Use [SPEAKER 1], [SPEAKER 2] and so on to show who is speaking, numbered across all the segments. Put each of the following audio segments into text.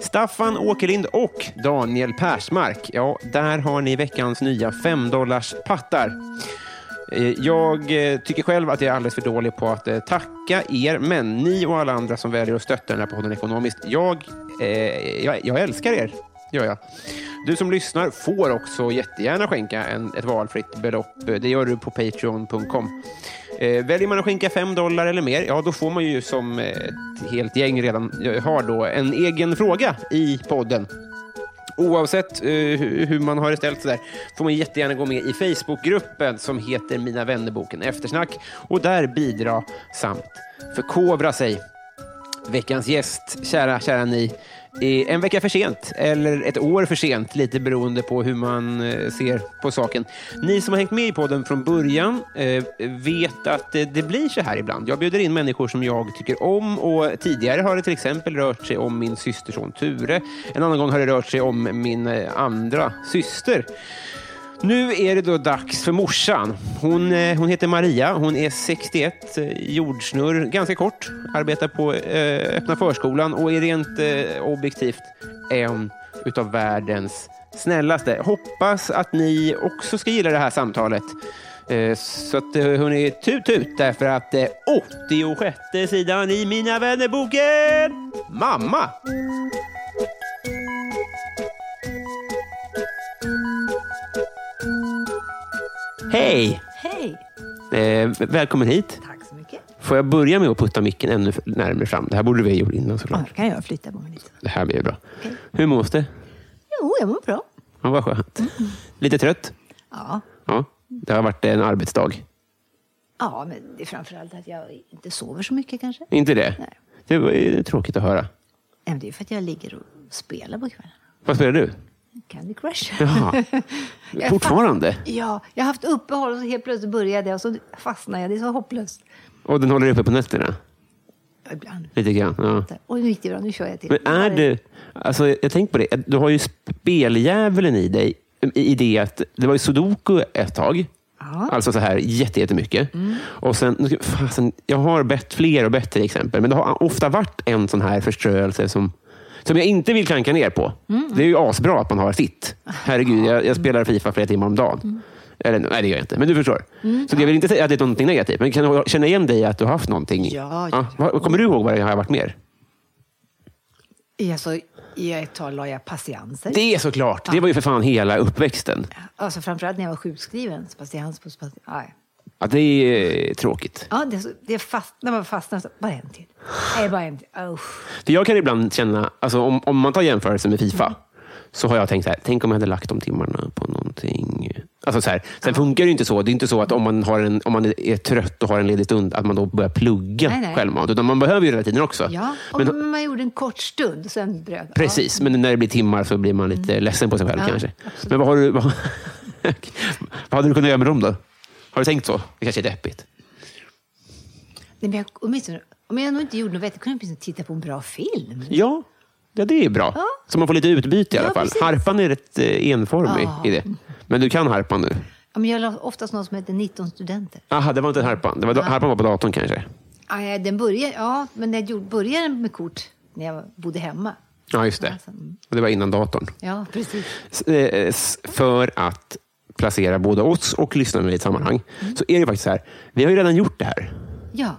[SPEAKER 1] Staffan Åkerlind och Daniel Persmark. Ja, där har ni veckans nya 5 dollars pattar. Eh, Jag eh, tycker själv att jag är alldeles för dålig på att eh, tacka er, men ni och alla andra som väljer att stötta den här podden ekonomiskt, jag, eh, jag, jag älskar er. Gör jag. Du som lyssnar får också jättegärna skänka en, ett valfritt belopp. Eh, Det gör du på patreon.com. Eh, väljer man att skänka 5 dollar eller mer, ja då får man ju som eh, ett helt gäng redan eh, har då en egen fråga i podden. Oavsett eh, hu- hur man har det ställt så där, får man jättegärna gå med i Facebookgruppen som heter Mina vännerboken eftersnack och där bidra samt förkovra sig. Veckans gäst, kära, kära ni, är en vecka för sent eller ett år för sent, lite beroende på hur man eh, ser på saken. Ni som har hängt med i podden från början eh, vet att eh, det blir så här ibland. Jag bjuder in människor som jag tycker om och tidigare har det till exempel rört sig om min systerson Ture. En annan gång har det rört sig om min eh, andra syster. Nu är det då dags för morsan. Hon, eh, hon heter Maria, hon är 61, eh, jordsnurr, ganska kort, arbetar på eh, öppna förskolan och är rent eh, objektivt en utav världens snällaste. Hoppas att ni också ska gilla det här samtalet. Eh, så att eh, hörni, tut tut därför att eh, 86 sidan i Mina vännerboken, mamma! Hej!
[SPEAKER 2] Hej!
[SPEAKER 1] Eh, välkommen hit.
[SPEAKER 2] Tack så mycket.
[SPEAKER 1] Får jag börja med att putta micken ännu f- närmare fram? Det här borde vi ha gjort innan
[SPEAKER 2] Ja,
[SPEAKER 1] såklart.
[SPEAKER 2] då kan jag flytta på mig lite.
[SPEAKER 1] Det här blir bra. Hur mås det?
[SPEAKER 2] Jo, jag mår bra.
[SPEAKER 1] Ja, vad skönt.
[SPEAKER 2] Mm.
[SPEAKER 1] Lite trött?
[SPEAKER 2] Ja.
[SPEAKER 1] Ja. Det har varit en arbetsdag.
[SPEAKER 2] ja, men det är framförallt att jag inte sover så mycket kanske.
[SPEAKER 1] Inte det?
[SPEAKER 2] Nej.
[SPEAKER 1] Det var ju tråkigt att höra.
[SPEAKER 2] Nej, men Det är för att jag ligger och spelar på kvällen.
[SPEAKER 1] Vad spelar du?
[SPEAKER 2] Candy Crush.
[SPEAKER 1] Jaha.
[SPEAKER 2] Jag
[SPEAKER 1] Fortfarande?
[SPEAKER 2] fast- Ja, jag har haft uppehåll och så helt plötsligt började jag och så fastnade jag. Det är så hopplöst.
[SPEAKER 1] Och den håller uppe på nätterna?
[SPEAKER 2] Ja, Ibland.
[SPEAKER 1] Lite grann? Ja.
[SPEAKER 2] Och nu gick det bra, nu kör jag till.
[SPEAKER 1] Men är du... Alltså, jag tänkte på det. Du har ju speldjävulen i dig. I i det att det var ju sudoku ett tag.
[SPEAKER 2] Ja. Mm.
[SPEAKER 1] Alltså så här jätte- jättemycket. Och sen, nu ska- fasen, jag har bett fler och bättre exempel, men det har ofta varit en sån här förströelse som, som jag inte vill klanka ner på.
[SPEAKER 2] Mm.
[SPEAKER 1] Det är ju asbra att man har sitt. Herregud, jag, jag spelar Fifa flera timmar om dagen.
[SPEAKER 2] Mm.
[SPEAKER 1] Eller, nej, det gör jag inte, men du förstår. Så jag vill inte säga att det är någonting negativt, men kan jag känna igen dig att du har haft någonting?
[SPEAKER 2] Ja, ja,
[SPEAKER 1] vad- Kommer du ihåg vad det har varit mer?
[SPEAKER 2] Ja, så I ett tag la jag patienser.
[SPEAKER 1] Det är såklart. Det var ju för fan hela uppväxten.
[SPEAKER 2] Alltså framförallt när jag var sjukskriven. så Patiens på patiens. Ja, ja.
[SPEAKER 1] Ja, det är eh, tråkigt.
[SPEAKER 2] Ja, det, är så- det är fast, när man fastnar så, bara en till. Nej, bara en till. Usch.
[SPEAKER 1] För jag kan ibland känna, alltså om, om man tar jämförelse med Fifa,
[SPEAKER 2] Mm.
[SPEAKER 1] så har jag tänkt så här, tänk om jag hade lagt de timmarna på någonting. Alltså så här, sen funkar det ju inte så. Det är inte så att om man, har en, om man är trött och har en ledig stund, att man då börjar plugga
[SPEAKER 2] Nej, nej.
[SPEAKER 1] självmant. Utan man behöver ju den här tiden också.
[SPEAKER 2] Ja, och
[SPEAKER 1] Men-
[SPEAKER 2] man gjorde en kort stund, sen bröt
[SPEAKER 1] Precis, men när det blir timmar så blir man
[SPEAKER 2] Mm.
[SPEAKER 1] lite ledsen på sig själv kanske. Men vad har du... Vad, vad hade du kunnat göra med dem då? Har du tänkt så? Det kanske är deppigt.
[SPEAKER 2] Ja. Nej, men jag, åtminstone, om jag nog inte gjorde något vettigt kunde jag åtminstone titta på en bra film.
[SPEAKER 1] Ja, ja det är bra.
[SPEAKER 2] Ja.
[SPEAKER 1] Så man får lite utbyte i alla
[SPEAKER 2] Ja,
[SPEAKER 1] fall.
[SPEAKER 2] precis.
[SPEAKER 1] Harpan är rätt eh, enformig i det. Men du kan harpan nu.
[SPEAKER 2] Ja, men jag la oftast något som heter 19 studenter.
[SPEAKER 1] Aha, det var inte harpan. Det var, Harpan var på datorn kanske.
[SPEAKER 2] Ja, ja, den började, ja men jag gjorde- började med kort när jag bodde hemma.
[SPEAKER 1] Ja, just det.
[SPEAKER 2] Alltså, mm.
[SPEAKER 1] Och det var innan datorn.
[SPEAKER 2] Ja, precis.
[SPEAKER 1] S- eh, s- För att placera både oss och lyssnarna i ett sammanhang.
[SPEAKER 2] Mm.
[SPEAKER 1] Så är det faktiskt så här, vi har ju redan gjort det här.
[SPEAKER 2] Ja,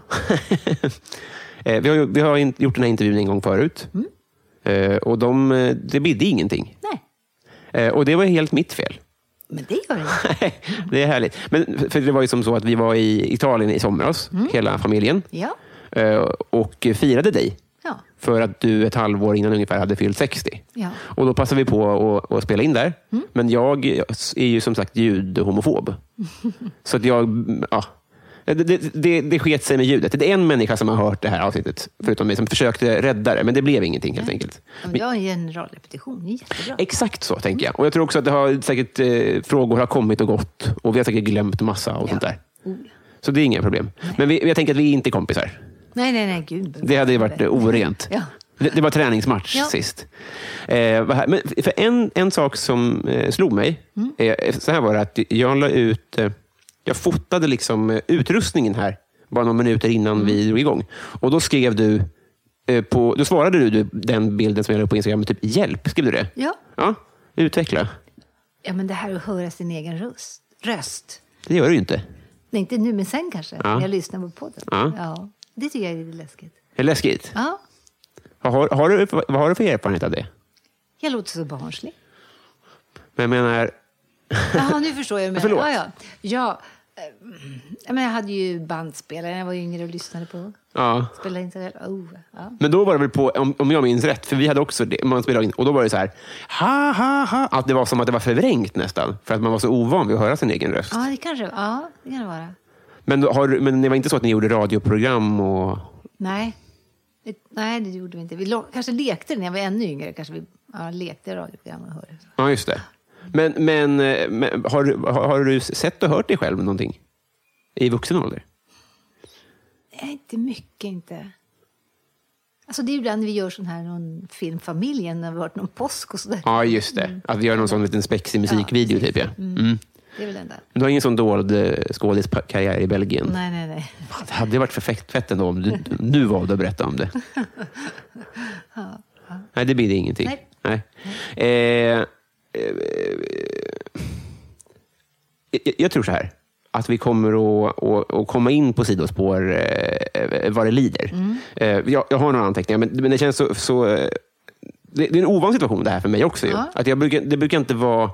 [SPEAKER 1] Eh, vi, har, ju- vi har in- gjort den här intervjun en gång förut. Eh, Och de, eh, det bidde ingenting.
[SPEAKER 2] Mm. nej.
[SPEAKER 1] Eh, Och det var helt mitt fel.
[SPEAKER 2] Men det gör det inte.
[SPEAKER 1] det är härligt. Men, för det var ju som så att vi var i Italien i somras,
[SPEAKER 2] Mm.
[SPEAKER 1] hela familjen.
[SPEAKER 2] Ja,
[SPEAKER 1] Eh, Och firade dig.
[SPEAKER 2] ja.
[SPEAKER 1] För att du ett halvår innan ungefär hade fyllt 60.
[SPEAKER 2] Ja. Mm.
[SPEAKER 1] Och då passade vi på att, att spela in där. Men jag är ju som sagt ljudhomofob. Så att jag... Ja. Det, det, det, det sket sig med ljudet. Det är en människa som har hört det här avsnittet, förutom mig, som försökte rädda det. Men det blev ingenting helt enkelt.
[SPEAKER 2] Ja, men Jag har en generalrepetition, det är jättebra.
[SPEAKER 1] Exakt så tänker
[SPEAKER 2] Mm.
[SPEAKER 1] jag. Och jag tror också att det har, säkert, eh, frågor har kommit och gått. Och vi har säkert glömt massa och sånt där.
[SPEAKER 2] Oh, ja.
[SPEAKER 1] Så det är inga problem. Men vi, jag tänker att vi är inte kompisar.
[SPEAKER 2] Nej, nej, nej, gud.
[SPEAKER 1] Det hade ju varit eh, orent.
[SPEAKER 2] Ja.
[SPEAKER 1] Det, det var träningsmatch
[SPEAKER 2] Ja.
[SPEAKER 1] sist. Eh, vad här- men för en, en sak som eh, slog mig,
[SPEAKER 2] Mm.
[SPEAKER 1] eh, så här var det att jag la ut, eh, jag fotade liksom eh, utrustningen här, bara några minuter innan
[SPEAKER 2] Mm.
[SPEAKER 1] vi drog igång. Och då skrev du, eh, på, då svarade du, du den bilden som jag la upp på Instagram, typ hjälp, skrev du det?
[SPEAKER 2] Ja.
[SPEAKER 1] ja. Utveckla.
[SPEAKER 2] Ja, men det här att höra sin egen röst. röst.
[SPEAKER 1] Det gör du ju inte.
[SPEAKER 2] Nej, inte nu, men sen kanske.
[SPEAKER 1] Ja.
[SPEAKER 2] När jag lyssnar på podden.
[SPEAKER 1] Ja.
[SPEAKER 2] Det tycker jag är lite läskigt.
[SPEAKER 1] Det är läskigt.
[SPEAKER 2] Ja,
[SPEAKER 1] Vad Har, har du, vad har du för erfarenhet av det?
[SPEAKER 2] jag låter så barnslig.
[SPEAKER 1] Men jag menar,
[SPEAKER 2] Jaha, nu förstår jag. Med.
[SPEAKER 1] Förlåt.
[SPEAKER 2] Ja, ja. Ja, eh, ja, men jag hade ju bandspelare när jag var yngre och lyssnade på.
[SPEAKER 1] ja.
[SPEAKER 2] Spelade inte väl. Oh, ja.
[SPEAKER 1] Men då var det väl på, om, om jag minns rätt, för vi hade också det, man spelade in, och då var det så här, ha ha ha, att det var som att det var förvrängt nästan, för att man var så ovan vid att höra sin egen röst.
[SPEAKER 2] ja, det kanske ja, det kan det vara.
[SPEAKER 1] Men, då har, du- men det var inte så att ni gjorde radioprogram och...
[SPEAKER 2] Nej. Det, nej, det gjorde vi inte. Vi lo- kanske lekte när jag var ännu yngre. Kanske vi ja, lekte i radioprogram och hörde.
[SPEAKER 1] Ja, just det. Men, men, eh, men har, du- har, har du sett och hört dig själv någonting? I vuxen ålder?
[SPEAKER 2] Nej, inte mycket inte. Alltså det är ibland vi gör sån här någon film, familjen, när vi har varit någon påsk och sådär.
[SPEAKER 1] Ja, just det. Att vi gör någon sån liten spexig musikvideo, typ. Ja. Mm.
[SPEAKER 2] Det är väl den där.
[SPEAKER 1] Du har ingen sån dold eh, skådiskarriär i Belgien?
[SPEAKER 2] Nej, nej, nej.
[SPEAKER 1] Det hade ju varit perfekt fett ändå om du nu valde att berätta om det. Nej, det blir det ingenting.
[SPEAKER 2] Nej.
[SPEAKER 1] Eh, eh, jag, eh, jag tror så här, att vi kommer att, att, att komma in på sidospår eh, vad det lider.
[SPEAKER 2] Mm.
[SPEAKER 1] Eh, jag, jag har några anteckningar, men, men det känns så... så eh, det, det är en ovan situation det här för mig också. Ju.
[SPEAKER 2] Ja.
[SPEAKER 1] Att jag brukar, det brukar inte vara...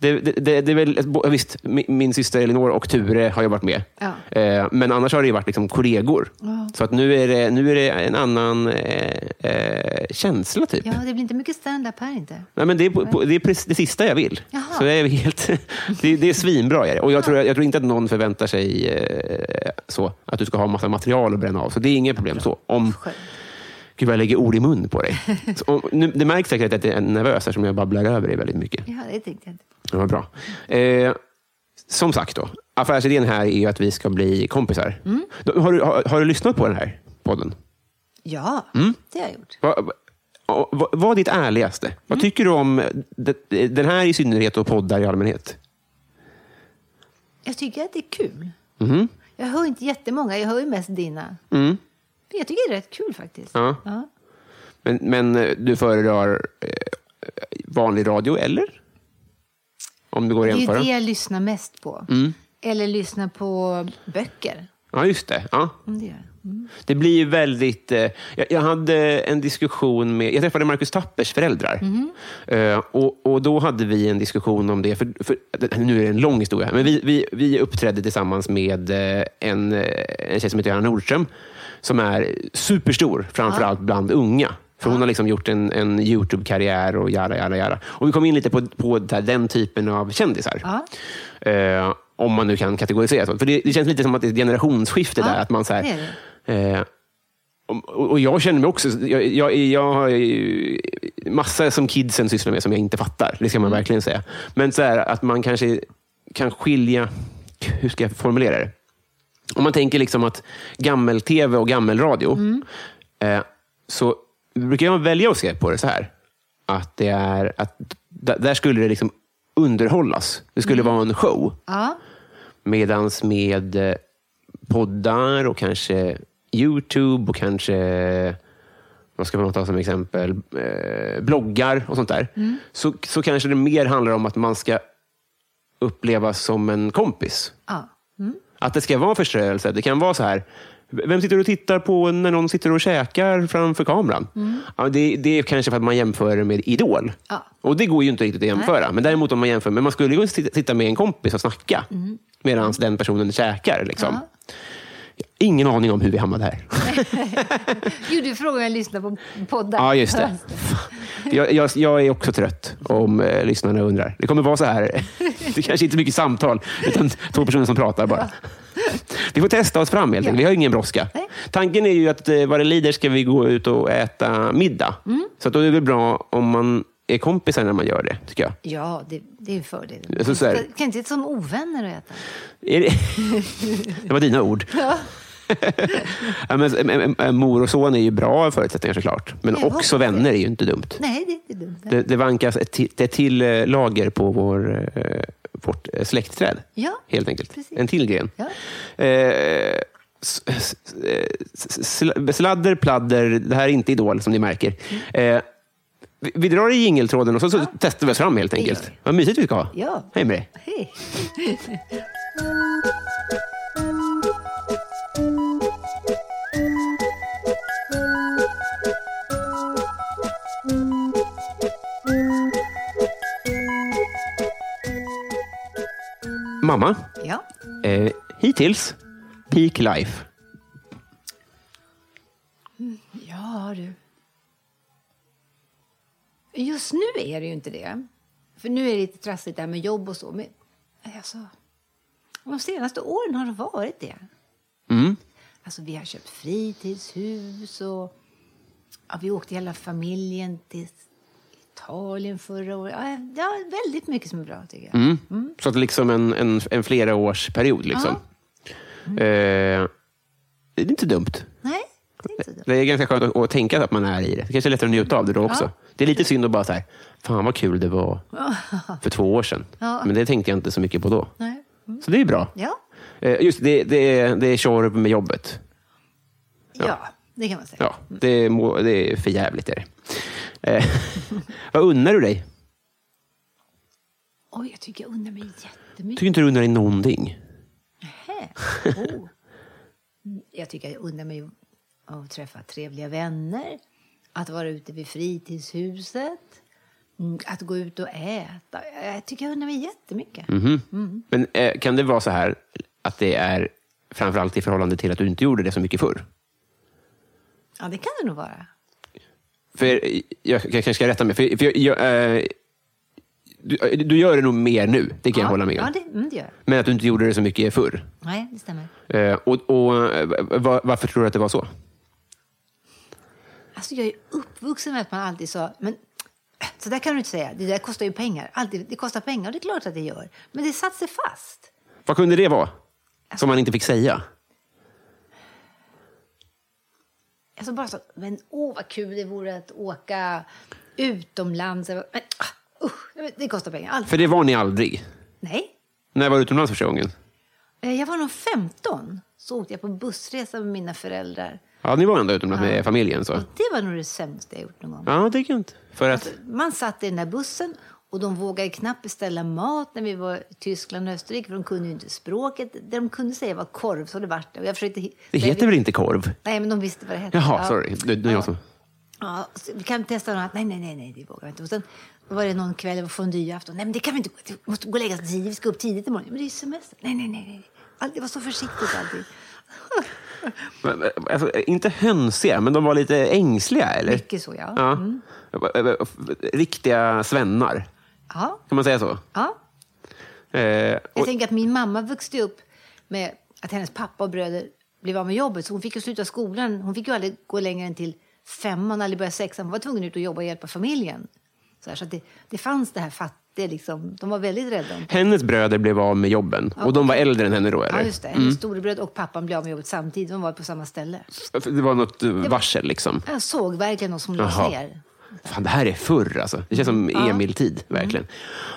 [SPEAKER 1] Det, det, det, det är väl, bo- visst, min, min syster Elinor och Ture har ju varit med.
[SPEAKER 2] Ja.
[SPEAKER 1] Eh, men annars har det ju varit liksom kollegor. Så att nu är det, nu är det en annan eh, eh, känsla, typ.
[SPEAKER 2] Ja, det blir inte mycket stand-up här inte.
[SPEAKER 1] Nej, men det, är, på- på- det är precis det sista jag vill.
[SPEAKER 2] Jaha.
[SPEAKER 1] Så jag är helt, det, det är svinbra. Är det. Och jag, tror, jag tror inte att någon förväntar sig eh, så, att du ska ha massa material att bränna av. Så det är inget problem. så. Om,
[SPEAKER 2] Skönt.
[SPEAKER 1] gud, vad jag lägger ord i mun på dig. Så, om, nu, det märks säkert att jag är nervös eftersom jag babblar över dig väldigt mycket.
[SPEAKER 2] Ja, det tänkte jag inte.
[SPEAKER 1] Det var bra. Eh, som sagt, då, affärsidén här är ju att vi ska bli kompisar. Då- Har, du, har, har du lyssnat på den här podden?
[SPEAKER 2] Ja,
[SPEAKER 1] Mm.
[SPEAKER 2] det har jag gjort.
[SPEAKER 1] Vad va, va, vad är ditt ärligaste?
[SPEAKER 2] Mm.
[SPEAKER 1] Vad tycker du om det- den här i synnerhet och poddar i allmänhet?
[SPEAKER 2] Jag tycker att det är kul.
[SPEAKER 1] Mm-hmm.
[SPEAKER 2] Jag hör inte jättemånga, jag hör ju mest dina. Men jag tycker det är rätt kul faktiskt.
[SPEAKER 1] Mm. Ja.
[SPEAKER 2] Ja.
[SPEAKER 1] Men, men eh, du föredrar eh, vanlig radio, eller? Om det Mm. går
[SPEAKER 2] Det
[SPEAKER 1] att
[SPEAKER 2] är ju
[SPEAKER 1] jämföra.
[SPEAKER 2] det jag lyssnar mest på. Eller lyssnar på böcker.
[SPEAKER 1] Ja, just det. Ja.
[SPEAKER 2] Om det gör. jag. Mm.
[SPEAKER 1] Det blir ju väldigt... Eh, jag, jag hade en diskussion med... Jag träffade Marcus Tappers föräldrar.
[SPEAKER 2] Mhm.
[SPEAKER 1] Eh, och, och Då hade vi en diskussion om det. För, för, nu är det en lång historia. Men vi, vi, vi uppträdde tillsammans med eh, en, eh, en tjej som heter Johanna Nordström som är superstor, framför allt bland unga. För hon har liksom gjort en, en YouTube-karriär och jada, jada, jada. Och vi kom in lite på, på det här, den typen av kändisar. Eh, om man nu kan kategorisera så. För det, det känns lite som att det är ett generationsskifte
[SPEAKER 2] Ja,
[SPEAKER 1] där. Att man så här,
[SPEAKER 2] det är det.
[SPEAKER 1] Eh, och, och jag känner mig också... Jag, jag, jag har ju massa som kidsen sysslar med som jag inte fattar. Det ska man verkligen säga. Men så här, att man kanske kan skilja... Hur ska jag formulera det? Om man tänker liksom att gammel-tv och gammel-radio eh, så brukar jag välja att se på det så här. Att det är... Att, d- där skulle det liksom underhållas. Det skulle vara en show.
[SPEAKER 2] Ja.
[SPEAKER 1] Medans med eh, poddar och kanske Youtube och kanske, vad ska man ta som exempel, eh, bloggar och sånt där. Så, så kanske det mer handlar om att man ska upplevas som en kompis.
[SPEAKER 2] ja.
[SPEAKER 1] Att det ska vara förströelse. Det kan vara så här. Vem sitter du och tittar på när någon sitter och käkar framför kameran? Ja, det, det är kanske för att man jämför det med Idol.
[SPEAKER 2] Ja.
[SPEAKER 1] Och det går ju inte riktigt att jämföra. Men däremot om man jämför, men man skulle ju sitta sitta med en kompis och snacka medan den personen käkar. Liksom. Ingen aning om hur vi hamnade här.
[SPEAKER 2] Jo, du frågade om jag lyssnade på poddar.
[SPEAKER 1] Ja, just det. Jag, jag, jag är också trött, om eh, lyssnarna undrar. Det kommer vara så här. Det kanske inte är mycket samtal, utan två personer som pratar bara. Vi får testa oss fram helt enkelt. Vi har ingen brådska.
[SPEAKER 2] Nej.
[SPEAKER 1] Tanken är ju att eh, vad det lider ska vi gå ut och äta middag. Så att då är det väl bra om man är kompisar när man gör det, tycker jag.
[SPEAKER 2] Ja, det, det är en fördel.
[SPEAKER 1] Alltså, så här-
[SPEAKER 2] Kan kan inte sitta som ovänner och äta?
[SPEAKER 1] Är det... det var dina ord. ja, men, eh, eh, mor och son är ju bra förutsättningar såklart. Men
[SPEAKER 2] Jag hoppas
[SPEAKER 1] också
[SPEAKER 2] det.
[SPEAKER 1] vänner är ju inte dumt.
[SPEAKER 2] Nej, det är inte dumt.
[SPEAKER 1] Det, det vankas ett till, ett till eh, lager på vår, eh, vårt eh, släktträd.
[SPEAKER 2] Ja,
[SPEAKER 1] helt enkelt.
[SPEAKER 2] precis.
[SPEAKER 1] En till gren.
[SPEAKER 2] Ja.
[SPEAKER 1] Eh, s- s- eh, s- sl- Sladder, pladder, det här är inte Idol som ni märker.
[SPEAKER 2] Mm.
[SPEAKER 1] Eh, vi, vi drar i jingeltråden och så, så testar vi oss fram helt enkelt.
[SPEAKER 2] gör vi.
[SPEAKER 1] Vad mysigt vi ska ha.
[SPEAKER 2] Ja.
[SPEAKER 1] Hej med dig.
[SPEAKER 2] Hej.
[SPEAKER 1] Mamma,
[SPEAKER 2] Ja.
[SPEAKER 1] eh, hittills, peak life.
[SPEAKER 2] Ja, du. Just nu är det ju inte det. För nu är det lite trassligt där med jobb och så. Men alltså, de senaste åren har det varit det.
[SPEAKER 1] Mm.
[SPEAKER 2] Alltså, vi har köpt fritidshus och ja, vi åkte hela familjen till Italien förra året. Ja, det är väldigt mycket som är bra tycker jag.
[SPEAKER 1] Mm. Så att liksom en, en, en flera års period. Liksom.
[SPEAKER 2] Mm.
[SPEAKER 1] Eh, det är inte dumt.
[SPEAKER 2] Nej, det är inte dumt.
[SPEAKER 1] Det är ganska skönt att, att tänka att man är i det. Det kanske är lättare att njuta av det då också. Det är lite synd att bara så här, fan vad kul det var för två år sedan.
[SPEAKER 2] Ja.
[SPEAKER 1] Men det tänkte jag inte så mycket på då.
[SPEAKER 2] Nej.
[SPEAKER 1] Så det är ju bra.
[SPEAKER 2] Ja.
[SPEAKER 1] Eh, just det, det, är- det är tjorv med jobbet.
[SPEAKER 2] Ja. det kan man säga.
[SPEAKER 1] Ja, det, må, det är för jävligt. Är det. Eh, vad unnar du dig?
[SPEAKER 2] Oj, jag tycker jag undrar mig jättemycket.
[SPEAKER 1] Tycker inte du unnar dig någonting?
[SPEAKER 2] Hä? Oh. Mm, Jag tycker jag undrar mig att träffa trevliga vänner, att vara ute vid fritidshuset, mm, att gå ut och äta. Jag tycker jag undrar mig jättemycket.
[SPEAKER 1] Mhm.
[SPEAKER 2] Mm.
[SPEAKER 1] Men eh, kan det vara så här att det är framförallt i förhållande till att du inte gjorde det så mycket förr?
[SPEAKER 2] Ja, det kan det nog vara.
[SPEAKER 1] För jag, jag kanske ska rätta mig. För, för jag, jag, eh, du, eh, du gör det nog mer nu, det kan jag
[SPEAKER 2] ja.
[SPEAKER 1] hålla med om.
[SPEAKER 2] Ja, det, mm, det gör jag.
[SPEAKER 1] Men att du inte gjorde det så mycket förr.
[SPEAKER 2] Nej, det stämmer.
[SPEAKER 1] Eh, och, och, eh, va- varför tror du att det var så?
[SPEAKER 2] Alltså, jag är uppvuxen med att man alltid sa, men så där kan du inte säga, det där kostar ju pengar. Alltid, det kostar pengar, och det är klart att det gör. Men det satt sig fast.
[SPEAKER 1] Vad kunde det vara? Som man inte fick säga?
[SPEAKER 2] Alltså bara så, men åh vad kul det vore att åka utomlands. Men, ah, usch, nej, men det kostar pengar. Allt.
[SPEAKER 1] För det var ni aldrig.
[SPEAKER 2] Nej,
[SPEAKER 1] När var du utomlands första gången?
[SPEAKER 2] Eh, jag var nog 15 så åkte jag på en bussresa med mina föräldrar.
[SPEAKER 1] Ja, ni var ändå utomlands med familjen. så.
[SPEAKER 2] Och det var nog det sämsta jag gjort någon gång.
[SPEAKER 1] Ja, det kan jag inte. För att...
[SPEAKER 2] Man satt i den där bussen och de vågade knappt beställa mat när vi var i Tyskland och Österrike för de kunde ju inte språket. Det de kunde säga var korv, så det vart det. Och jag försökte... hi-
[SPEAKER 1] Det heter väl inte korv?
[SPEAKER 2] Nej, men de visste vad det hette.
[SPEAKER 1] Jaha,
[SPEAKER 2] Ja.
[SPEAKER 1] sorry. Det, det är jag som...
[SPEAKER 2] Ja, så vi kan testa något. annat. Nej, nej, nej, nej, det vågar vi inte. Och sen var det någon kväll, det var fondyafton. Nej, men det kan vi inte. Vi måste gå och lägga oss tidigt. Vi ska upp tidigt imorgon. Men det är ju semester. Nej, nej, nej, nej. Allt, det var så försiktigt alltid.
[SPEAKER 1] Men, men, Alltså, inte hönsiga, men de var lite ängsliga, eller?
[SPEAKER 2] Mycket så, ja. Mm.
[SPEAKER 1] Ja. Eh, Riktiga svennar,
[SPEAKER 2] Ja,
[SPEAKER 1] kan man säga så?
[SPEAKER 2] ja.
[SPEAKER 1] Eh,
[SPEAKER 2] Jag
[SPEAKER 1] och,
[SPEAKER 2] tänker att min mamma växte upp med att hennes pappa och bröder blev av med jobbet. Så hon fick ju sluta skolan. Hon fick ju aldrig gå längre än till femman, aldrig börja sexan. Hon var tvungen ut och jobba och hjälpa familjen. Så, här, så att det, det fanns det här fattiga liksom. De var väldigt rädda om
[SPEAKER 1] hennes bröder blev av med jobben och de var äldre än henne då, eller?
[SPEAKER 2] Ja, just det. Mm. Hennes storebror och pappan blev av med jobbet samtidigt. De var på samma ställe.
[SPEAKER 1] det. var något eh, varsel, liksom.
[SPEAKER 2] Jag såg verkligen någon som lades
[SPEAKER 1] Jaha.
[SPEAKER 2] ner.
[SPEAKER 1] Fan, det här är förr alltså. Det känns som Emil-tid, verkligen.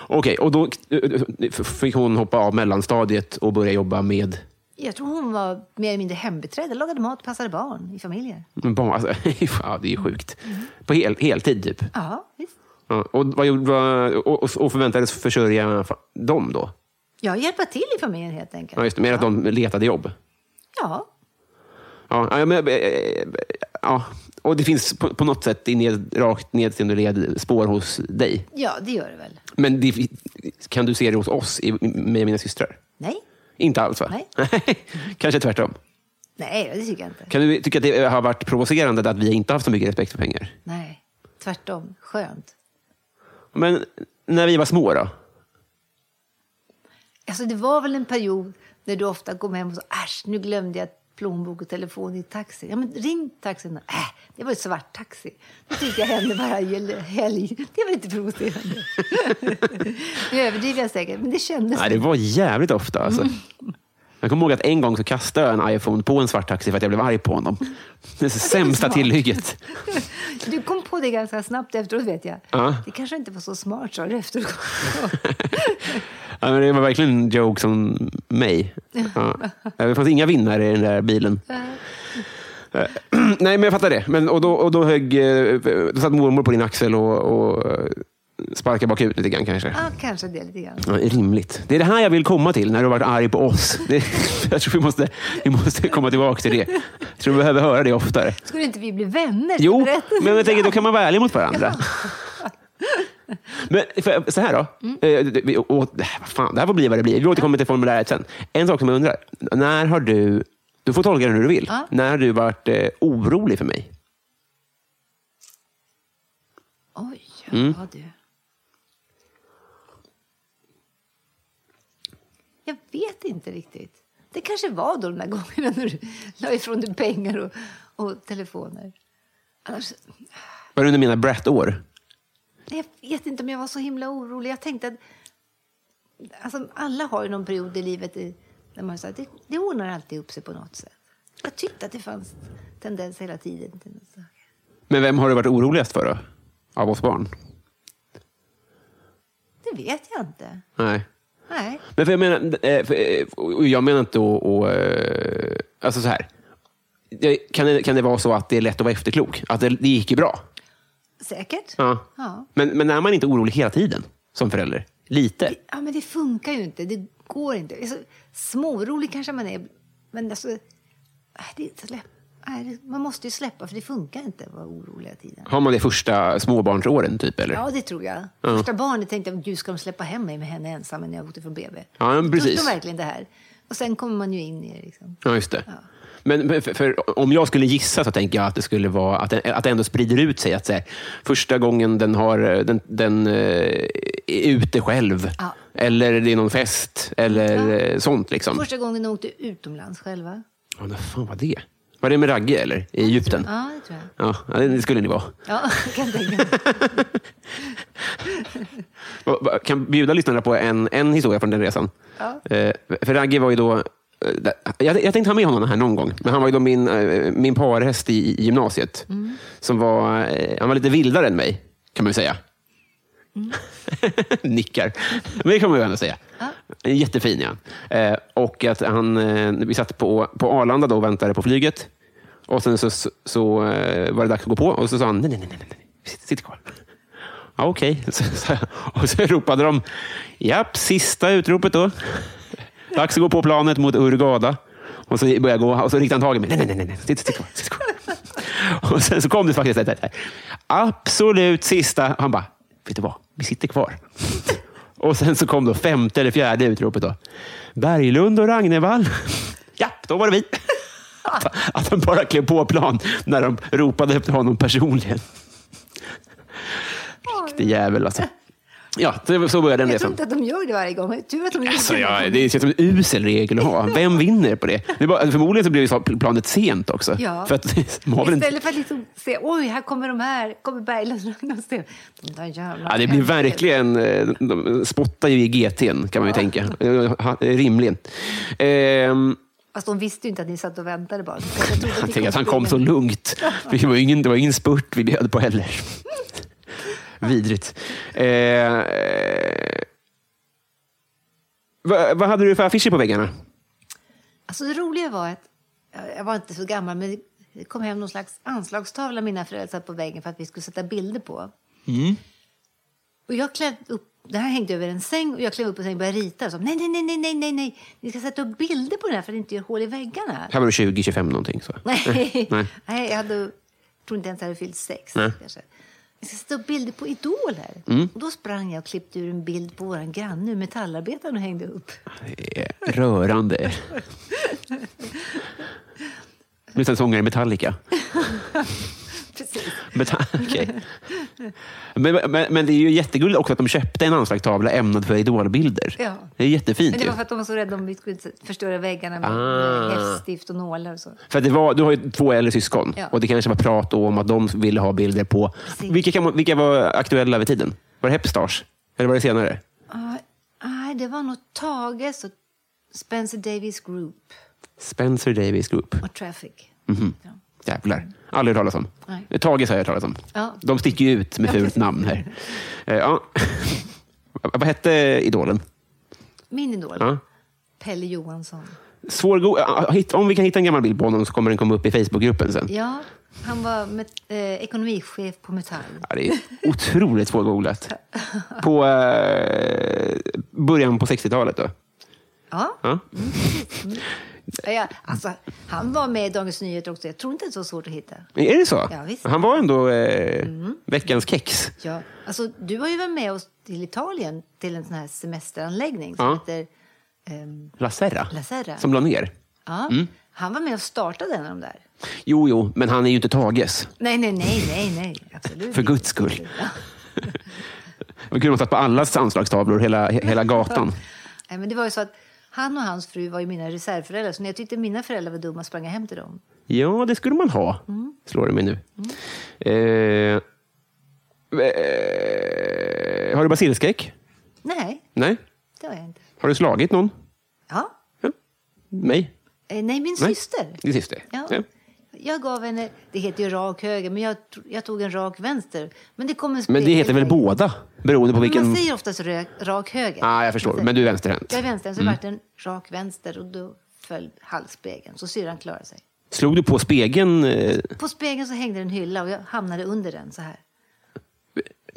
[SPEAKER 1] Okej, och då eh, fick hon hoppa av mellanstadiet och börja jobba med
[SPEAKER 2] Jag tror hon var mer eller mindre hembiträde, lagade mat, passade barn i familjer.
[SPEAKER 1] barn. Alltså, ja, det är ju sjukt. På hel, heltid, typ.
[SPEAKER 2] Ja, visst.
[SPEAKER 1] Ja, och, vad gjorde, vad, och, och- och förväntades försörja fa- dem då?
[SPEAKER 2] Ja, hjälpa till i familjen helt enkelt.
[SPEAKER 1] Ja, just det, mer att de letade jobb.
[SPEAKER 2] Ja,
[SPEAKER 1] Ja, ja, men, eh, eh, ja. Och det finns på, på något sätt i ned, rakt nedseende led spår hos dig.
[SPEAKER 2] ja, det gör det väl.
[SPEAKER 1] Men det, kan du se det hos oss, i, med mina systrar?
[SPEAKER 2] Nej,
[SPEAKER 1] Inte alls, va?
[SPEAKER 2] Nej.
[SPEAKER 1] Kanske tvärtom.
[SPEAKER 2] nej, det tycker jag inte.
[SPEAKER 1] Kan du tycka att det eh, har varit provocerande att vi inte haft så mycket respekt för pengar?
[SPEAKER 2] Nej, tvärtom. Skönt.
[SPEAKER 1] Men när vi var små då?
[SPEAKER 2] Alltså, det var väl en period när du ofta kom hem och sa äsch, nu glömde jag plånbok och telefon i taxin. Ja, men ring taxin. Äh, det var ju svart taxi. Det tyckte jag hände varje helg. Det var lite provocerande. nu överdriver jag säkert, men det kändes
[SPEAKER 1] Nej, det var jävligt ofta. Alltså. Jag kommer ihåg att en gång så kastade jag en iPhone på en svarttaxi för att jag blev arg på honom. Det sämsta
[SPEAKER 2] smart.
[SPEAKER 1] tillhygget.
[SPEAKER 2] Du kom på det ganska snabbt efteråt, vet jag.
[SPEAKER 1] Ja.
[SPEAKER 2] Det kanske inte var så smart, sa du efteråt.
[SPEAKER 1] Ja, men det var verkligen en joke som mig. Ja. Det fanns inga vinnare i den där bilen. Eh, Nej, men jag fattar det. Men, och då, och då, högg, eh, då satt mormor på din axel och, och eh, sparkade bakut lite grann kanske.
[SPEAKER 2] ja, kanske det lite grann.
[SPEAKER 1] Ja, rimligt. Det är det här jag vill komma till när du har varit arg på oss. Det, jag tror vi måste, vi måste komma tillbaka till det. Jag tror vi behöver höra det oftare.
[SPEAKER 2] Skulle inte vi bli vänner?
[SPEAKER 1] Jo,
[SPEAKER 2] Berätta.
[SPEAKER 1] men jag tänker, då kan man vara ärlig mot varandra. Men för, så här då. Eh, det- Vi, och, och, det här- vad fan, det här får bli vad det blir. Vi återkommer till formuläret sen. En sak som jag undrar. När har du, du får tolka det hur du vill.
[SPEAKER 2] Ja.
[SPEAKER 1] När har du varit eh, orolig för mig?
[SPEAKER 2] Oj, ja
[SPEAKER 1] Mm.
[SPEAKER 2] du. Jag vet inte riktigt. Det kanske var då de där gångerna när du la ifrån dig pengar och, och telefoner. Annars,
[SPEAKER 1] Var det under mina Bratt-år?
[SPEAKER 2] jag vet inte om jag var så himla orolig. Jag tänkte att alltså, alla har ju någon period i livet i, när man säger att det, det ordnar alltid upp sig på något sätt. Jag tyckte att det fanns tendenser hela tiden. till något så.
[SPEAKER 1] Men vem har du varit oroligast för då? Av oss barn?
[SPEAKER 2] Det vet jag inte.
[SPEAKER 1] Nej.
[SPEAKER 2] Nej.
[SPEAKER 1] Men för jag menar, eh, för, eh, och jag menar inte att... och, eh, Alltså så här. Jag- Kan det, kan det vara så att det är lätt att vara efterklok? Att det, det gick ju bra?
[SPEAKER 2] Säkert.
[SPEAKER 1] Ja.
[SPEAKER 2] Ja.
[SPEAKER 1] Men, men är man inte orolig hela tiden som förälder? Lite?
[SPEAKER 2] Ja, men det funkar ju inte. Det går inte. Alltså, smårolig kanske man är, men alltså, äh, det är släpp. Nej, det- man måste ju släppa, för det funkar inte att vara orolig hela tiden.
[SPEAKER 1] Har man det första småbarnsåren typ? Eller?
[SPEAKER 2] Ja, det tror jag. Första barnet tänkte jag, gud, ska de släppa hem mig med henne ensam när jag åkte från BB?
[SPEAKER 1] Ja, men
[SPEAKER 2] Tror
[SPEAKER 1] precis.
[SPEAKER 2] de verkligen det här? Och sen kommer man ju in i det. Liksom.
[SPEAKER 1] Ja, just det. Men men för, för om jag skulle gissa så tänker jag att det skulle vara att det, att det ändå sprider ut sig. Att så här, första gången den, har, eh, den, den eh, är ute själv,
[SPEAKER 2] Ja.
[SPEAKER 1] eller det är någon fest, eller eh, sånt. Liksom.
[SPEAKER 2] Första gången de åkte utomlands själva.
[SPEAKER 1] Ja, när fan var det? Var det med Ragge eller? i Egypten?
[SPEAKER 2] Ja, det tror jag.
[SPEAKER 1] Ja, ja, det skulle ni vara.
[SPEAKER 2] Ja, kan jag tänka mig.
[SPEAKER 1] Va- va- Kan bjuda lyssnarna på en, en historia från den resan.
[SPEAKER 2] Ja.
[SPEAKER 1] Eh, för Ragge var ju då... eh, där- Jag, jag tänkte ha med honom här någon gång, men han var ju då min, eh, min parhäst i, i gymnasiet. Som var, eh, han var lite vildare än mig, kan man ju säga. Nickar. Men det kan man ju ändå säga. Jättefin ja. Eh, och att han, eh, vi satt på, på Arlanda då och väntade på flyget. Och sen så, så, så eh, var det dags att gå på och så sa han nej, nej, nej, nej, nej. Sitt, sitt kvar. Ja, okej. Så, så, och så ropade de, japp, sista utropet då. Dags att gå på planet mot Urgada. Och så började jag gå och så riktade han tag i mig. Nej, nej, nej, nej, nej. Sitt, sitt kvar. Sitt kvar. Och sen så kom det faktiskt ett ett här. Absolut sista. Han bara, vet du vad? Vi sitter kvar. Och sen så kom då femte eller fjärde utropet. Då. Berglund och Ragnevall. Ja, då var det vi. Att- Att han bara klev på plan när de ropade efter honom personligen. Riktig jävel alltså. Ja, så- så började den
[SPEAKER 2] Jag tror
[SPEAKER 1] resan.
[SPEAKER 2] inte att de gör det varje gång. men Tur att de gjorde
[SPEAKER 1] Alltså,
[SPEAKER 2] det.
[SPEAKER 1] ja, det känns som en usel regel att ha. Vem vinner på det? det är bara, förmodligen så blev ju planet sent också.
[SPEAKER 2] Ja.
[SPEAKER 1] För att, de har väl inte,
[SPEAKER 2] Istället för att liksom se, oj, här kommer de här, kommer Berglund och Ragnarsson. De där jävla
[SPEAKER 1] ja, det blir
[SPEAKER 2] skämten.
[SPEAKER 1] verkligen... eh, De spottar ju i GT'n, kan man ju tänka. Eh, ha- Rimligen. Ehm,
[SPEAKER 2] Fast de visste ju inte att ni satt och väntade bara. Så jag trodde att ni
[SPEAKER 1] Jag tänker att han kom så
[SPEAKER 2] springande.
[SPEAKER 1] lugnt. Det var ju ingen, det var ingen spurt vi bjöd på heller. Vidrigt. Eh, vad, vad hade du för affischer på väggarna?
[SPEAKER 2] Alltså det roliga var att, jag var inte så gammal, men det kom hem någon slags anslagstavla mina föräldrar satt på väggen för att vi skulle sätta bilder på. Och jag klädde upp, det här hängde över en säng och jag klev upp på sängen och började rita. Och sa, nej, nej, nej, nej, nej, nej, nej, ni ska sätta upp bilder på den här för att inte göra hål i väggarna.
[SPEAKER 1] Här var du 20, 25 någonting. Så.
[SPEAKER 2] Nej.
[SPEAKER 1] Nej.
[SPEAKER 2] Nej. jag hade, tror inte ens jag hade fyllt sex.
[SPEAKER 1] Nej.
[SPEAKER 2] Kanske. Jag ska sätta upp bilder på idoler. Och då sprang jag och klippte ur en bild på vår granne, metallarbetaren, och hängde upp.
[SPEAKER 1] Det är Eh, Rörande. Nu sen sångare i Metallica.
[SPEAKER 2] Precis.
[SPEAKER 1] Meta- okej. men, men, men det är ju jättegulligt också att de köpte en anslagstavla ämnad för idolbilder.
[SPEAKER 2] Ja.
[SPEAKER 1] Det är jättefint.
[SPEAKER 2] Men det
[SPEAKER 1] ju.
[SPEAKER 2] var för att de var så rädda om vi skulle inte förstöra väggarna med,
[SPEAKER 1] Ah.
[SPEAKER 2] med häststift och nålar och så.
[SPEAKER 1] För att det var, du har ju två äldre syskon
[SPEAKER 2] Ja.
[SPEAKER 1] och det kanske var prat då om att de ville ha bilder på... Vilka, kan, man- vilka var aktuella vid tiden? Var det Hepstars? Eller var det senare?
[SPEAKER 2] Ah, Nej, det var nog Tages och Spencer Davis Group
[SPEAKER 1] Spencer Davis Group.
[SPEAKER 2] och Traffic. Ja.
[SPEAKER 1] Jävlar. Aldrig hört talas om.
[SPEAKER 2] Nej.
[SPEAKER 1] Tage har jag hört talas om.
[SPEAKER 2] Ja.
[SPEAKER 1] De sticker ju ut med fult namn här. Eh, Ja. Vad hette idolen?
[SPEAKER 2] Min idol,
[SPEAKER 1] Ja.
[SPEAKER 2] Pelle Johansson.
[SPEAKER 1] Svårgo- ah, hitt- Om vi kan hitta en gammal bild på honom så kommer den komma upp i Facebookgruppen sen.
[SPEAKER 2] Ja, han var met- eh, ekonomichef på Metall.
[SPEAKER 1] Ja, det är otroligt svårgooglat. På eh, början på 60-talet då.
[SPEAKER 2] Ja.
[SPEAKER 1] Ja.
[SPEAKER 2] Ja, alltså, han var med i Dagens Nyheter också. Jag tror inte det är så svårt att hitta.
[SPEAKER 1] Är det så?
[SPEAKER 2] Ja, visst. Mm.
[SPEAKER 1] Han var ändå eh, veckans kex.
[SPEAKER 2] Ja, alltså, du har ju varit med oss till Italien till en sån här semesteranläggning som
[SPEAKER 1] Ja.
[SPEAKER 2] heter... ehm,
[SPEAKER 1] La Serra.
[SPEAKER 2] La Serra.
[SPEAKER 1] Som la ner.
[SPEAKER 2] ja. Han var med och startade en av de där.
[SPEAKER 1] Jo, jo, men han är ju inte Tages.
[SPEAKER 2] Nej, nej, nej, nej, nej. Absolut
[SPEAKER 1] För
[SPEAKER 2] inte.
[SPEAKER 1] guds skull. Det var kul om man satt på allas anslagstavlor, hela, he- hela gatan.
[SPEAKER 2] Nej, men det var ju så att han och hans fru var ju mina reservföräldrar. Så när jag tyckte mina föräldrar var dumma sprang jag hem till dem.
[SPEAKER 1] Ja, det skulle man ha, slår det mig nu. Mm. Eh, eh, har du basilskräck?
[SPEAKER 2] Nej,
[SPEAKER 1] Nej.
[SPEAKER 2] det har jag inte.
[SPEAKER 1] Har du slagit någon?
[SPEAKER 2] Ja.
[SPEAKER 1] Ja. Mig?
[SPEAKER 2] Eh, nej, min
[SPEAKER 1] Nej.
[SPEAKER 2] syster.
[SPEAKER 1] Din syster?
[SPEAKER 2] Ja. Jag gav henne, det heter ju rak höger, men jag, to- jag tog en rak vänster. Men det kom en
[SPEAKER 1] Men det heter väl
[SPEAKER 2] spegel-
[SPEAKER 1] båda? Beroende på vilken...
[SPEAKER 2] Man säger oftast rök, rak höger.
[SPEAKER 1] ah, jag förstår.
[SPEAKER 2] Man säger-
[SPEAKER 1] Men du Mm. är vänsterhänt.
[SPEAKER 2] Jag är vänster, så vart det en rak vänster och då föll halsspegeln. Så syrran klarade sig.
[SPEAKER 1] Slog du på spegeln? eh,
[SPEAKER 2] På spegeln så hängde det en hylla och jag hamnade under den så här.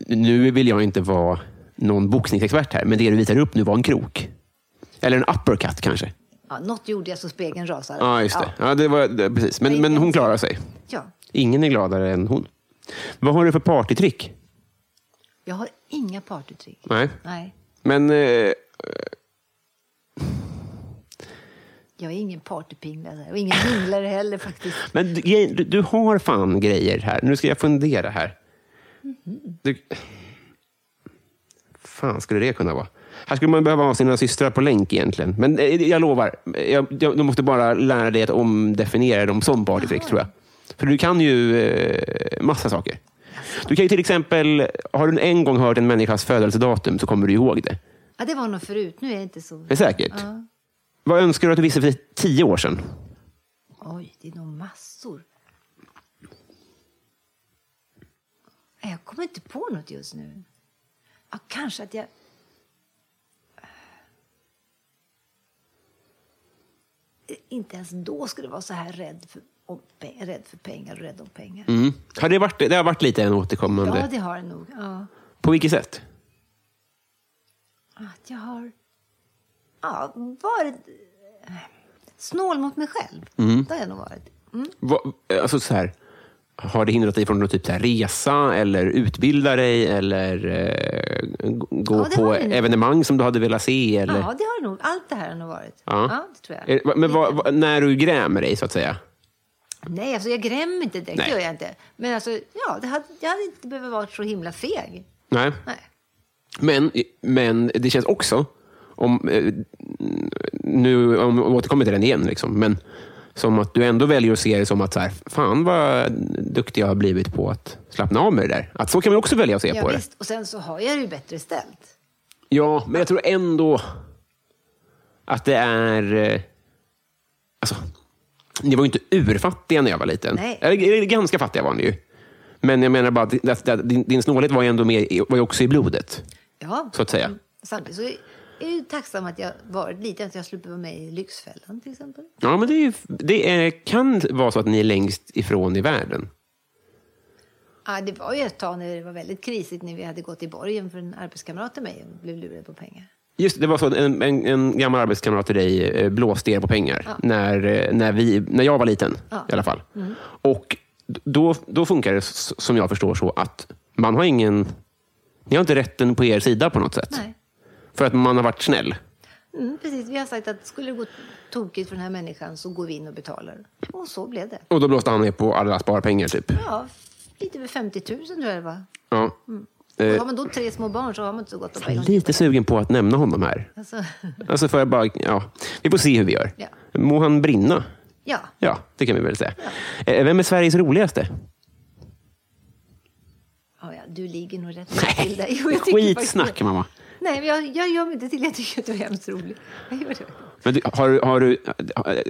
[SPEAKER 1] Nu vill jag inte vara någon boxningsexpert här, men det du visar upp nu var en krok. Eller en uppercut kanske?
[SPEAKER 2] Ja, något gjorde jag så spegeln rasade.
[SPEAKER 1] Ja, just det. Ja. det, var, det precis. Men,
[SPEAKER 2] Nej,
[SPEAKER 1] men hon
[SPEAKER 2] inte.
[SPEAKER 1] klarar sig.
[SPEAKER 2] Ja,
[SPEAKER 1] Ingen är gladare än hon. Vad har du för partytrick?
[SPEAKER 2] jag har inga partytrick.
[SPEAKER 1] Nej.
[SPEAKER 2] Nej,
[SPEAKER 1] Men eh,
[SPEAKER 2] jag är ingen partypinglare och ingen minglare heller faktiskt.
[SPEAKER 1] Men du, grej- du, du har fan grejer här. Nu ska jag fundera här. Du, fan skulle det kunna vara? Här skulle man behöva ha sina systrar på länk egentligen. Men eh, jag lovar, jag, jag, du måste bara lära dig att omdefiniera dem som partytrick, tror jag. För du kan ju eh, massa saker. Du kan ju till exempel, har du en gång hört en människas födelsedatum så kommer du ihåg det.
[SPEAKER 2] Ja, det var nog förut, nu är det inte så.
[SPEAKER 1] Det är säkert. Vad önskar du att du visste för tio år sedan?
[SPEAKER 2] Oj, det är nog massor. Nej, Jag kommer inte på något just nu. Ja, kanske att jag... Eh, Inte ens då skulle jag vara så här rädd för, om, pe- rädd för pengar och rädd om pengar.
[SPEAKER 1] Mm. Har det, varit, det har varit lite en återkommande.
[SPEAKER 2] Ja, det har jag nog. Ja.
[SPEAKER 1] På vilket sätt?
[SPEAKER 2] Att jag har ja, varit eh, snål mot mig själv. Det har jag nog varit. Mm.
[SPEAKER 1] Vad- alltså så här, har det hindrat dig från att typ så här resa eller utbilda dig eller eh, g- gå
[SPEAKER 2] Ja, det
[SPEAKER 1] på
[SPEAKER 2] har det nog.
[SPEAKER 1] evenemang som du hade velat se? Eller?
[SPEAKER 2] Ja, det har det nog. Allt det här har nog varit.
[SPEAKER 1] Ja.
[SPEAKER 2] det tror jag.
[SPEAKER 1] Är- va- Men vad- vad- när du grämer dig, så att säga?
[SPEAKER 2] Nej, alltså jag grämmer inte direkt.
[SPEAKER 1] Nej.
[SPEAKER 2] Det gör jag inte. Men alltså, ja, det hade, jag hade inte behövt vara så himla feg.
[SPEAKER 1] Nej.
[SPEAKER 2] Nej.
[SPEAKER 1] Men, men det känns också, om, eh, nu om, jag återkommer till den igen, liksom, men som att du ändå väljer att se det som att så här, fan vad duktig jag har blivit på att slappna av med det där. Att så kan man också välja att se
[SPEAKER 2] Ja,
[SPEAKER 1] på det.
[SPEAKER 2] visst. Och sen så har jag det ju bättre ställt.
[SPEAKER 1] Ja, men jag tror ändå att det är... eh, Alltså, ni var ju inte urfattiga när jag var liten.
[SPEAKER 2] Nej.
[SPEAKER 1] Eller, eller ganska fattiga var ni ju. Men jag menar bara att- att att din, din snålhet var ju ändå med, i- var ju också i blodet,
[SPEAKER 2] Ja,
[SPEAKER 1] så att säga.
[SPEAKER 2] samtidigt så är jag ju tacksam att jag varit liten, att jag slipper vara med i Lyxfällan till exempel.
[SPEAKER 1] Ja, men det, är, ju- det är, kan vara så att ni är längst ifrån i världen.
[SPEAKER 2] Ja, det var ju ett tag när det var väldigt krisigt när vi hade gått i borgen för en arbetskamrat till mig och blev lurad på pengar.
[SPEAKER 1] Just det, det var så att en, en, en gammal arbetskamrat till dig eh, blåste er på pengar när, eh, när, vi, när jag var liten. i alla fall.
[SPEAKER 2] Mm.
[SPEAKER 1] Och d- då, då funkar det, s- som jag förstår, så att man har ingen... Ni har inte rätten på er sida på något sätt.
[SPEAKER 2] Nej.
[SPEAKER 1] För att man har varit snäll.
[SPEAKER 2] Mm, precis, vi har sagt att skulle det gå tokigt för den här människan så går vi in och betalar. Och så blev det.
[SPEAKER 1] Och då blåste han er på alla sparpengar, typ.
[SPEAKER 2] Ja, lite över 50 000 tror jag det var.
[SPEAKER 1] Ja.
[SPEAKER 2] Mm.
[SPEAKER 1] Eh,
[SPEAKER 2] Och har man då tre små barn så har man inte så gott om
[SPEAKER 1] Jag
[SPEAKER 2] pengar.
[SPEAKER 1] är lite sugen på att nämna honom här.
[SPEAKER 2] Alltså,
[SPEAKER 1] Alltså för jag bara, ja, vi får se hur vi gör.
[SPEAKER 2] Ja.
[SPEAKER 1] Må han brinna.
[SPEAKER 2] ja,
[SPEAKER 1] Ja, det kan vi väl säga. Eh, Vem är Sveriges roligaste?
[SPEAKER 2] ja, ja, du ligger nog rätt bra till där. Jo, jag tycker faktiskt
[SPEAKER 1] Skitsnack,
[SPEAKER 2] det.
[SPEAKER 1] mamma.
[SPEAKER 2] Nej, men jag, jag gör mig inte till. Jag tycker att du är hemskt rolig. Jag gör det.
[SPEAKER 1] Men du, har, du- har du... äh,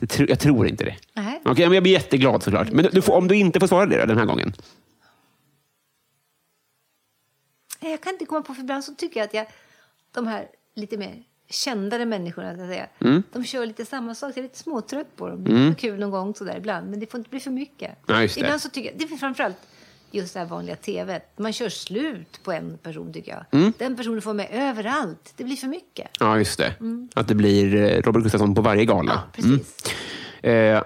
[SPEAKER 1] jag tror- Jag tror inte det.
[SPEAKER 2] Nej.
[SPEAKER 1] Okej, men jag blir jätteglad såklart. Men du- du får, om du inte får svara det då, den här gången.
[SPEAKER 2] Nej, Jag kan inte komma på, för ibland så tycker jag att jag, de här lite mer kändare människorna, så att säga,
[SPEAKER 1] Mm.
[SPEAKER 2] de kör lite samma sak. Jag är lite småtrött på dem. Det är kul någon gång sådär ibland, men det får inte bli för mycket.
[SPEAKER 1] Ja, just det.
[SPEAKER 2] Ibland så tycker jag, det är framförallt just det här vanliga tv. Man kör slut på en person, tycker jag.
[SPEAKER 1] Mm.
[SPEAKER 2] Den personen får med överallt. Det blir för mycket.
[SPEAKER 1] Ja, just det. Att det blir eh, Robert Gustafsson på varje gala.
[SPEAKER 2] Precis.
[SPEAKER 1] Eh,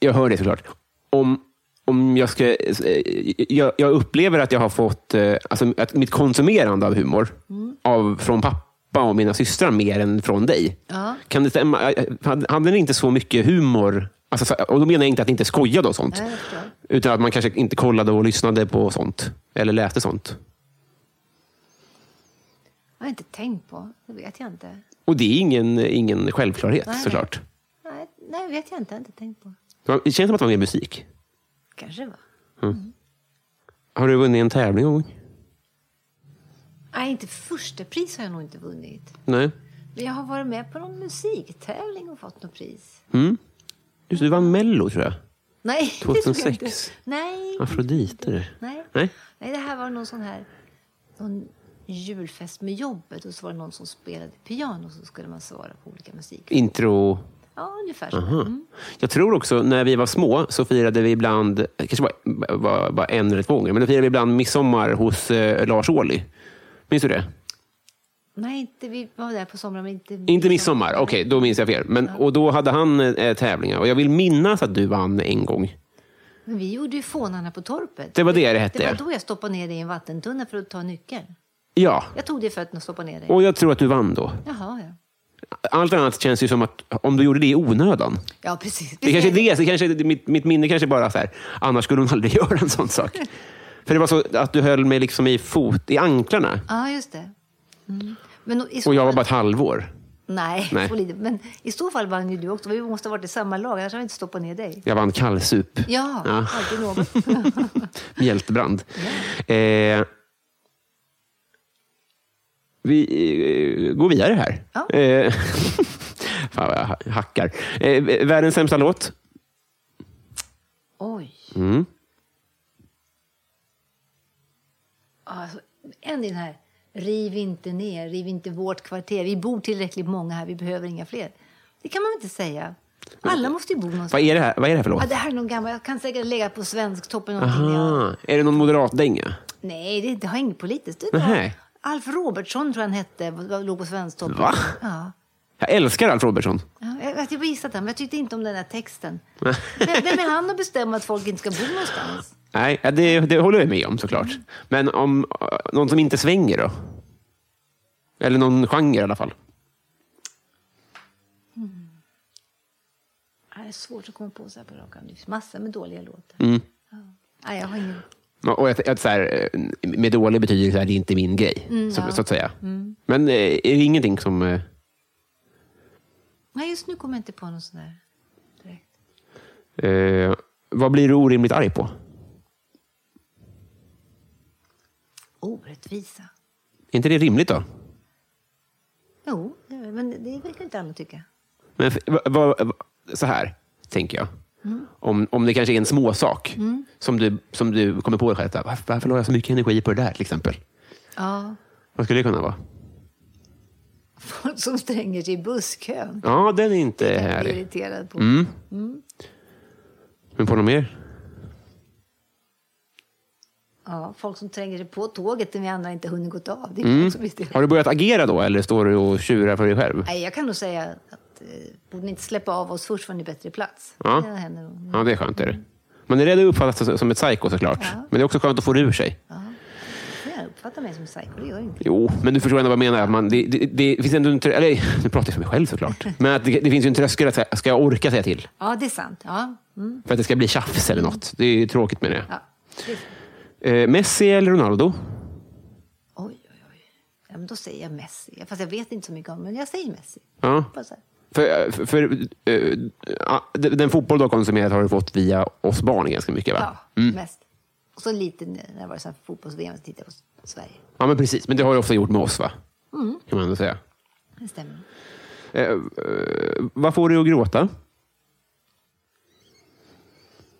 [SPEAKER 1] jag hör det såklart. Om, om jag ska... Eh, jag, jag upplever att jag har fått... Eh, alltså, att mitt konsumerande av humor
[SPEAKER 2] Mm.
[SPEAKER 1] av, från pappa och mina systrar mer än från dig.
[SPEAKER 2] Ja.
[SPEAKER 1] Kan det stämma? Eh, Hade, hade ni inte så mycket humor? Alltså, så- och då menar jag inte att ni inte skojade och sånt.
[SPEAKER 2] Ja, jag förstår.
[SPEAKER 1] Utan att man kanske inte kollade och lyssnade på sånt. Eller läste sånt.
[SPEAKER 2] Jag har inte tänkt på. Det vet jag inte.
[SPEAKER 1] Och det är ingen, ingen självklarhet
[SPEAKER 2] Nej, nej.
[SPEAKER 1] såklart.
[SPEAKER 2] Nej, nej, vet jag inte. Jag har inte tänkt på.
[SPEAKER 1] Det känns som att det var mer musik.
[SPEAKER 2] Kanske det var.
[SPEAKER 1] Har du vunnit en tävling någon gång?
[SPEAKER 2] Nej, inte första pris har jag nog inte vunnit.
[SPEAKER 1] Nej.
[SPEAKER 2] Men jag har varit med på någon musiktävling och fått något pris.
[SPEAKER 1] Just det, du vann Mello tror jag.
[SPEAKER 2] Nej, det tror jag
[SPEAKER 1] 2006.
[SPEAKER 2] inte. Nej,
[SPEAKER 1] Afrodite. du.
[SPEAKER 2] nej.
[SPEAKER 1] Nej.
[SPEAKER 2] Nej, det här var någon sån här någon julfest med jobbet och så var det någon som spelade piano och så skulle man svara på olika musik.
[SPEAKER 1] Intro.
[SPEAKER 2] Ja, ungefär så. Mm.
[SPEAKER 1] Jag tror också, när vi var små så firade vi ibland, kanske bara, bara, bara en eller två gånger, men då firade vi ibland midsommar hos eh, Lars Ohly. Minns du det?
[SPEAKER 2] Nej, inte, vi var där på sommaren, men inte
[SPEAKER 1] Inte midsommar, okej, då minns jag fel. Men, och då hade han eh, tävlingar och jag vill minnas att du vann en gång.
[SPEAKER 2] Men vi gjorde ju Fånarna på torpet.
[SPEAKER 1] Det var det det hette.
[SPEAKER 2] Det var då jag stoppade ner dig i en vattentunna för att ta nyckeln.
[SPEAKER 1] Ja,
[SPEAKER 2] Jag tog dig i fötterna och stoppade ner dig.
[SPEAKER 1] och jag tror att du vann då.
[SPEAKER 2] Jaha, ja.
[SPEAKER 1] Allt annat känns ju som att om du gjorde det i onödan.
[SPEAKER 2] Ja, precis.
[SPEAKER 1] Det kanske är det, så kanske, mitt, mitt minne kanske bara så här, annars skulle hon aldrig göra en sån sak. För det var så att du höll mig liksom i fot, i anklarna.
[SPEAKER 2] Ja, just det. Mm. Men i så
[SPEAKER 1] Och jag var
[SPEAKER 2] fall-
[SPEAKER 1] bara ett halvår.
[SPEAKER 2] Nej,
[SPEAKER 1] Nej.
[SPEAKER 2] och lite. men i så fall vann ju du också. Vi måste ha varit i samma lag, annars hade vi inte stoppat ner dig.
[SPEAKER 1] Jag vann kallsup.
[SPEAKER 2] Ja,
[SPEAKER 1] Ja.
[SPEAKER 2] alltid något.
[SPEAKER 1] Mjältbrand. Eh, vi eh, går vidare här.
[SPEAKER 2] Ja.
[SPEAKER 1] Eh, fan vad jag ha- hackar. Eh, världens sämsta låt?
[SPEAKER 2] Oj.
[SPEAKER 1] Mm.
[SPEAKER 2] Alltså, en i den här, riv inte ner, riv inte vårt kvarter. Vi bor tillräckligt många här, vi behöver inga fler. Det kan man väl inte säga? Alla måste ju bo
[SPEAKER 1] Vad
[SPEAKER 2] någonstans.
[SPEAKER 1] är det här, vad är det här för låt?
[SPEAKER 2] Ja, det här är någon gammal, jag kan säkert lägga på Svensktoppen någonting. Ja.
[SPEAKER 1] Aha. Är det någon moderatdänga?
[SPEAKER 2] Nej, det, det har inget politiskt. Det var,
[SPEAKER 1] Nej.
[SPEAKER 2] Alf Robertsson tror jag han hette, var- låg på Svensktoppen.
[SPEAKER 1] Va?
[SPEAKER 2] Ja.
[SPEAKER 1] Jag älskar Alf Robertson.
[SPEAKER 2] Ja, jag, jag har gissat den, men jag tyckte inte om den här texten. Vem vem är han att bestämma att folk inte ska bo någonstans?
[SPEAKER 1] Nej, ja, det, det håller jag med om såklart. Men om eh, någon som inte svänger då? Eller någon genre i alla fall.
[SPEAKER 2] Ja, Det är svårt att komma på så här på rak arm. Det finns massor med dåliga låtar.
[SPEAKER 1] Mm.
[SPEAKER 2] Ja. Nej, jag har ingen...
[SPEAKER 1] Och och att, att så här, eh, med dålig betyder så här, det är inte min grej, så, så att säga. Men eh, är det ingenting som... eh,
[SPEAKER 2] Nej, just nu kommer jag inte på någon sån där direkt.
[SPEAKER 1] Eh, vad blir du orimligt arg på?
[SPEAKER 2] Orättvisa.
[SPEAKER 1] Är inte det rimligt då?
[SPEAKER 2] Jo, det är- men det verkar inte alla tycka.
[SPEAKER 1] Men, f- vad- vad- vad- så här tänker jag. Om, om det kanske är en småsak som, du, som du kommer på dig själv. så här, Varför, varför la jag så mycket energi på det där till exempel?
[SPEAKER 2] Ja,
[SPEAKER 1] Vad skulle det kunna vara?
[SPEAKER 2] folk som stränger sig i busskön.
[SPEAKER 1] Ja, den är Mm. inte
[SPEAKER 2] Jag blir
[SPEAKER 1] härlig.
[SPEAKER 2] irriterad på.
[SPEAKER 1] Men på något mer?
[SPEAKER 2] Ja, folk som tränger sig på tåget när vi andra inte hunnit gått av. Det är folk som blir irriterade.
[SPEAKER 1] Mm. Har du börjat agera då eller står du och tjurar för dig själv?
[SPEAKER 2] Nej, jag kan nog säga att eh, borde ni inte släppa av oss först från en bättre plats?
[SPEAKER 1] Ja.
[SPEAKER 2] Det händer nog.
[SPEAKER 1] Ja, det är skönt. Är det. Man är rädd att uppfattas som ett psyko såklart. Men det är också skönt att få det ur sig.
[SPEAKER 2] Jag uppfattar mig som psycho, det gör jag inte.
[SPEAKER 1] Jo, men du förstår ändå vad jag menar. Man, det, det, det finns ändå en trö- eller, nu pratar jag för mig själv såklart. Men att det, det finns ju en tröskel att säga, ska jag orka säga till?
[SPEAKER 2] Ja, det är sant. Ja, mm.
[SPEAKER 1] För att det ska bli tjafs eller något. Det är ju tråkigt med det.
[SPEAKER 2] ja. det är sant.
[SPEAKER 1] Eh, Messi eller Ronaldo?
[SPEAKER 2] Oj, oj, oj. Ja, men då säger jag Messi. Fast jag vet inte så mycket om men jag säger Messi.
[SPEAKER 1] Ja.
[SPEAKER 2] Bara så här.
[SPEAKER 1] För, för, för, eh, ja, den fotboll du har konsumerat har du fått via oss barn ganska mycket va?
[SPEAKER 2] Ja, mest. Och så lite när jag var så här fotbolls-VM så tittade jag på Sverige.
[SPEAKER 1] Ja, men precis. Men det har du ofta gjort med oss, va?
[SPEAKER 2] Mm.
[SPEAKER 1] Kan man ändå säga.
[SPEAKER 2] Det stämmer.
[SPEAKER 1] Eh, eh, vad får du att gråta?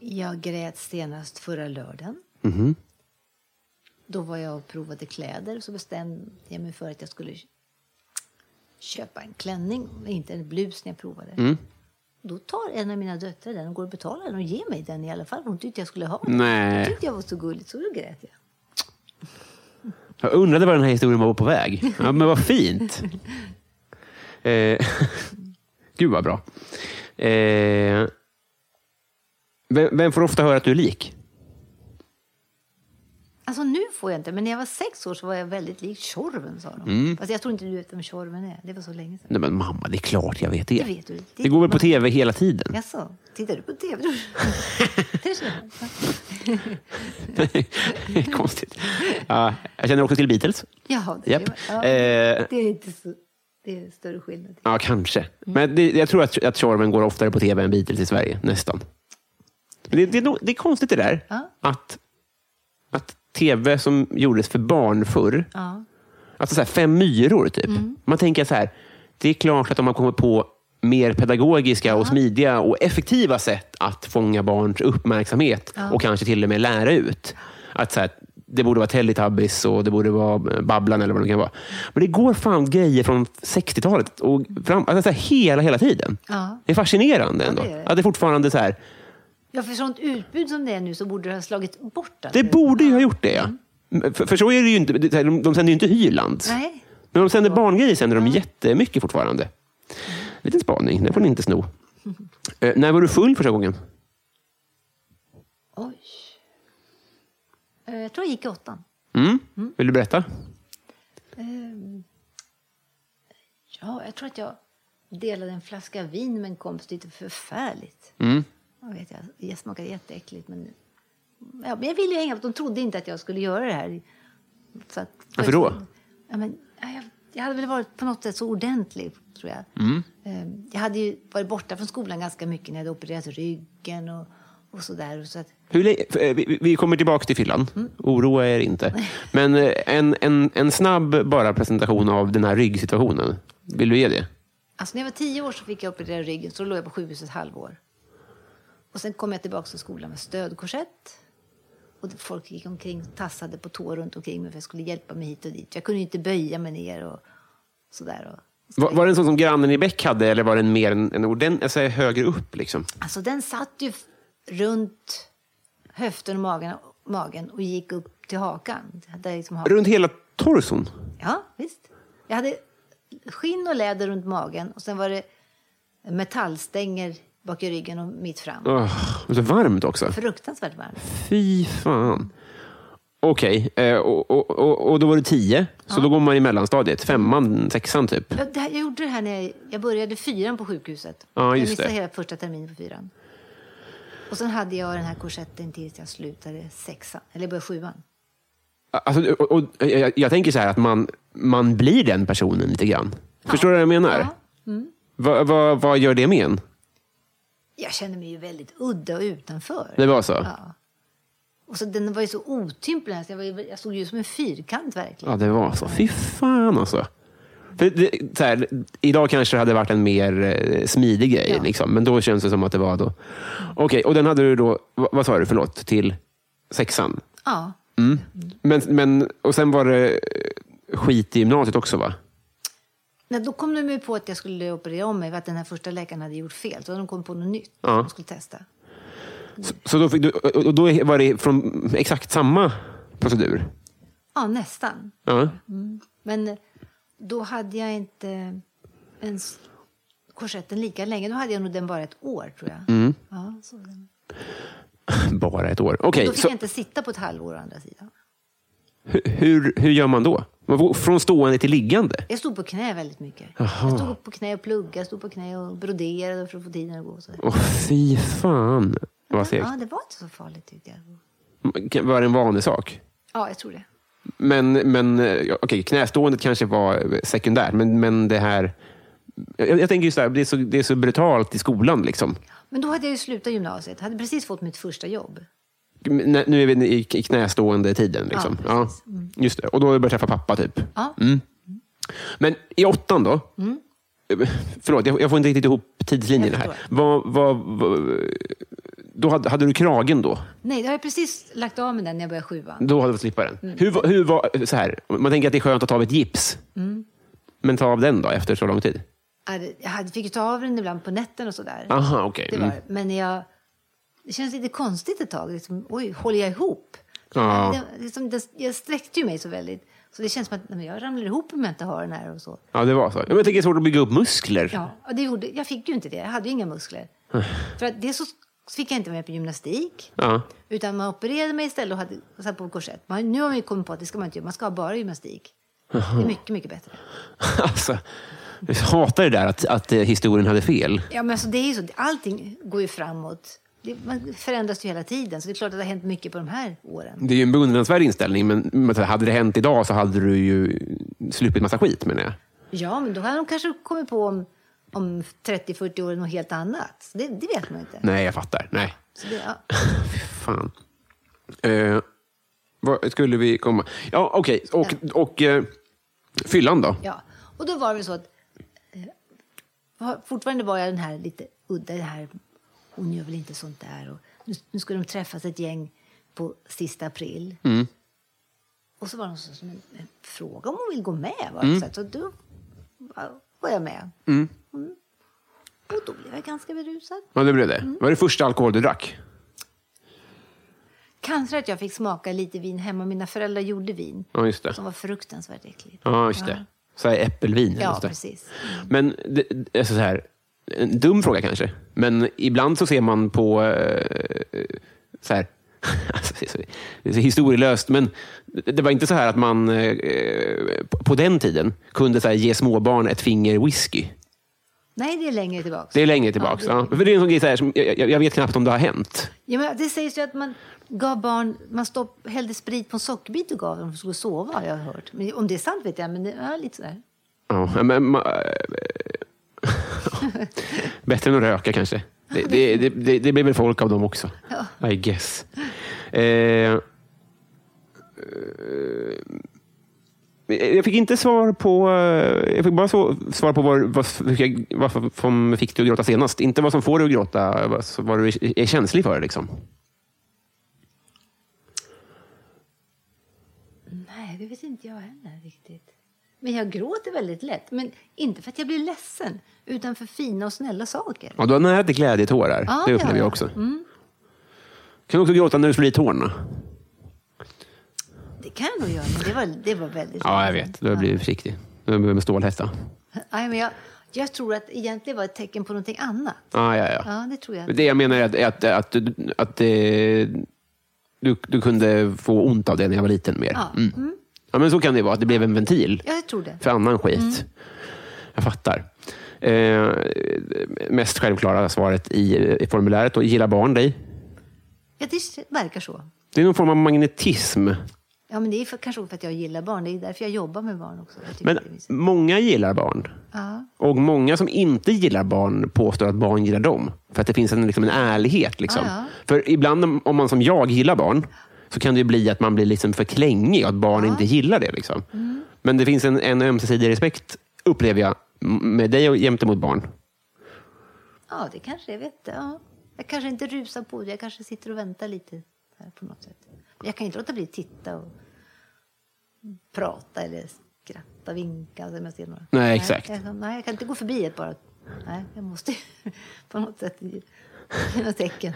[SPEAKER 2] Jag grät senast förra lördagen.
[SPEAKER 1] Mhm.
[SPEAKER 2] Då var jag och provade kläder så bestämde jag mig för att jag skulle köpa en klänning, inte en blus när jag provade.
[SPEAKER 1] Mm.
[SPEAKER 2] Då tar en av mina döttrar den och går och betalar den och ger mig den i alla fall. Hon tyckte jag skulle ha den.
[SPEAKER 1] Nej.
[SPEAKER 2] Hon tyckte jag var så gulligt så då grät jag.
[SPEAKER 1] Jag undrade var den här historien var på väg. Ja, men vad fint. Eh, gud, vad bra. Eh, vem, vem får ofta höra att du är lik?
[SPEAKER 2] Alltså nu får jag inte, men när jag var sex år så var jag väldigt lik Tjorven sa de.
[SPEAKER 1] Mm.
[SPEAKER 2] Fast jag tror inte du vet vem Tjorven är. Det var så länge sedan.
[SPEAKER 1] Nej, men mamma, det är klart jag vet det.
[SPEAKER 2] Det vet du. Det-
[SPEAKER 1] Det går väl på tv hela tiden?
[SPEAKER 2] Jaså, tittar du på tv? Det ser jag.
[SPEAKER 1] Konstigt. Ja, jag känner också till Beatles.
[SPEAKER 2] Jaha, det,
[SPEAKER 1] Japp.
[SPEAKER 2] var, ja,
[SPEAKER 1] Eh,
[SPEAKER 2] det är inte så... Det är större skillnad.
[SPEAKER 1] Ja, kanske. Men det, jag tror att, att Tjorven går oftare på tv än Beatles i Sverige, nästan. Men det, det, är nog- det är konstigt det där,
[SPEAKER 2] Ja.
[SPEAKER 1] att, att tv som gjordes för barn förr,
[SPEAKER 2] Ja. Mm.
[SPEAKER 1] alltså så här, fem myror typ. Man tänker så här, det är klart att om man kommer på mer pedagogiska och smidiga och effektiva sätt att fånga barns uppmärksamhet och kanske till och med lära ut. Att så här, det borde vara Teletubbies och det borde vara Babblan eller vad det kan vara. Men det går fan grejer från 60-talet och fram, alltså så här, hela, hela tiden.
[SPEAKER 2] Ja.
[SPEAKER 1] Det är fascinerande ändå.
[SPEAKER 2] det är det.
[SPEAKER 1] Att det fortfarande så här,
[SPEAKER 2] ja, för sånt utbud som det är nu så borde det ha slagit bort allt.
[SPEAKER 1] det borde ju ha gjort det. ja. För, för så är det ju inte, de, de sänder ju inte Hylands.
[SPEAKER 2] Nej.
[SPEAKER 1] Men de sänder barngrejer sänder de jättemycket fortfarande. Liten spaning, den får ni inte sno. Eh, när var du full första gången?
[SPEAKER 2] Oj. Eh, Jag tror jag gick i åttan.
[SPEAKER 1] Mm? Vill du berätta?
[SPEAKER 2] Ehm, Ja, jag tror att jag delade en flaska vin med en kompis. Det är förfärligt.
[SPEAKER 1] Mm.
[SPEAKER 2] Jag, vet, jag, jag smakade jätteäckligt. Men, ja, men jag ville ju hänga på. De trodde inte att jag skulle göra det här. Så att,
[SPEAKER 1] Varför då?
[SPEAKER 2] Ja, men, ja, jag, jag hade väl varit på något sätt så ordentlig, tror jag.
[SPEAKER 1] Mm.
[SPEAKER 2] Ehm, Jag hade ju varit borta från skolan ganska mycket när jag hade opererat ryggen och, och sådär. Så att,
[SPEAKER 1] Hur, lä- f- eh, vi, vi kommer tillbaka till fyllan. Oroa er inte. Men eh, en, en, en snabb bara presentation av den här ryggsituationen. Vill du ge det?
[SPEAKER 2] Alltså när jag var tio år så fick jag operera ryggen, så då låg jag på sjukhuset ett halvår. Och sen kom jag tillbaka till skolan med stödkorsett. Och folk gick omkring och tassade på tå runt omkring mig för jag skulle hjälpa mig hit och dit. Jag kunde ju inte böja mig ner och sådär. Och,
[SPEAKER 1] Var, var det en sån som grannen i Bäck hade eller var den mer en, en ordentlig, alltså högre upp? Liksom?
[SPEAKER 2] Alltså den satt ju f- runt höften och magen, magen och gick upp till hakan. Där liksom hakan.
[SPEAKER 1] Runt hela torson?
[SPEAKER 2] Ja, visst. Jag hade skinn och läder runt magen och sen var det metallstänger bak i ryggen och mitt fram.
[SPEAKER 1] Oh, så varmt också.
[SPEAKER 2] Fruktansvärt varmt.
[SPEAKER 1] Fy fan. Okej, eh, och, och, och, och då var du tio, så då går man i mellanstadiet. Femman, sexan typ.
[SPEAKER 2] Ja, det här, jag gjorde det här när jag, jag började fyran på sjukhuset.
[SPEAKER 1] Ja, just
[SPEAKER 2] jag missade
[SPEAKER 1] det.
[SPEAKER 2] hela första terminen på fyran. Och sen hade jag den här korsetten tills jag slutade sexan, eller började sjuan.
[SPEAKER 1] Alltså, och, och, jag, jag tänker så här att man, man blir den personen lite grann. Förstår du vad jag menar? Vad- vad- vad gör det med en?
[SPEAKER 2] Jag kände mig ju väldigt udda och utanför.
[SPEAKER 1] Det var så?
[SPEAKER 2] Och så den var ju så alltså otymplig, så jag, var, ju- jag såg ju ut som en fyrkant verkligen.
[SPEAKER 1] Ja, det var så. Fy fan alltså. För det, så här, idag kanske det hade varit en mer eh, smidig grej,
[SPEAKER 2] Ja.
[SPEAKER 1] liksom, men då känns det som att det var då. Okej, och den hade du då, vad, vad sa du, förlåt, till sexan?
[SPEAKER 2] Ja.
[SPEAKER 1] Men, men, och sen var det eh, skit i gymnasiet också, va?
[SPEAKER 2] Nej, då kom de ju på att jag skulle operera om mig, för att den här första läkaren hade gjort fel. Så de kom på något nytt
[SPEAKER 1] Ja.
[SPEAKER 2] de skulle testa.
[SPEAKER 1] Så då, fick du, eh, och och då var det från exakt samma procedur?
[SPEAKER 2] Ja, nästan.
[SPEAKER 1] Ja.
[SPEAKER 2] Men då hade jag inte ens korsetten lika länge. Då hade jag nog den bara ett år, tror jag.
[SPEAKER 1] Mm.
[SPEAKER 2] Ja, så var det.
[SPEAKER 1] Bara ett år. Okej,
[SPEAKER 2] Mm. Då fick
[SPEAKER 1] så
[SPEAKER 2] jag inte sitta på ett halvår å andra sidan.
[SPEAKER 1] hu- hur, hur gör man då? Man går Från stående till liggande?
[SPEAKER 2] Jag stod på knä väldigt mycket.
[SPEAKER 1] Jaha.
[SPEAKER 2] Jag stod upp på knä och pluggade, jag stod på knä och broderade för att få tiden att gå. och Så.
[SPEAKER 1] Åh, fy fan vad segt.
[SPEAKER 2] Ja, det var inte så farligt tyckte jag.
[SPEAKER 1] Var det en vanlig sak?
[SPEAKER 2] Ja, jag tror det.
[SPEAKER 1] Men, men eh, ja, okej, knäståendet kanske var sekundärt, men, men det här... Jag, jag tänker just det här, det är, så, det är så brutalt i skolan. Liksom.
[SPEAKER 2] Men då hade jag ju slutat gymnasiet, hade precis fått mitt första jobb.
[SPEAKER 1] Men Nu är vi i knästående-tiden. Liksom.
[SPEAKER 2] Ja,
[SPEAKER 1] Ja,
[SPEAKER 2] precis. Mm.
[SPEAKER 1] just det. Och då har du börjat träffa pappa, typ.
[SPEAKER 2] Ja. Mm.
[SPEAKER 1] Men i åttan då? Eh, Förlåt, jag, jag får inte riktigt ihop tidslinjerna
[SPEAKER 2] Jag
[SPEAKER 1] här.
[SPEAKER 2] förstår.
[SPEAKER 1] Vad, vad, vad, då hade, hade du kragen då?
[SPEAKER 2] Nej, då hade jag precis lagt av med den när jag började sjuan.
[SPEAKER 1] Då hade du fått slippa den.
[SPEAKER 2] Mm.
[SPEAKER 1] Hur, var- hur var, så här, man tänker att det är skönt att ta av ett gips.
[SPEAKER 2] Mm.
[SPEAKER 1] Men ta av den då, efter så lång tid?
[SPEAKER 2] Jag
[SPEAKER 1] Mm.
[SPEAKER 2] hade- Jag hade, fick ju ta av den ibland på nätterna och sådär.
[SPEAKER 1] Aha, okej.
[SPEAKER 2] Det var,
[SPEAKER 1] Mm.
[SPEAKER 2] det. Men jag, det känns lite konstigt ett tag. Liksom, oj, håller jag ihop?
[SPEAKER 1] Ja.
[SPEAKER 2] Det, liksom, det, jag sträckte ju mig så väldigt. Så det känns som att nej, men jag ramlar ihop om jag inte har den här och så.
[SPEAKER 1] Ja, det var så. Ja, men Jag tänker det är svårt att bygga upp muskler.
[SPEAKER 2] Ja, och det gjorde, jag fick ju inte det. Jag hade ju inga muskler. För att det så fick jag inte vara med på gymnastik.
[SPEAKER 1] Ja.
[SPEAKER 2] Utan man opererade mig istället och hade och satt på korsett. Man, nu har man ju kommit på att det ska man inte göra. Man ska ha bara gymnastik. Det är mycket, mycket bättre.
[SPEAKER 1] Alltså, jag hatar det där att, att eh, historien hade fel.
[SPEAKER 2] Ja, men alltså, det är ju så. Allting går ju framåt. Det, man förändras ju hela tiden. Så det är klart att det har hänt mycket på de här åren.
[SPEAKER 1] Det är ju en beundransvärd inställning, men men så här, hade det hänt idag så hade du ju sluppit massa skit, menar jag.
[SPEAKER 2] Ja, men då har de kanske kommit på om, om 30-40 år något helt annat. Så det, det vet man inte.
[SPEAKER 1] Nej, jag fattar. Nej.
[SPEAKER 2] Så det, ja.
[SPEAKER 1] Fan. Eh, vad skulle vi komma... Ja, okej. Och, och eh, fyllan då?
[SPEAKER 2] ja. Och då var det väl så att eh, var- fortfarande var jag den här lite udda, den här hon gör väl inte sånt där. Och nu, nu skulle de träffas ett gäng på sista april. Och så var de så som en, en fråga om hon vill gå med. Var det så, att, så då var- var jag med. Mm. Och då blev jag ganska berusad.
[SPEAKER 1] Ja, det blev det.
[SPEAKER 2] Mm.
[SPEAKER 1] Var det första alkohol du drack?
[SPEAKER 2] Kanske att jag fick smaka lite vin hemma. Mina föräldrar gjorde vin.
[SPEAKER 1] Ja, just det.
[SPEAKER 2] Som var fruktansvärt äckligt.
[SPEAKER 1] Ja, just det. Så här äppelvin.
[SPEAKER 2] Ja,
[SPEAKER 1] just det.
[SPEAKER 2] precis.
[SPEAKER 1] Mm. Men det, det är så här, en dum fråga kanske, men ibland så ser man på... eh, så här, alltså, det, är så, det är så historielöst, men det det var inte så här att man eh, på- på den tiden kunde så här, ge småbarn ett finger whisky.
[SPEAKER 2] Nej, det är längre tillbaka.
[SPEAKER 1] Det
[SPEAKER 2] Det,
[SPEAKER 1] är längre tillbaka. Ja, För det är en sån grej, så här, som, jag, jag- jag vet knappt om det har hänt.
[SPEAKER 2] ja, men det sägs ju att man gav barn, man stopp, hällde sprit på en sockerbit och gav dem för att de skulle sova, har jag hört. Men om det är sant vet jag, men det är lite sådär.
[SPEAKER 1] Ja, men, ma, eh, bättre än att röka kanske. Det, det, det, det, det blir väl folk av dem också. I guess. Eh, eh, jag fick inte svar på... eh, Jag fick bara så, svar på vad, vad, vad som fick dig att gråta senast. Inte vad som får dig att gråta, vad, som- vad du är, är känslig för. Liksom.
[SPEAKER 2] Nej, det vet inte jag heller riktigt. Men jag gråter väldigt lätt. Men inte för att jag blir ledsen, utan för fina och snälla saker.
[SPEAKER 1] Ja, du har nära till glädjetårar.
[SPEAKER 2] Ja,
[SPEAKER 1] det
[SPEAKER 2] det
[SPEAKER 1] upplever
[SPEAKER 2] har
[SPEAKER 1] jag
[SPEAKER 2] jag.
[SPEAKER 1] också. Kan du också gråta när du slår i tårna?
[SPEAKER 2] Det kan jag nog göra, men det var, det var väldigt
[SPEAKER 1] Ja, jag
[SPEAKER 2] länge sedan.
[SPEAKER 1] vet. Du blir försiktig. Du behöver stålhästar.
[SPEAKER 2] Nej, men jag, jag tror att egentligen var ett tecken på någonting annat.
[SPEAKER 1] Ah, ja, ja.
[SPEAKER 2] Ja, det tror jag.
[SPEAKER 1] Men Det jag menar är att, är att, att, du- att eh, du, du kunde få ont av det när jag var liten mer.
[SPEAKER 2] Ja.
[SPEAKER 1] Mm. Ja, men så kan det vara, att det blev en ventil
[SPEAKER 2] Ja, jag tror det.
[SPEAKER 1] för annan skit.
[SPEAKER 2] Mm.
[SPEAKER 1] Jag fattar. Eh, mest självklara svaret i, i formuläret. Och gillar barn dig?
[SPEAKER 2] Ja, det verkar så.
[SPEAKER 1] Det är någon form av magnetism.
[SPEAKER 2] Ja, men det är för, kanske för att jag gillar barn. Det är därför jag jobbar med barn också. Jag tycker
[SPEAKER 1] Men
[SPEAKER 2] det är mysigt.
[SPEAKER 1] många gillar barn.
[SPEAKER 2] ja.
[SPEAKER 1] Och många som inte gillar barn påstår att barn gillar dem. För att det finns en, liksom en ärlighet. Liksom.
[SPEAKER 2] Ja, ja.
[SPEAKER 1] För ibland om- om man som jag gillar barn så kan det ju bli att
[SPEAKER 2] Mm.
[SPEAKER 1] man blir liksom för klängig och att barn inte gillar det. Liksom. Men det finns en, en ömsesidig respekt upplever jag, m- med dig och gentemot barn.
[SPEAKER 2] Ja, det kanske jag vet. Ja. Jag kanske inte rusar på det. Jag kanske sitter och väntar lite här på något sätt. Men jag kan inte låta bli att titta och prata eller skratta, vinka om jag ser några.
[SPEAKER 1] Nej, exakt.
[SPEAKER 2] Jag, kan- nej, jag kan inte gå förbi ett bara. Nej, jag måste ju på något sätt ge ge något tecken.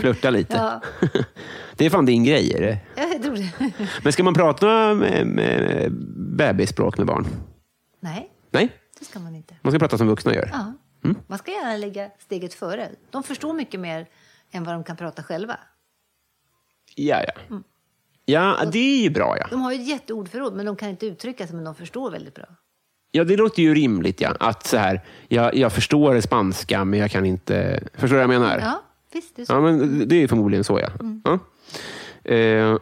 [SPEAKER 1] Flörta lite.
[SPEAKER 2] Ja,
[SPEAKER 1] Det är fan din grej. Är det?
[SPEAKER 2] jag tror det.
[SPEAKER 1] Men ska man prata med, med bebisspråk med barn?
[SPEAKER 2] Nej,
[SPEAKER 1] Nej,
[SPEAKER 2] det ska man inte.
[SPEAKER 1] man ska prata som vuxna gör.
[SPEAKER 2] Ja.
[SPEAKER 1] Mm.
[SPEAKER 2] Man ska gärna lägga steget före. De förstår mycket mer än vad de kan prata själva.
[SPEAKER 1] Ja,
[SPEAKER 2] Mm.
[SPEAKER 1] ja. Ja, det är ju bra. Ja.
[SPEAKER 2] De har ju ett jätteordförråd, men de kan inte uttrycka sig, men de förstår väldigt bra.
[SPEAKER 1] ja, det låter ju rimligt. Ja. Att så här, jag, jag förstår spanska, men jag kan inte... Förstår du vad jag menar?
[SPEAKER 2] Ja, Mm. visst. Det är så.
[SPEAKER 1] Ja, men det är förmodligen så, ja. ja. Eh,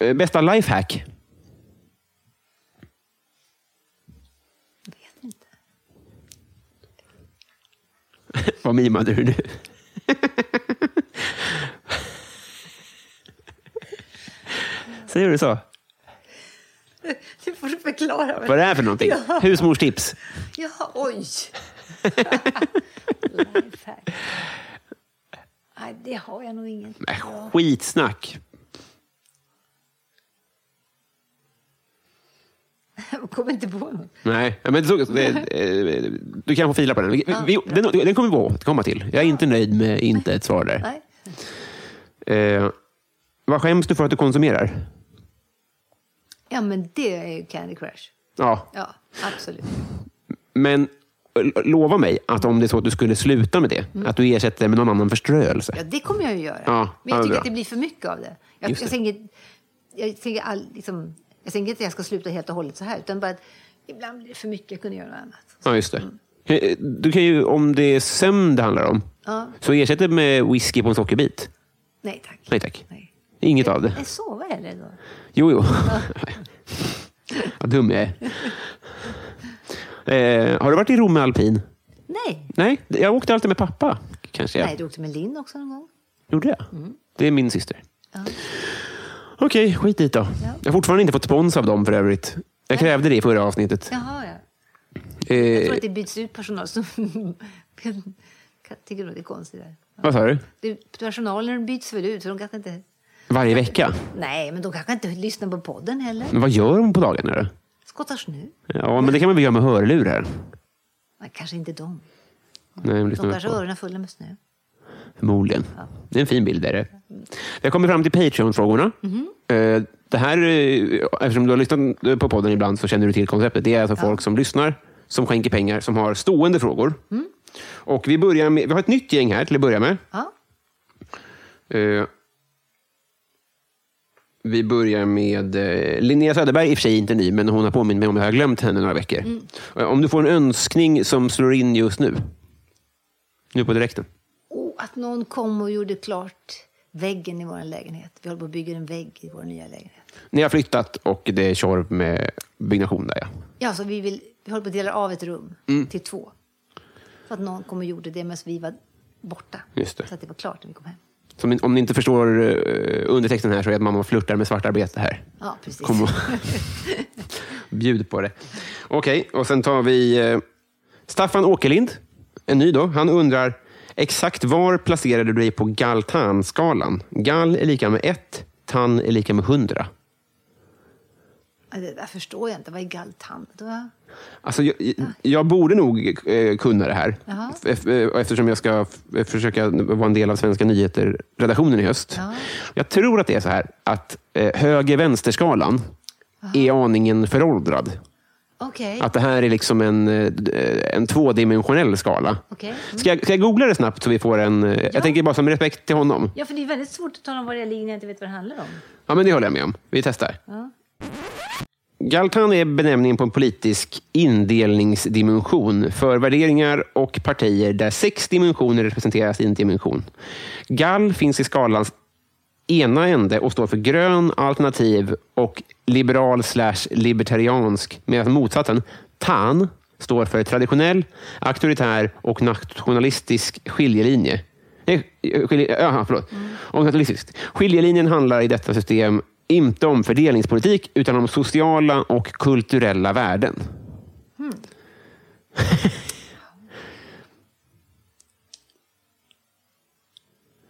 [SPEAKER 1] Eh, bästa lifehack?
[SPEAKER 2] Jag vet inte.
[SPEAKER 1] Vad mimade du nu? Säger du så?
[SPEAKER 2] Det får du förklara.
[SPEAKER 1] Vad är det här för någonting? Husmorstips?
[SPEAKER 2] Ja, oj! Lifehack. Nej, det har jag nog inget
[SPEAKER 1] Äh,
[SPEAKER 2] bra.
[SPEAKER 1] skitsnack.
[SPEAKER 2] Jag kommer inte på något.
[SPEAKER 1] Nej, ja, men så, det, eh, du kan få fila på den. Vi, vi, den, den kommer vi återkomma till. Jag är inte nöjd med inte ett svar där.
[SPEAKER 2] Nej.
[SPEAKER 1] Eh, vad skäms du för att du konsumerar?
[SPEAKER 2] Ja, men det är ju Candy Crush.
[SPEAKER 1] Ja,
[SPEAKER 2] Ja, absolut.
[SPEAKER 1] Men l- lova mig att om det är så att du skulle sluta med det, att du ersätter det med någon annan förströelse.
[SPEAKER 2] Mm. Ja, det kommer jag ju göra.
[SPEAKER 1] Ja,
[SPEAKER 2] men jag
[SPEAKER 1] ja,
[SPEAKER 2] tycker
[SPEAKER 1] bra.
[SPEAKER 2] att det blir för mycket av det. Jag,
[SPEAKER 1] Just
[SPEAKER 2] jag
[SPEAKER 1] det.
[SPEAKER 2] tänker, jag tänker, all, liksom, jag tänker inte att jag ska sluta helt och hållet så här, utan bara att ibland blir det för mycket, jag kunde göra något annat.
[SPEAKER 1] Ja, just det. Eh, Du kan ju, om det är sömn det handlar om,
[SPEAKER 2] Ja.
[SPEAKER 1] så ersätt det med whisky på en sockerbit.
[SPEAKER 2] Nej tack.
[SPEAKER 1] Nej tack.
[SPEAKER 2] Nej.
[SPEAKER 1] Inget av det.
[SPEAKER 2] Jag sover hellre då.
[SPEAKER 1] Jo, jo. Vad dum jag är. Eh, har du varit i Rom med alpin?
[SPEAKER 2] Nej.
[SPEAKER 1] Nej, jag åkte alltid med pappa. Kanske jag
[SPEAKER 2] Nej, Mm. du åkte med Linn också någon gång.
[SPEAKER 1] gjorde. Jag. Det är min syster. Okej, skit dit då. Jag har fortfarande inte fått spons av dem för övrigt. Jag krävde det i förra avsnittet.
[SPEAKER 2] Jaha, ja. Jag
[SPEAKER 1] Eh,
[SPEAKER 2] tror att det byts ut personal som Jag tycker nog det är konstigt. Där.
[SPEAKER 1] Vad sa du?
[SPEAKER 2] Det- Personalen byts väl ut, för de kanske inte...
[SPEAKER 1] Varje vecka?
[SPEAKER 2] Nej, men de kanske inte lyssnar på podden heller.
[SPEAKER 1] Men vad gör de på dagarna då?
[SPEAKER 2] Skottar snö?
[SPEAKER 1] Ja, men det kan man väl göra med hörlurar?
[SPEAKER 2] Nej, kanske inte de.
[SPEAKER 1] Nej, men lyssna
[SPEAKER 2] De kanske har
[SPEAKER 1] på.
[SPEAKER 2] öronen fulla med snö.
[SPEAKER 1] Förmodligen. Det är en fin bild. Är det. Vi har kommit fram till Patreon-frågorna. Eh, Det här, eh, eftersom du har lyssnat eh, på podden ibland så känner du till konceptet. Det är alltså folk som lyssnar, som skänker pengar, som har stående frågor. Och vi, börjar med, vi har ett nytt gäng här till att börja med.
[SPEAKER 2] Ja,
[SPEAKER 1] Eh, vi börjar med eh, Linnea Söderberg, i och för sig inte ny, men hon har påmint mig om att jag har glömt henne några veckor. Eh, Om du får en önskning som slår in just nu, nu på direkten.
[SPEAKER 2] Oh, att någon kom och gjorde klart väggen i vår lägenhet. Vi håller på att bygga en vägg i vår nya lägenhet.
[SPEAKER 1] Ni har flyttat och det är tjorv med byggnation där. Ja.
[SPEAKER 2] Ja, så vi, vill, vi håller på att dela av ett rum
[SPEAKER 1] Mm.
[SPEAKER 2] till två. Så att någon kom och gjorde det medan vi var borta.
[SPEAKER 1] Just det.
[SPEAKER 2] Så att det var klart när vi kom hem.
[SPEAKER 1] Så om, ni, om ni inte förstår eh, undertexten här så är det att mamma flörtar med svartarbete här.
[SPEAKER 2] Ja, precis.
[SPEAKER 1] Kom och bjud på det. Okej, och sen tar vi eh, Staffan Åkerlind, en ny då. Han undrar, exakt var placerade du dig på Galtan-skalan? Gal är lika med 1, tan är lika med 100.
[SPEAKER 2] Ja, Det där förstår jag inte. Vad är galtan? Det var-
[SPEAKER 1] Alltså, jag, jag borde nog eh, kunna det här.
[SPEAKER 2] Jaha.
[SPEAKER 1] Ef- eh, och Eftersom jag ska f- eh, försöka vara en del av Svenska nyheter-redaktionen i höst.
[SPEAKER 2] Ja.
[SPEAKER 1] Jag tror att det är så här att eh, höger-vänsterskalan är aningen föråldrad.
[SPEAKER 2] Okej.
[SPEAKER 1] Att det här är liksom en, eh, d- en tvådimensionell skala.
[SPEAKER 2] Okej. Mm.
[SPEAKER 1] Ska, jag, ska jag googla det snabbt så vi får en... eh, Jag tänker bara som respekt till honom.
[SPEAKER 2] Ja, för det är väldigt svårt att tala om var jag ligger när jag inte vet vad det handlar om.
[SPEAKER 1] Ja, men det håller jag med om. Vi testar. Galtan är benämningen på en politisk indelningsdimension för värderingar och partier där sex dimensioner representeras i en dimension. Gal finns i skalans ena ände och står för grön, alternativ och liberal slash libertariansk medan motsatsen, tan, står för traditionell, auktoritär och nationalistisk eh, skiljelinje. Nej, skilje, aha, förlåt. Och nationalistiskt. Skiljelinjen handlar i detta system inte om fördelningspolitik utan om sociala och kulturella värden.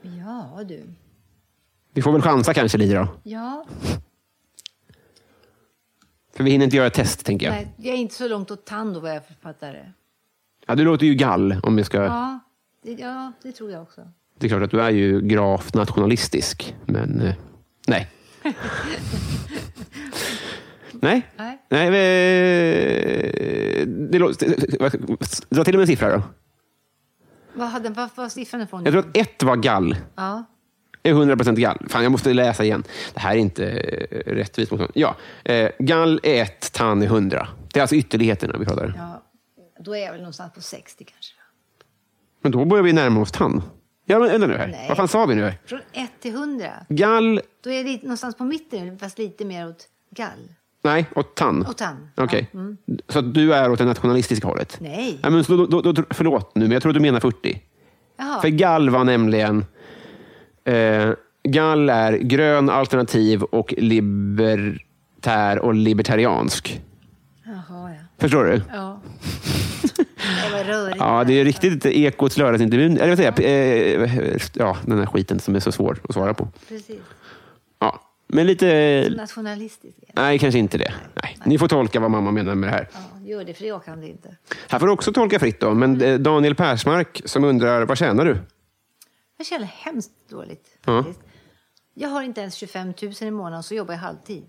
[SPEAKER 2] Ja, du.
[SPEAKER 1] Vi får väl chansa kanske lite då.
[SPEAKER 2] Ja.
[SPEAKER 1] För vi hinner inte göra ett test, tänker jag.
[SPEAKER 2] Nej, jag är inte så långt åt tand då, vad jag fattar det.
[SPEAKER 1] Ja, du låter ju gall. Om vi ska...
[SPEAKER 2] Ja, det, ja, det tror jag också.
[SPEAKER 1] Det är klart att du är ju gravt nationalistisk, men eh, nej. nej.
[SPEAKER 2] Nej.
[SPEAKER 1] nej eh, det låter, dra till med en siffra då.
[SPEAKER 2] Vad hade vad, vad siffran ifrån?
[SPEAKER 1] Jag tror att ett var gall.
[SPEAKER 2] Ja.
[SPEAKER 1] är 100 procent gall. Fan, jag måste läsa igen. Det här är inte eh, rättvist. mot honom. Ja, eh, gall är ett, tann är 100. Det är alltså ytterligheterna vi pratar.
[SPEAKER 2] ja, då är jag väl någonstans på 60 kanske.
[SPEAKER 1] Men då börjar vi närma oss tann. Ja, men vänta nu här.
[SPEAKER 2] Nej.
[SPEAKER 1] Vad fan sa vi nu? här?
[SPEAKER 2] Från 1 till 100.
[SPEAKER 1] Gall,
[SPEAKER 2] Då är jag lite, någonstans på mitten, fast lite mer åt gall.
[SPEAKER 1] nej, och tann.
[SPEAKER 2] Och tann. mm.
[SPEAKER 1] Okej. Så att du är åt det nationalistiska hållet?
[SPEAKER 2] Nej.
[SPEAKER 1] Ja, men så då, då, då, förlåt nu, men jag tror du menar 40.
[SPEAKER 2] Jaha.
[SPEAKER 1] För gall var nämligen... Eh, gall är grön, alternativ och libertär och libertariansk.
[SPEAKER 2] Jaha, ja.
[SPEAKER 1] Förstår du?
[SPEAKER 2] Ja. Det var rörigt.
[SPEAKER 1] Ja, det är riktigt Ekots lördagsintervjun. Eller vad säger jag? Eh, Ja, den här skiten som är så svår att svara på.
[SPEAKER 2] Precis.
[SPEAKER 1] Ja, men lite...
[SPEAKER 2] Nationalistiskt. igen.
[SPEAKER 1] Nej, kanske inte det. Nej. Ni får tolka vad mamma menar med det här.
[SPEAKER 2] Ja, gör det, för jag kan det inte.
[SPEAKER 1] Här får du också tolka fritt då. Men eh, Daniel Persmark som undrar, vad tjänar du?
[SPEAKER 2] Jag känner hemskt dåligt.
[SPEAKER 1] Ja.
[SPEAKER 2] faktiskt. Jag har inte ens 25 000 i månaden, så jobbar jag halvtid.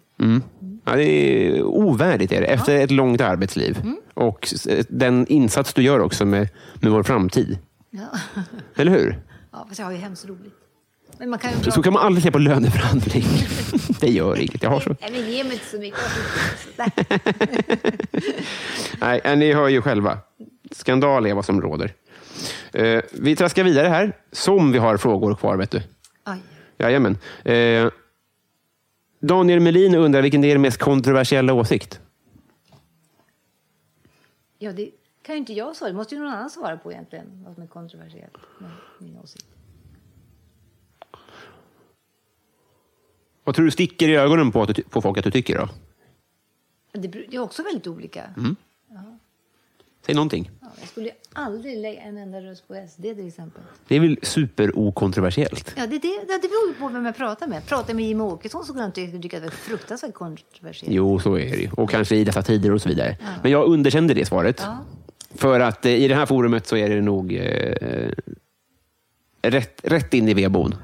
[SPEAKER 1] Ja, det är ovärdigt är det, efter ett långt arbetsliv. Och s- eh, den insats du gör också med, med vår framtid.
[SPEAKER 2] Ja.
[SPEAKER 1] Eller hur?
[SPEAKER 2] ja, fast jag har ju hemskt roligt. Men man kan ju
[SPEAKER 1] Så
[SPEAKER 2] prata...
[SPEAKER 1] kan man aldrig se på löneförhandling. det gör inget. Jag har så.
[SPEAKER 2] Nej, men ge mig inte så mycket.
[SPEAKER 1] Nej, eh, ni hör ju själva. Skandal är vad som råder. Eh, vi traskar vidare här, som vi har frågor kvar. vet du.
[SPEAKER 2] Oj.
[SPEAKER 1] Jajamän. Eh, Daniel Melin undrar vilken är er mest kontroversiella åsikt?
[SPEAKER 2] Ja, det kan ju inte jag svara. Det måste ju någon annan svara på egentligen, vad som är kontroversiellt med min åsikt.
[SPEAKER 1] Vad tror du sticker i ögonen på, att du, på folk att du tycker? då?
[SPEAKER 2] Det beror- det är också väldigt olika.
[SPEAKER 1] Mm. Säg någonting.
[SPEAKER 2] Ja, jag skulle ju aldrig lägga en enda röst på SD till exempel.
[SPEAKER 1] Det är väl superokontroversiellt?
[SPEAKER 2] Ja, det, det, ja, det beror ju på vem jag pratar med. Pratar jag med Jimmie Åkesson så skulle han inte tycka att det var fruktansvärt kontroversiellt.
[SPEAKER 1] Jo, så är det ju. Och kanske i dessa tider och så vidare. Men jag underkände det svaret.
[SPEAKER 2] Ja.
[SPEAKER 1] För att eh, i det här forumet så är det nog eh, rätt, rätt in i vedbon.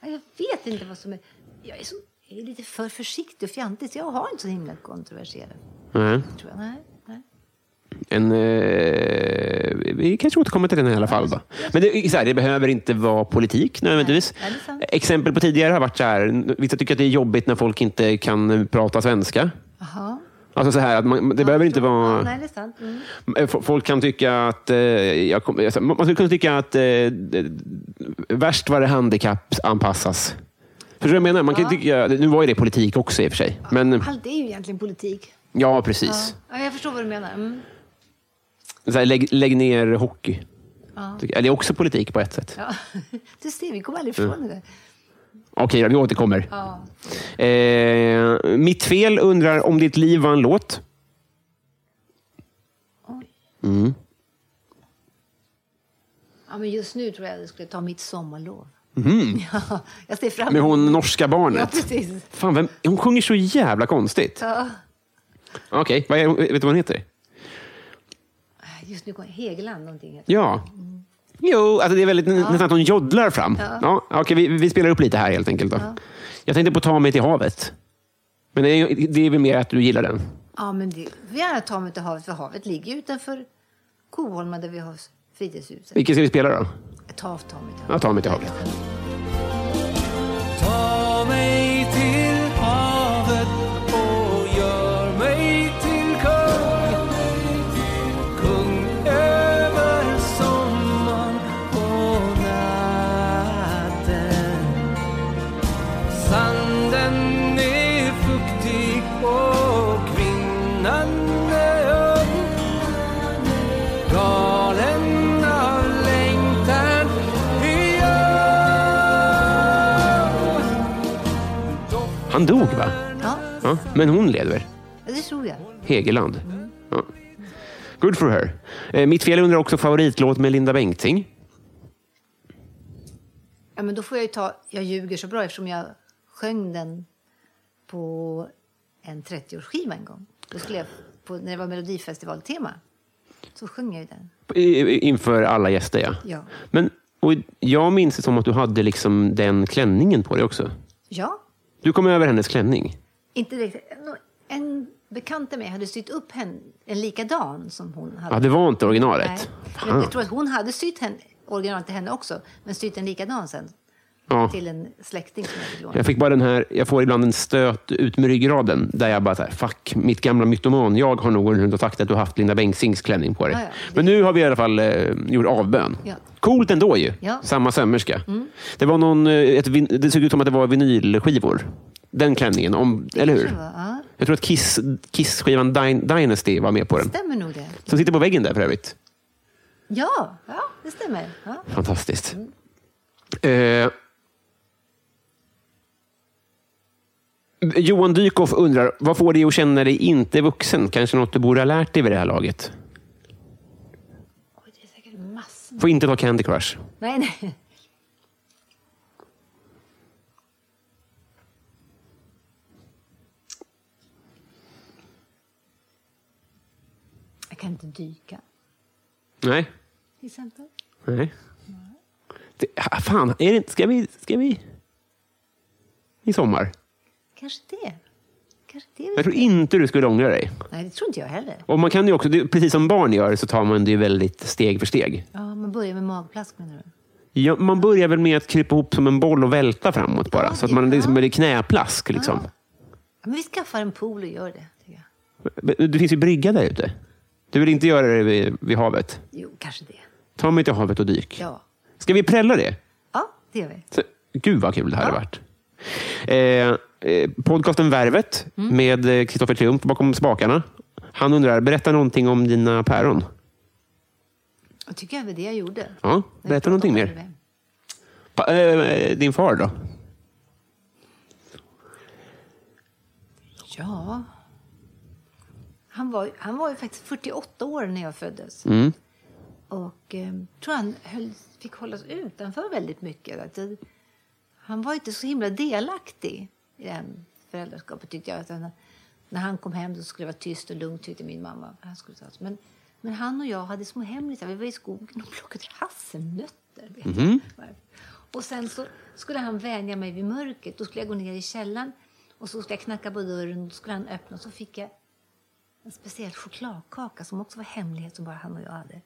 [SPEAKER 2] Ja, Jag vet inte vad som är... Jag är, så, jag är lite för försiktig och fjantig, så jag har inte så himla kontroversiella.
[SPEAKER 1] Nej.
[SPEAKER 2] Tror jag. Nej, nej.
[SPEAKER 1] Mm. En, eh, vi kanske återkommer till den i alla fall. Då. Men det, är så här, det behöver inte vara politik nödvändigtvis.
[SPEAKER 2] Nej, det är sant.
[SPEAKER 1] Exempel på tidigare har varit så här, vissa tycker att det är jobbigt när folk inte kan eh, prata svenska.
[SPEAKER 2] Jaha.
[SPEAKER 1] Alltså så här, att man, det behöver inte
[SPEAKER 2] Ja,
[SPEAKER 1] vara...
[SPEAKER 2] nej, det är sant. Mm.
[SPEAKER 1] F- Folk kan tycka att... Eh, jag kommer- alltså, man skulle kunna tycka att eh, d- värst var det handikappanpassas. Förstår du vad jag menar? Man kan tycka, nu var ju det politik också i och för sig. Men
[SPEAKER 2] Allt är ju egentligen politik.
[SPEAKER 1] ja, precis.
[SPEAKER 2] Ja, jag förstår vad du menar. Mm.
[SPEAKER 1] Så här, lägg, lägg ner hockey.
[SPEAKER 2] Ja.
[SPEAKER 1] Tycker- Det är också politik på ett sätt.
[SPEAKER 2] Ja. Du ser, vi kommer aldrig
[SPEAKER 1] Mm.
[SPEAKER 2] ifrån det där.
[SPEAKER 1] Okej, då, vi återkommer.
[SPEAKER 2] Ja.
[SPEAKER 1] Eh, mitt fel undrar om ditt liv var en låt.
[SPEAKER 2] ja, men just nu tror jag att jag skulle ta mitt sommarlov. Ja, jag ser fram
[SPEAKER 1] Mm. Med
[SPEAKER 2] emot
[SPEAKER 1] hon norska
[SPEAKER 2] Ja,
[SPEAKER 1] barnet.
[SPEAKER 2] precis.
[SPEAKER 1] Fan, vem, hon sjunger så jävla konstigt.
[SPEAKER 2] Ja.
[SPEAKER 1] Okej, vad är, vet du vad hon heter?
[SPEAKER 2] Just nu går Hegeland någonting. heter
[SPEAKER 1] Ja. Jo, alltså det är väldigt, nästan att hon joddlar fram. Ja. okej, vi, vi spelar upp lite här helt enkelt. Då. Jag tänkte på Ta mig till havet. Men det är, det är väl mer att du gillar den?
[SPEAKER 2] Ja, men det vill gärna ta mig till havet, för havet ligger ju utanför Koholma där vi har fritidshuset.
[SPEAKER 1] Vilken ska vi spela då?
[SPEAKER 2] Ta, ta mig till
[SPEAKER 1] Ja,
[SPEAKER 2] havet.
[SPEAKER 1] ta mig till havet.
[SPEAKER 3] Ta mig till havet och gör mig till kung Kung över sommaren och natten Sanden är fuktig och kvinnan är ung Galen av längtan, hur gör
[SPEAKER 1] Han dog va?
[SPEAKER 2] Ja,
[SPEAKER 1] Ja. Men hon lever.
[SPEAKER 2] det tror jag.
[SPEAKER 1] Hegeland. Ja. Good for her. Eh, mitt fel undrar också favoritlåt med Linda Bengtzing.
[SPEAKER 2] Ja, men då får jag ju ta Jag ljuger så bra eftersom jag sjöng den på en 30-årsskiva en gång. Då skulle jag, på, när det var Melodifestivaltema, så sjöng jag ju den.
[SPEAKER 1] I- i- Inför alla gäster, ja.
[SPEAKER 2] Ja.
[SPEAKER 1] Men, och jag minns det som att du hade liksom den klänningen på dig också.
[SPEAKER 2] Ja,
[SPEAKER 1] Du kom över hennes klänning.
[SPEAKER 2] inte direkt. En, en bekant till mig hade sytt upp henne, en likadan som hon hade.
[SPEAKER 1] Ja, det var inte originalet.
[SPEAKER 2] Nej. Jag,
[SPEAKER 1] Ah.
[SPEAKER 2] jag tror att hon hade sytt henne, original till henne också, men sytt en likadan sen
[SPEAKER 1] Ja.
[SPEAKER 2] till en släkting som jag fick låna.
[SPEAKER 1] Ah. Jag fick bara den här, jag får ibland en stöt ut med ryggraden där jag bara så här, fuck, mitt gamla mytoman, jag har nog gått runt och sagt att du har haft Linda Bengtzings klänning på dig.
[SPEAKER 2] Ja, ja.
[SPEAKER 1] Men nu har vi i alla fall eh, gjort avbön.
[SPEAKER 2] Ja.
[SPEAKER 1] Coolt ändå ju,
[SPEAKER 2] Ja. Mm.
[SPEAKER 1] samma sömmerska. Det, var någon, eh, ett, vin- det såg ut som att det var vinylskivor, den klänningen, om, eller hur?
[SPEAKER 2] kanske det var, ja.
[SPEAKER 1] Jag tror att Kiss, Kiss-skivan Dyn- Dynasty var med på den.
[SPEAKER 2] Stämmer nog det?
[SPEAKER 1] Som sitter på väggen där för övrigt.
[SPEAKER 2] Ja, ja det stämmer. Ja.
[SPEAKER 1] Fantastiskt. Eh, Johan Dykhoff undrar, vad får dig att känna dig inte vuxen? Kanske något du borde ha lärt dig vid det här laget?
[SPEAKER 2] Oj, det är säkert massor.
[SPEAKER 1] Får inte ta Candy Crush.
[SPEAKER 2] Nej, nej. Jag kan inte dyka,
[SPEAKER 1] Nej.
[SPEAKER 2] till exempel.
[SPEAKER 1] Nej. Det, ah, fan, är det inte, ska vi... Ska vi I sommar?
[SPEAKER 2] Kanske det. Kanske det.
[SPEAKER 1] Jag tror inte du skulle ångra dig.
[SPEAKER 2] Nej, det tror inte jag heller.
[SPEAKER 1] Och man kan ju också, det, precis som barn gör, så tar man det ju väldigt steg för steg.
[SPEAKER 2] Ja, man börjar med magplask, menar du?
[SPEAKER 1] Ja, man börjar väl med att krypa ihop som en boll och välta framåt bara.
[SPEAKER 2] Ja,
[SPEAKER 1] så att man
[SPEAKER 2] ja.
[SPEAKER 1] liksom blir knäplask. Liksom.
[SPEAKER 2] Ja, men vi skaffar en pool och gör det, tycker jag.
[SPEAKER 1] Men Det finns ju brygga där ute. Du vill inte göra det vid, vid havet?
[SPEAKER 2] Jo, kanske det.
[SPEAKER 1] Ta mig till havet och dyk.
[SPEAKER 2] Ja,
[SPEAKER 1] Ska vi prälla det?
[SPEAKER 2] ja det gör vi.
[SPEAKER 1] Så, gud vad kul det här har varit. Eh, eh, podcasten Värvet
[SPEAKER 2] Mm.
[SPEAKER 1] med eh, Kristoffer Triumf bakom spakarna. Han undrar, berätta någonting om dina päron.
[SPEAKER 2] Jag tycker jag var det jag gjorde.
[SPEAKER 1] Ja, berätta någonting mer. Pa, eh, din far då?
[SPEAKER 2] Ja. Han var, han var ju faktiskt 48 år när jag föddes.
[SPEAKER 1] Mm.
[SPEAKER 2] Och eh, tror han höll, fick hållas utanför väldigt mycket. Att det, han var inte så himla delaktig i det här föräldraskapet tyckte jag. Att han, när han kom hem så skulle det vara tyst och lugnt tyckte min mamma. Han skulle ta oss. men, men han och jag hade små hemlisar. Vi var i skogen och plockade hasselnötter. Vet jag. Och sen så skulle han vänja mig vid mörkret. Då skulle jag gå ner i källaren och så skulle jag knacka på dörren och då skulle han öppna och så fick jag en speciell chokladkaka som också var hemlighet som bara han och jag hade.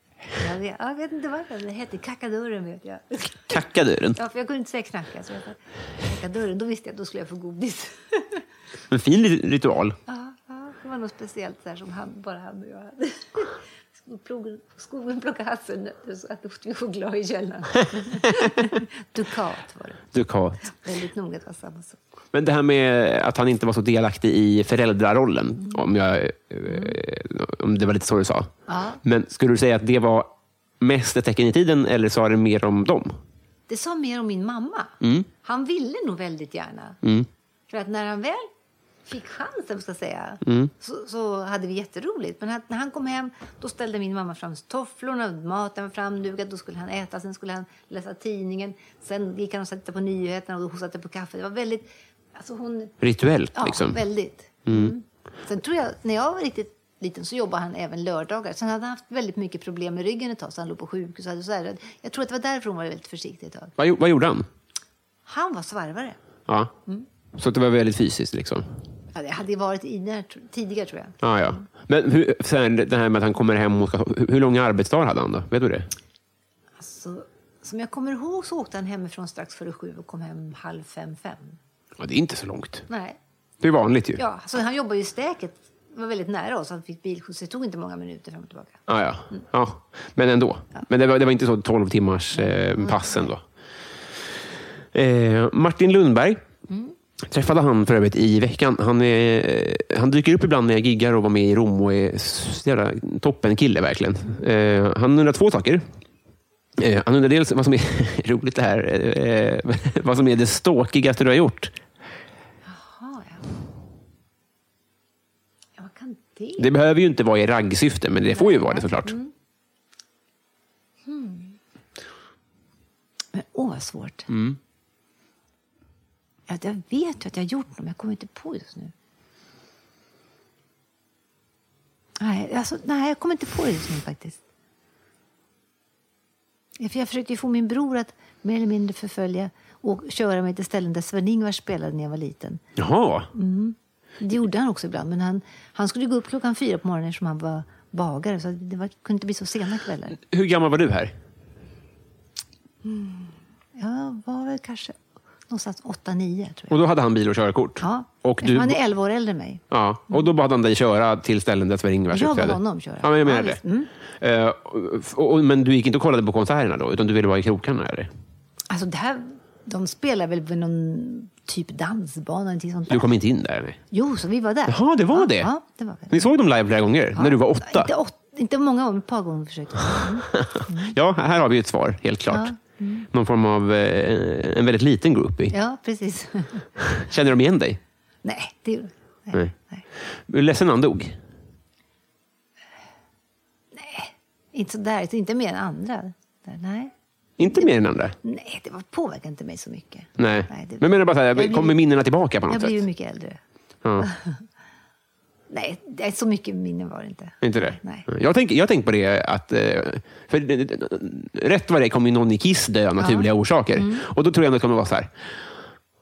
[SPEAKER 2] Jag vet, jag vet inte varför, men det hette kakadörren vet jag.
[SPEAKER 1] Kacka dörren.
[SPEAKER 2] Ja, för jag kunde inte säga knacka, så jag sa kakadörren. Då visste jag att då skulle jag få godis.
[SPEAKER 1] En fin rit- ritual.
[SPEAKER 2] Ja, ja, det var något speciellt så här som han, bara han och jag hade. Skogen, skogen plockade hasselnötter så att åt vi choklad i källaren. Dukat var det.
[SPEAKER 1] Dukat.
[SPEAKER 2] Väldigt noga att det var samma sak.
[SPEAKER 1] Men det här med att han inte var så delaktig i föräldrarollen,
[SPEAKER 2] Mm.
[SPEAKER 1] om, jag, eh, om det var lite så du sa.
[SPEAKER 2] Ja.
[SPEAKER 1] Men skulle du säga att det var mest ett tecken i tiden eller sa det mer om dem?
[SPEAKER 2] Det sa mer om min mamma. Han ville nog väldigt gärna. För att när han väl fick chansen, ska jag säga, så, så hade vi jätteroligt. Men att, när han kom hem då ställde min mamma fram tofflorna, maten var framdukad, då skulle han äta, sen skulle han läsa tidningen. Sen gick han och satte på nyheterna och då satte på kaffe. Det var väldigt... Alltså hon,
[SPEAKER 1] Rituellt,
[SPEAKER 2] ja,
[SPEAKER 1] liksom.
[SPEAKER 2] väldigt. Mm. Sen tror jag, när jag var riktigt liten så jobbade han även lördagar. Sen hade han haft väldigt mycket problem med ryggen ett tag, så han låg på sjukhus. och hade Så här. Jag tror att det var därför hon var väldigt försiktig ett tag.
[SPEAKER 1] Vad, gjo- vad gjorde han?
[SPEAKER 2] Han var svarvare.
[SPEAKER 1] Ja.
[SPEAKER 2] Mm.
[SPEAKER 1] Så att det var väldigt fysiskt. Liksom.
[SPEAKER 2] Ja, det hade ju varit i det här, tr- tidigare, tror jag.
[SPEAKER 1] Ja, ja. Men hur, sen det här med att han kommer hem och ska, hur, hur långa arbetsdagar hade han då? Vet du det?
[SPEAKER 2] Alltså, som jag kommer ihåg så åkte han hemifrån strax före sju och kom hem halv fem, fem.
[SPEAKER 1] Ja, det är inte så långt.
[SPEAKER 2] Nej.
[SPEAKER 1] Det är vanligt ju.
[SPEAKER 2] Ja, så han jobbade ju i stäket. Det var väldigt nära oss. Han fick bilskjuts. Det tog inte många minuter fram och tillbaka.
[SPEAKER 1] Ja, Ah, ja. ja. Men ändå. Men det var, det var inte så 12 timmars eh, pass ändå. Eh, Martin Lundberg träffade han för övrigt i veckan. Han, är, eh, han dyker upp ibland när jag giggar och var med i Rom och är s- jävla toppen kille verkligen. Eh, han undrar två saker. Eh, han undrar dels vad som är roligt det här, eh, vad som är det ståkigaste du har gjort.
[SPEAKER 2] Ja, det?
[SPEAKER 1] Det behöver ju inte vara i raggsyfte, men det får ju vara det såklart.
[SPEAKER 2] Men åh, vad svårt. Ja, jag vet ju att jag har gjort något, men jag kommer inte på just nu. Nej, alltså, nej, jag kommer inte på det just nu faktiskt. Ja, för Jag försökte ju få min bror att mer eller mindre förfölja och köra mig till ställen där Sven-Ingvars spelade när jag var liten.
[SPEAKER 1] Jaha.
[SPEAKER 2] Det gjorde han också ibland, men han, han skulle ju gå upp klockan fyra på morgonen eftersom han var bagare, så det var, kunde inte bli så sena kvällar.
[SPEAKER 1] Hur gammal var du här?
[SPEAKER 2] Jag var väl kanske någonstans åtta, nio, tror jag.
[SPEAKER 1] Och då hade han bil och körkort?
[SPEAKER 2] Ja,
[SPEAKER 1] Och
[SPEAKER 2] eftersom
[SPEAKER 1] du...
[SPEAKER 2] han är 11 år äldre än mig.
[SPEAKER 1] Ja, och då bad han dig köra till ställen där Sven-Ingvars
[SPEAKER 2] Jag bad
[SPEAKER 1] uppträdde.
[SPEAKER 2] honom köra.
[SPEAKER 1] Ja, men jag
[SPEAKER 2] Ja,
[SPEAKER 1] menar
[SPEAKER 2] visst. Mm.
[SPEAKER 1] det. Eh, och, och, men du gick inte och kollade på konserterna då, utan du ville vara i krokarna? Eller?
[SPEAKER 2] Alltså det här, de spelar väl på någon typ dansbana eller någonting sånt där.
[SPEAKER 1] Du kom inte in där? Eller?
[SPEAKER 2] Jo, så vi var där.
[SPEAKER 1] Jaha, det var
[SPEAKER 2] ja,
[SPEAKER 1] det?
[SPEAKER 2] Ja, det var det.
[SPEAKER 1] Ni såg dem live flera gånger, när du var åtta?
[SPEAKER 2] Inte, åt, inte många gånger, men ett par gånger försökte jag. Mm.
[SPEAKER 1] Ja, här har vi ett svar, helt klart. Någon form av eh, en väldigt liten grupp. i.
[SPEAKER 2] Ja, precis.
[SPEAKER 1] Känner de igen dig?
[SPEAKER 2] nej, det gjorde nej,
[SPEAKER 1] Nej.
[SPEAKER 2] nej.
[SPEAKER 1] Är du Ledsen när han dog?
[SPEAKER 2] Inte så där, så inte mer än andra. Där, nej.
[SPEAKER 1] Inte mer än andra?
[SPEAKER 2] nej, det var, påverkade inte mig så mycket.
[SPEAKER 1] Nej.
[SPEAKER 2] det-
[SPEAKER 1] Men jag menar bara så här,
[SPEAKER 2] blir-
[SPEAKER 1] kommer minnena tillbaka på
[SPEAKER 2] Jag
[SPEAKER 1] något
[SPEAKER 2] blir ju
[SPEAKER 1] sätt?
[SPEAKER 2] mycket äldre.
[SPEAKER 1] Ja.
[SPEAKER 2] Nej, det är så mycket minnen var det inte.
[SPEAKER 1] Inte det?
[SPEAKER 2] Nej.
[SPEAKER 1] Jag tänker jag tänk på det att... eh, För det- det- det- rätt vad det är kommer ju någon i Kiss dö av naturliga orsaker.
[SPEAKER 2] Mm.
[SPEAKER 1] Och då tror jag ändå det kommer vara så här...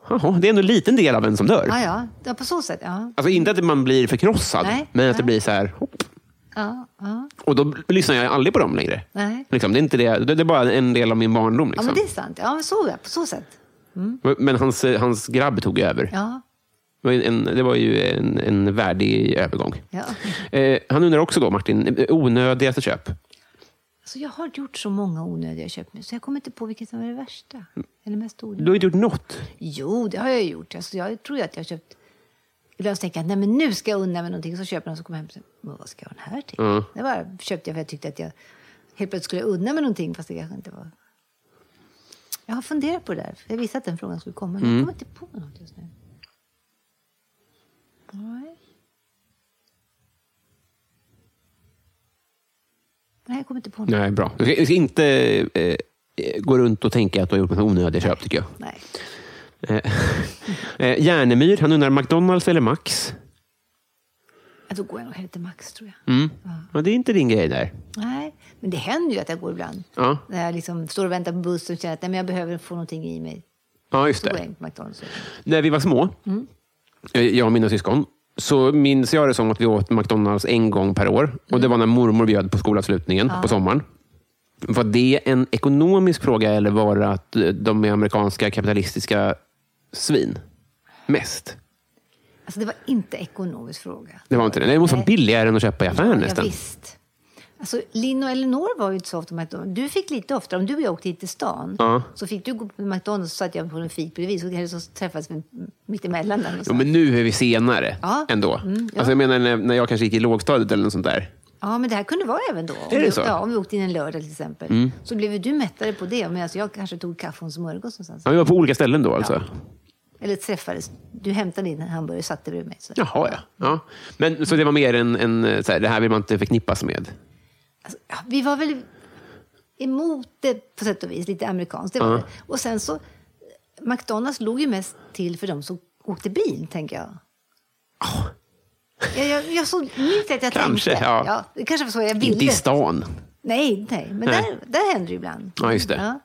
[SPEAKER 1] Jaha, det är ändå en liten del av en som dör.
[SPEAKER 2] Ja, ja, ja, på så sätt. Ja,
[SPEAKER 1] Alltså inte att man blir förkrossad,
[SPEAKER 2] Nej.
[SPEAKER 1] men att det
[SPEAKER 2] Nej.
[SPEAKER 1] blir så här... Hopp.
[SPEAKER 2] ja, ja.
[SPEAKER 1] Och då lyssnar jag aldrig på dem längre.
[SPEAKER 2] Nej.
[SPEAKER 1] Liksom, det, är inte det, det det är bara en del av min barndom.
[SPEAKER 2] ja
[SPEAKER 1] Liksom.
[SPEAKER 2] men det är sant. Ja, men så, ja, på så sätt.
[SPEAKER 1] men hans, eh, hans grabb tog över.
[SPEAKER 2] Ja,
[SPEAKER 1] Det var ju en, det var ju en, en värdig övergång.
[SPEAKER 2] ja.
[SPEAKER 1] Eh, han undrar också då, Martin, eh, onödigaste köp?
[SPEAKER 2] Alltså jag har gjort så många onödiga köp nu, så jag kommer inte på vilket som var det värsta. Eller mest onödiga.
[SPEAKER 1] Du har ju inte gjort något.
[SPEAKER 2] Jo, det har jag gjort. Alltså jag tror ju att jag har köpt... Ibland så tänker jag att nej, men nu ska jag unna mig någonting, så köper jag den och så kommer jag hem och säger, "Men vad ska jag ha den här till? Det bara köpte jag för jag tyckte att jag helt plötsligt skulle unna mig någonting, fast det kanske inte var... Jag har funderat på det där, för jag visste att den frågan skulle komma, men jag kommer inte på något just nu. Nej. Nej, jag kommer inte på något.
[SPEAKER 1] Nej, bra. Du ska, du ska inte eh, eh, gå runt och tänka att du har gjort något onödiga köp, tycker jag.
[SPEAKER 2] Nej.
[SPEAKER 1] Eh, Järnemyr, han undrar McDonalds eller Max?
[SPEAKER 2] Ja, Då går jag nog hellre till Max, tror jag.
[SPEAKER 1] Ja, det är inte din grej där.
[SPEAKER 2] Nej, men det händer ju att jag går ibland.
[SPEAKER 1] Ja,
[SPEAKER 2] När jag liksom står och väntar på bussen och känner att nej, men jag behöver få någonting i mig.
[SPEAKER 1] ja just
[SPEAKER 2] Så går
[SPEAKER 1] det.
[SPEAKER 2] jag in på McDonalds.
[SPEAKER 1] När vi var små,
[SPEAKER 2] Mm.
[SPEAKER 1] eh, jag och mina syskon, så minns jag det som att vi åt McDonalds en gång per år. Och Det
[SPEAKER 2] Mm.
[SPEAKER 1] var när mormor bjöd på skolavslutningen på sommaren. Var det en ekonomisk fråga eller var det att eh, de är amerikanska kapitalistiska svin? Mest.
[SPEAKER 2] Alltså det var inte ekonomisk fråga.
[SPEAKER 1] Det var inte det. Det måste vara
[SPEAKER 2] Nej.
[SPEAKER 1] billigare än att köpa i affären
[SPEAKER 2] Ja,
[SPEAKER 1] nästan.
[SPEAKER 2] visst. Alltså, Linn och Elinor var ju inte så ofta på McDonalds. Du fick lite oftare. Om du och jag åkte hit till stan
[SPEAKER 1] Ja.
[SPEAKER 2] så fick du gå på McDonalds så satt jag på en fik bredvid. Så kanske så träffades vi mitt emellan där
[SPEAKER 1] Jo,
[SPEAKER 2] liksom. någonstans.
[SPEAKER 1] men nu är vi senare
[SPEAKER 2] Ja.
[SPEAKER 1] ändå.
[SPEAKER 2] Mm, ja.
[SPEAKER 1] alltså, jag menar när, när jag kanske gick i lågstadiet eller något sånt där.
[SPEAKER 2] Ja, men det här kunde vara även då. Om
[SPEAKER 1] Är det
[SPEAKER 2] vi,
[SPEAKER 1] så? Mm.
[SPEAKER 2] Ja, om vi åkte in en lördag till exempel. Så blev ju du mättare på det. Men alltså, jag kanske tog kaffe och en smörgås någonstans.
[SPEAKER 1] Ja, vi var på olika ställen då alltså.
[SPEAKER 2] Eller träffades. Du hämtade din hamburgare och satte bredvid mig. Så.
[SPEAKER 1] Jaha, ja. ja. Men, så det var mer en, en eh, så här, det här vill man inte förknippas med.
[SPEAKER 2] Alltså, ja, vi var väl emot det på sätt och vis, lite amerikanskt. Det var det. Och sen så, McDonalds låg ju mest till för de som åkte bil, tänker jag. Jag, jag, jag såg, minns att jag
[SPEAKER 1] Ah. Kanske,
[SPEAKER 2] tänkte.
[SPEAKER 1] ja.
[SPEAKER 2] det kanske var så jag ville.
[SPEAKER 1] Inte i stan.
[SPEAKER 2] Nej, nej, men
[SPEAKER 1] Nej.
[SPEAKER 2] Där, där händer det ibland.
[SPEAKER 1] Ja, just det.
[SPEAKER 2] Ja.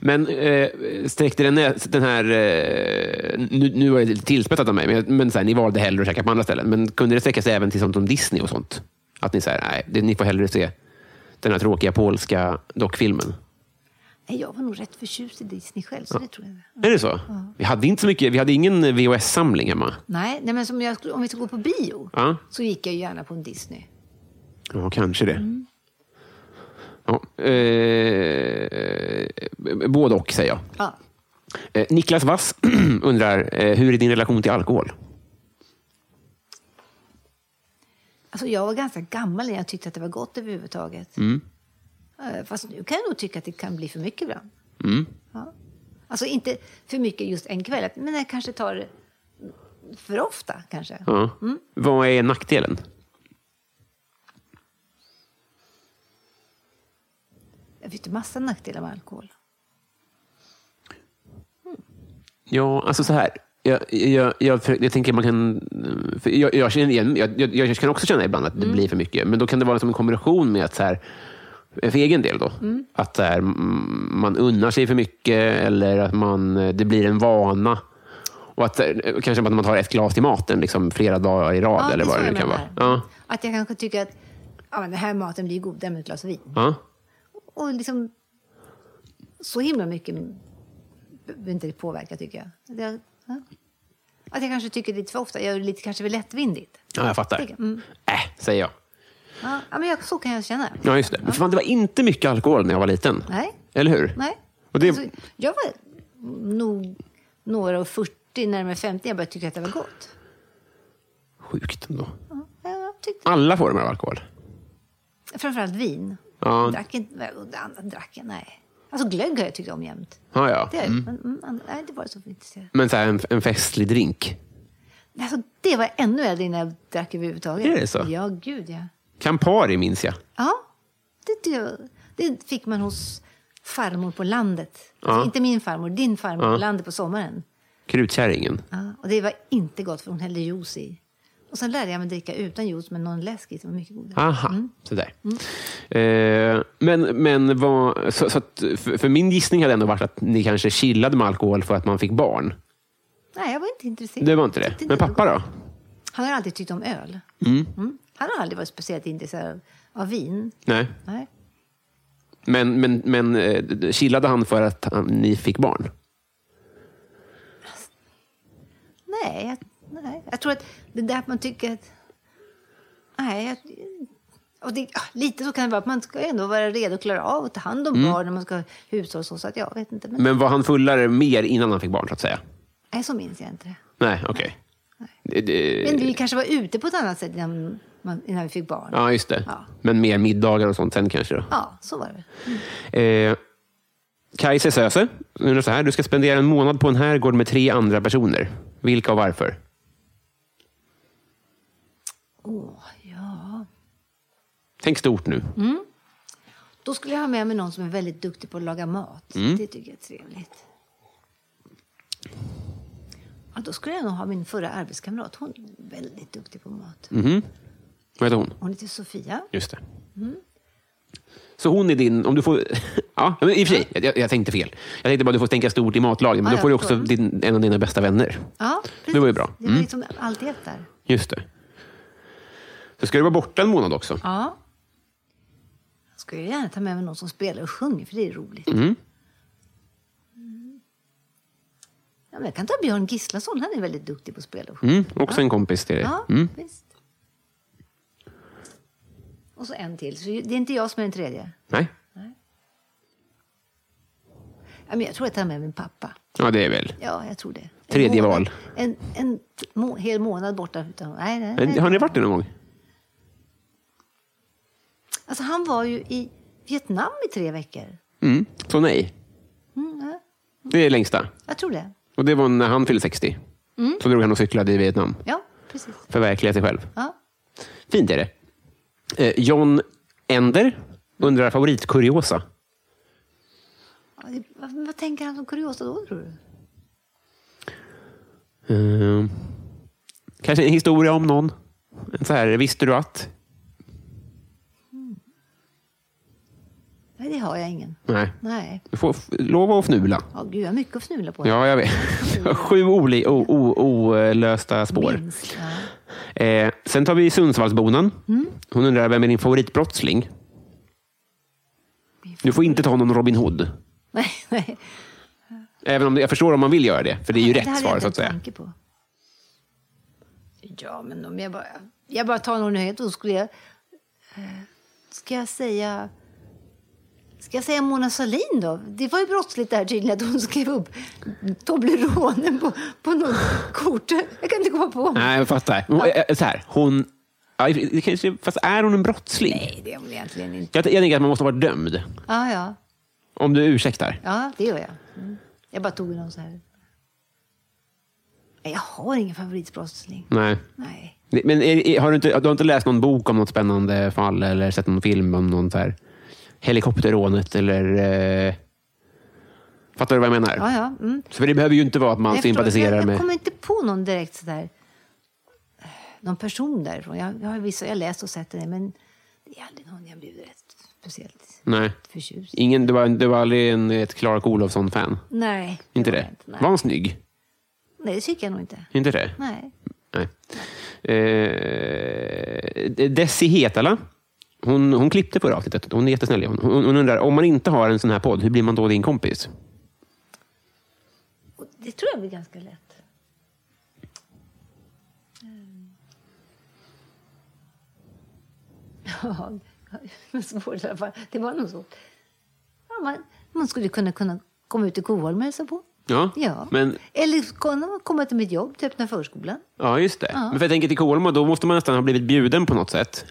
[SPEAKER 1] Men eh, sträckte den, nä- den här... Eh, nu, nu var det tillspetsat av mig, men, men så här, ni valde hellre att käka på andra ställen. Men kunde det sträcka sig även till sånt som Disney och sånt? Att ni säger, nej, det, ni får hellre se den här tråkiga polska dockfilmen.
[SPEAKER 2] Nej, jag var nog rätt förtjust i Disney själv, så det tror jag.
[SPEAKER 1] Är det så? Vi hade inte så mycket, vi hade ingen VHS-samling hemma.
[SPEAKER 2] Nej, nej men som jag, skulle- om vi skulle gå på bio
[SPEAKER 1] Ja.
[SPEAKER 2] så gick jag ju gärna på en Disney.
[SPEAKER 1] Ja, kanske det. Ja, eh, både och, säger jag.
[SPEAKER 2] Ja.
[SPEAKER 1] Eh, Niklas Wass undrar, eh, hur är din relation till alkohol?
[SPEAKER 2] Alltså jag var ganska gammal när jag tyckte att det var gott överhuvudtaget.
[SPEAKER 1] Mm.
[SPEAKER 2] Eh, Fast nu kan jag nog tycka att det kan bli för mycket ibland.
[SPEAKER 1] Mm.
[SPEAKER 2] Ja. Alltså inte för mycket just en kväll, att- men jag kanske tar det för ofta kanske.
[SPEAKER 1] Ja. Vad är nackdelen?
[SPEAKER 2] Det finns ju massa nackdelar med alkohol.
[SPEAKER 1] Ja, alltså så här. Jag, jag, jag, för- jag tänker man kan... För jag, jag, känner igen, jag, jag, jag kan också känna ibland att det
[SPEAKER 2] Mm.
[SPEAKER 1] blir för mycket. Men då kan det vara liksom en kombination med att så här, för egen del då, att så här, mm, man unnar sig för mycket eller att man, det blir en vana. Och att, så här, kanske att man tar ett glas till maten liksom, flera dagar i rad.
[SPEAKER 2] Ja,
[SPEAKER 1] eller
[SPEAKER 2] det är
[SPEAKER 1] vad
[SPEAKER 2] så
[SPEAKER 1] det nu
[SPEAKER 2] jag
[SPEAKER 1] kan vara.
[SPEAKER 2] menar.
[SPEAKER 1] Ja,
[SPEAKER 2] Att jag kanske tycker att ja, men den här maten blir godare med ett glas vin.
[SPEAKER 1] ja.
[SPEAKER 2] Och liksom så himla mycket behöver inte det påverka tycker jag. Det, ja. Att jag kanske tycker lite för ofta, jag är lite kanske för lättvindigt.
[SPEAKER 1] ja jag fattar.
[SPEAKER 2] Mm.
[SPEAKER 1] Äh, säger jag.
[SPEAKER 2] Ja, ja, men jag, så kan jag känna.
[SPEAKER 1] Ja, just det. Men fan, det var inte mycket alkohol när jag var liten.
[SPEAKER 2] Nej.
[SPEAKER 1] Eller hur?
[SPEAKER 2] Nej.
[SPEAKER 1] Och det-
[SPEAKER 2] Alltså, jag var nog några och 40, närmare 50, jag började tycka att det var gott.
[SPEAKER 1] Sjukt ändå.
[SPEAKER 2] Ja, jag tyckte,
[SPEAKER 1] Alla former av alkohol.
[SPEAKER 2] framförallt vin.
[SPEAKER 1] Ja.
[SPEAKER 2] Drack inte, och det andra drack jag, nej. Alltså glögg har jag tyckt om jämt.
[SPEAKER 1] Ja, ja.
[SPEAKER 2] Det, har jag gjort, men, mm, andra- nej, det var så intresserad.
[SPEAKER 1] Men så här, en, en festlig drink.
[SPEAKER 2] Alltså, det var jag ännu äldre innan jag drack överhuvudtaget.
[SPEAKER 1] Är det så?
[SPEAKER 2] Ja, gud ja.
[SPEAKER 1] Campari minns jag.
[SPEAKER 2] Ja, det, tyckte jag- det fick man hos farmor på landet. Alltså, inte min farmor, din farmor på landet på sommaren.
[SPEAKER 1] Krutkärringen.
[SPEAKER 2] Ja, och det var inte gott för hon hällde juice i. Och sen lärde jag mig dricka utan juice men någon läsk i som var mycket godare.
[SPEAKER 1] Aha, sådär. Eh, men men vad, så, så att, för, för min gissning hade ändå varit att ni kanske chillade med alkohol för att man fick barn.
[SPEAKER 2] Nej, jag var inte intresserad.
[SPEAKER 1] Det var inte
[SPEAKER 2] Tyckte
[SPEAKER 1] det. Men
[SPEAKER 2] det var
[SPEAKER 1] pappa
[SPEAKER 2] gott.
[SPEAKER 1] då?
[SPEAKER 2] Han har alltid tyckt om öl. Mm. Han har aldrig varit speciellt intresserad av, av vin.
[SPEAKER 1] Nej.
[SPEAKER 2] Nej.
[SPEAKER 1] Men, men, men eh, chillade han för att han, ni fick barn?
[SPEAKER 2] Nej, jag, nej, jag tror att det där att man tycker att... Nej, jag, och det, ah, lite så kan det vara. att Man ska ändå vara redo att klara av att ta hand om barn när man ska hushålla och så. så att jag vet inte. Men,
[SPEAKER 1] Mm. Men var han fullare mer innan han fick barn, så att säga?
[SPEAKER 2] nej, så minns jag inte det.
[SPEAKER 1] Nej, okej. Det- det-
[SPEAKER 2] Men vi kanske var ute på ett annat sätt innan, man, innan vi fick barn. Ja.
[SPEAKER 1] Ja, just det.
[SPEAKER 2] Ja.
[SPEAKER 1] Men mer middagar och sånt sen kanske då?
[SPEAKER 2] så var det väl.
[SPEAKER 1] Eh, Kajse Söse undrar så här. Du ska spendera en månad på en herrgård med tre andra personer. Vilka och varför?
[SPEAKER 2] Åh, ja.
[SPEAKER 1] Tänk stort nu.
[SPEAKER 2] Då skulle jag ha med mig någon som är väldigt duktig på att laga mat.
[SPEAKER 1] Mm.
[SPEAKER 2] Det tycker jag är trevligt. Ja, då skulle jag nog ha min förra arbetskamrat. Hon är väldigt duktig på mat.
[SPEAKER 1] Mm. Vad heter hon?
[SPEAKER 2] Hon heter Sofia.
[SPEAKER 1] Just det. Så hon är din... Om du får, ja, men i och för sig, jag, jag tänkte fel. Jag tänkte bara att du får tänka stort i matlagen, men
[SPEAKER 2] Mm.
[SPEAKER 1] då
[SPEAKER 2] Ja,
[SPEAKER 1] får du
[SPEAKER 2] jag
[SPEAKER 1] också
[SPEAKER 2] förstår.
[SPEAKER 1] din, en av dina bästa vänner.
[SPEAKER 2] Ja, precis.
[SPEAKER 1] Det var ju bra. Mm.
[SPEAKER 2] Det var liksom allt i ett där.
[SPEAKER 1] Just det. Så ska du vara borta en månad också.
[SPEAKER 2] Ja. Jag skulle gärna ta med mig någon som spelar och sjunger, för det är roligt. Mm. Ja, men jag kan ta Björn Gislason, han är väldigt duktig på att spela och sjunga.
[SPEAKER 1] Mm, också en kompis till dig.
[SPEAKER 2] Ja, visst. Och så en till, så det är inte jag som är den tredje.
[SPEAKER 1] Nej?
[SPEAKER 2] Ja, men jag tror jag tar med min pappa.
[SPEAKER 1] Ja, det är väl.
[SPEAKER 2] Ja, jag tror det. En
[SPEAKER 1] Tredje
[SPEAKER 2] månad-
[SPEAKER 1] val.
[SPEAKER 2] En, en t- må, hel månad borta utan... Nej, nej,
[SPEAKER 1] Men,
[SPEAKER 2] nej.
[SPEAKER 1] Eh, har ni varit det någon gång?
[SPEAKER 2] Alltså, han var ju i Vietnam i tre veckor.
[SPEAKER 1] Mm. Så nej.
[SPEAKER 2] Mm, ja,
[SPEAKER 1] Det är längsta.
[SPEAKER 2] jag tror det.
[SPEAKER 1] Och det var när han fyllde 60. Så drog han och cyklade i Vietnam.
[SPEAKER 2] Ja, precis.
[SPEAKER 1] Förverkliga sig själv.
[SPEAKER 2] Ja.
[SPEAKER 1] Fint är det. Eh, John Ender undrar favoritkuriosa.
[SPEAKER 2] Ja, det- Vad, vad tänker han som kuriosa då, tror du?
[SPEAKER 1] Eh, kanske en historia om någon. En Så här, visste du att?
[SPEAKER 2] Nej, det har jag ingen.
[SPEAKER 1] Nej.
[SPEAKER 2] Nej.
[SPEAKER 1] Du får f- lova att fnula.
[SPEAKER 2] Ja, gud, jag har mycket att fnula på.
[SPEAKER 1] Ja, jag vet. Sju oli- o- o- olösta spår.
[SPEAKER 2] Minst. Ja.
[SPEAKER 1] Eh, sen tar vi Sundsvallsbonan.
[SPEAKER 2] Mm.
[SPEAKER 1] Hon undrar, vem är din favoritbrottsling? Du får inte ta någon Robin Hood.
[SPEAKER 2] Nej, nej.
[SPEAKER 1] Även om det- jag förstår om man vill göra det, för det är ju rätt
[SPEAKER 2] hade
[SPEAKER 1] svar
[SPEAKER 2] jag
[SPEAKER 1] så att
[SPEAKER 2] inte en
[SPEAKER 1] säga.
[SPEAKER 2] tanke på. Ja, men om jag bara, jag bara tar någon nyhet, då skulle jag... Eh, ska jag säga... Ska jag säga Mona Sahlin då? Det var ju brottsligt det här tydligen att hon skrev upp Toblerone på, på något kort. Jag kan inte komma på.
[SPEAKER 1] Nej, jag fattar. Hon,
[SPEAKER 2] Ja.
[SPEAKER 1] eh, Så här, hon... ja, det kanske- Fast är hon en brottsling?
[SPEAKER 2] Nej, det är hon egentligen inte.
[SPEAKER 1] Jag, jag tänker att man måste vara dömd.
[SPEAKER 2] Ja, ja.
[SPEAKER 1] Om du ursäktar.
[SPEAKER 2] Ja, det gör jag. Mm. Jag bara tog någon så här. Nej, jag har ingen favoritbrottsling.
[SPEAKER 1] Nej.
[SPEAKER 2] Nej.
[SPEAKER 1] Det- Men är, är, har du, inte, du har inte läst någon bok om något spännande fall eller sett någon film om någon så här helikopterrånet eller... Eh, fattar du vad jag menar?
[SPEAKER 2] Ja, ja. Mm.
[SPEAKER 1] Så det behöver ju inte vara att man
[SPEAKER 2] Jag förstår.
[SPEAKER 1] sympatiserar
[SPEAKER 2] jag,
[SPEAKER 1] med...
[SPEAKER 2] Jag kommer inte på någon direkt sådär, någon person därifrån. Jag, jag har vissa, jag har läst och sett det, men det är aldrig någon jag blivit rätt speciellt
[SPEAKER 1] Nej.
[SPEAKER 2] förtjust i.
[SPEAKER 1] Ingen, du, var, du var aldrig en, ett Clark Olofsson-fan?
[SPEAKER 2] Nej.
[SPEAKER 1] Inte
[SPEAKER 2] var
[SPEAKER 1] det?
[SPEAKER 2] jag inte.
[SPEAKER 1] Var
[SPEAKER 2] Nej.
[SPEAKER 1] han snygg?
[SPEAKER 2] Nej, det tycker jag nog inte.
[SPEAKER 1] Inte det?
[SPEAKER 2] Nej.
[SPEAKER 1] Nej. Eh, Desi Hetala. Hon, hon klippte på avsnittet. Hon är jättesnäll. Hon, hon, hon undrar, om man inte har en sån här podd, hur blir man då din kompis?
[SPEAKER 2] Och det tror jag blir ganska lätt. Mm. Ja, det var svårt i alla fall. Det var nog så. Ja, man, man skulle kunna, kunna komma ut i Koholm och hälsa på.
[SPEAKER 1] Ja,
[SPEAKER 2] Ja.
[SPEAKER 1] Men,
[SPEAKER 2] Eller kunna komma till mitt jobb, till öppna förskolan.
[SPEAKER 1] ja just det. Men för jag tänker till Kolmo, då måste man nästan ha blivit bjuden på något sätt.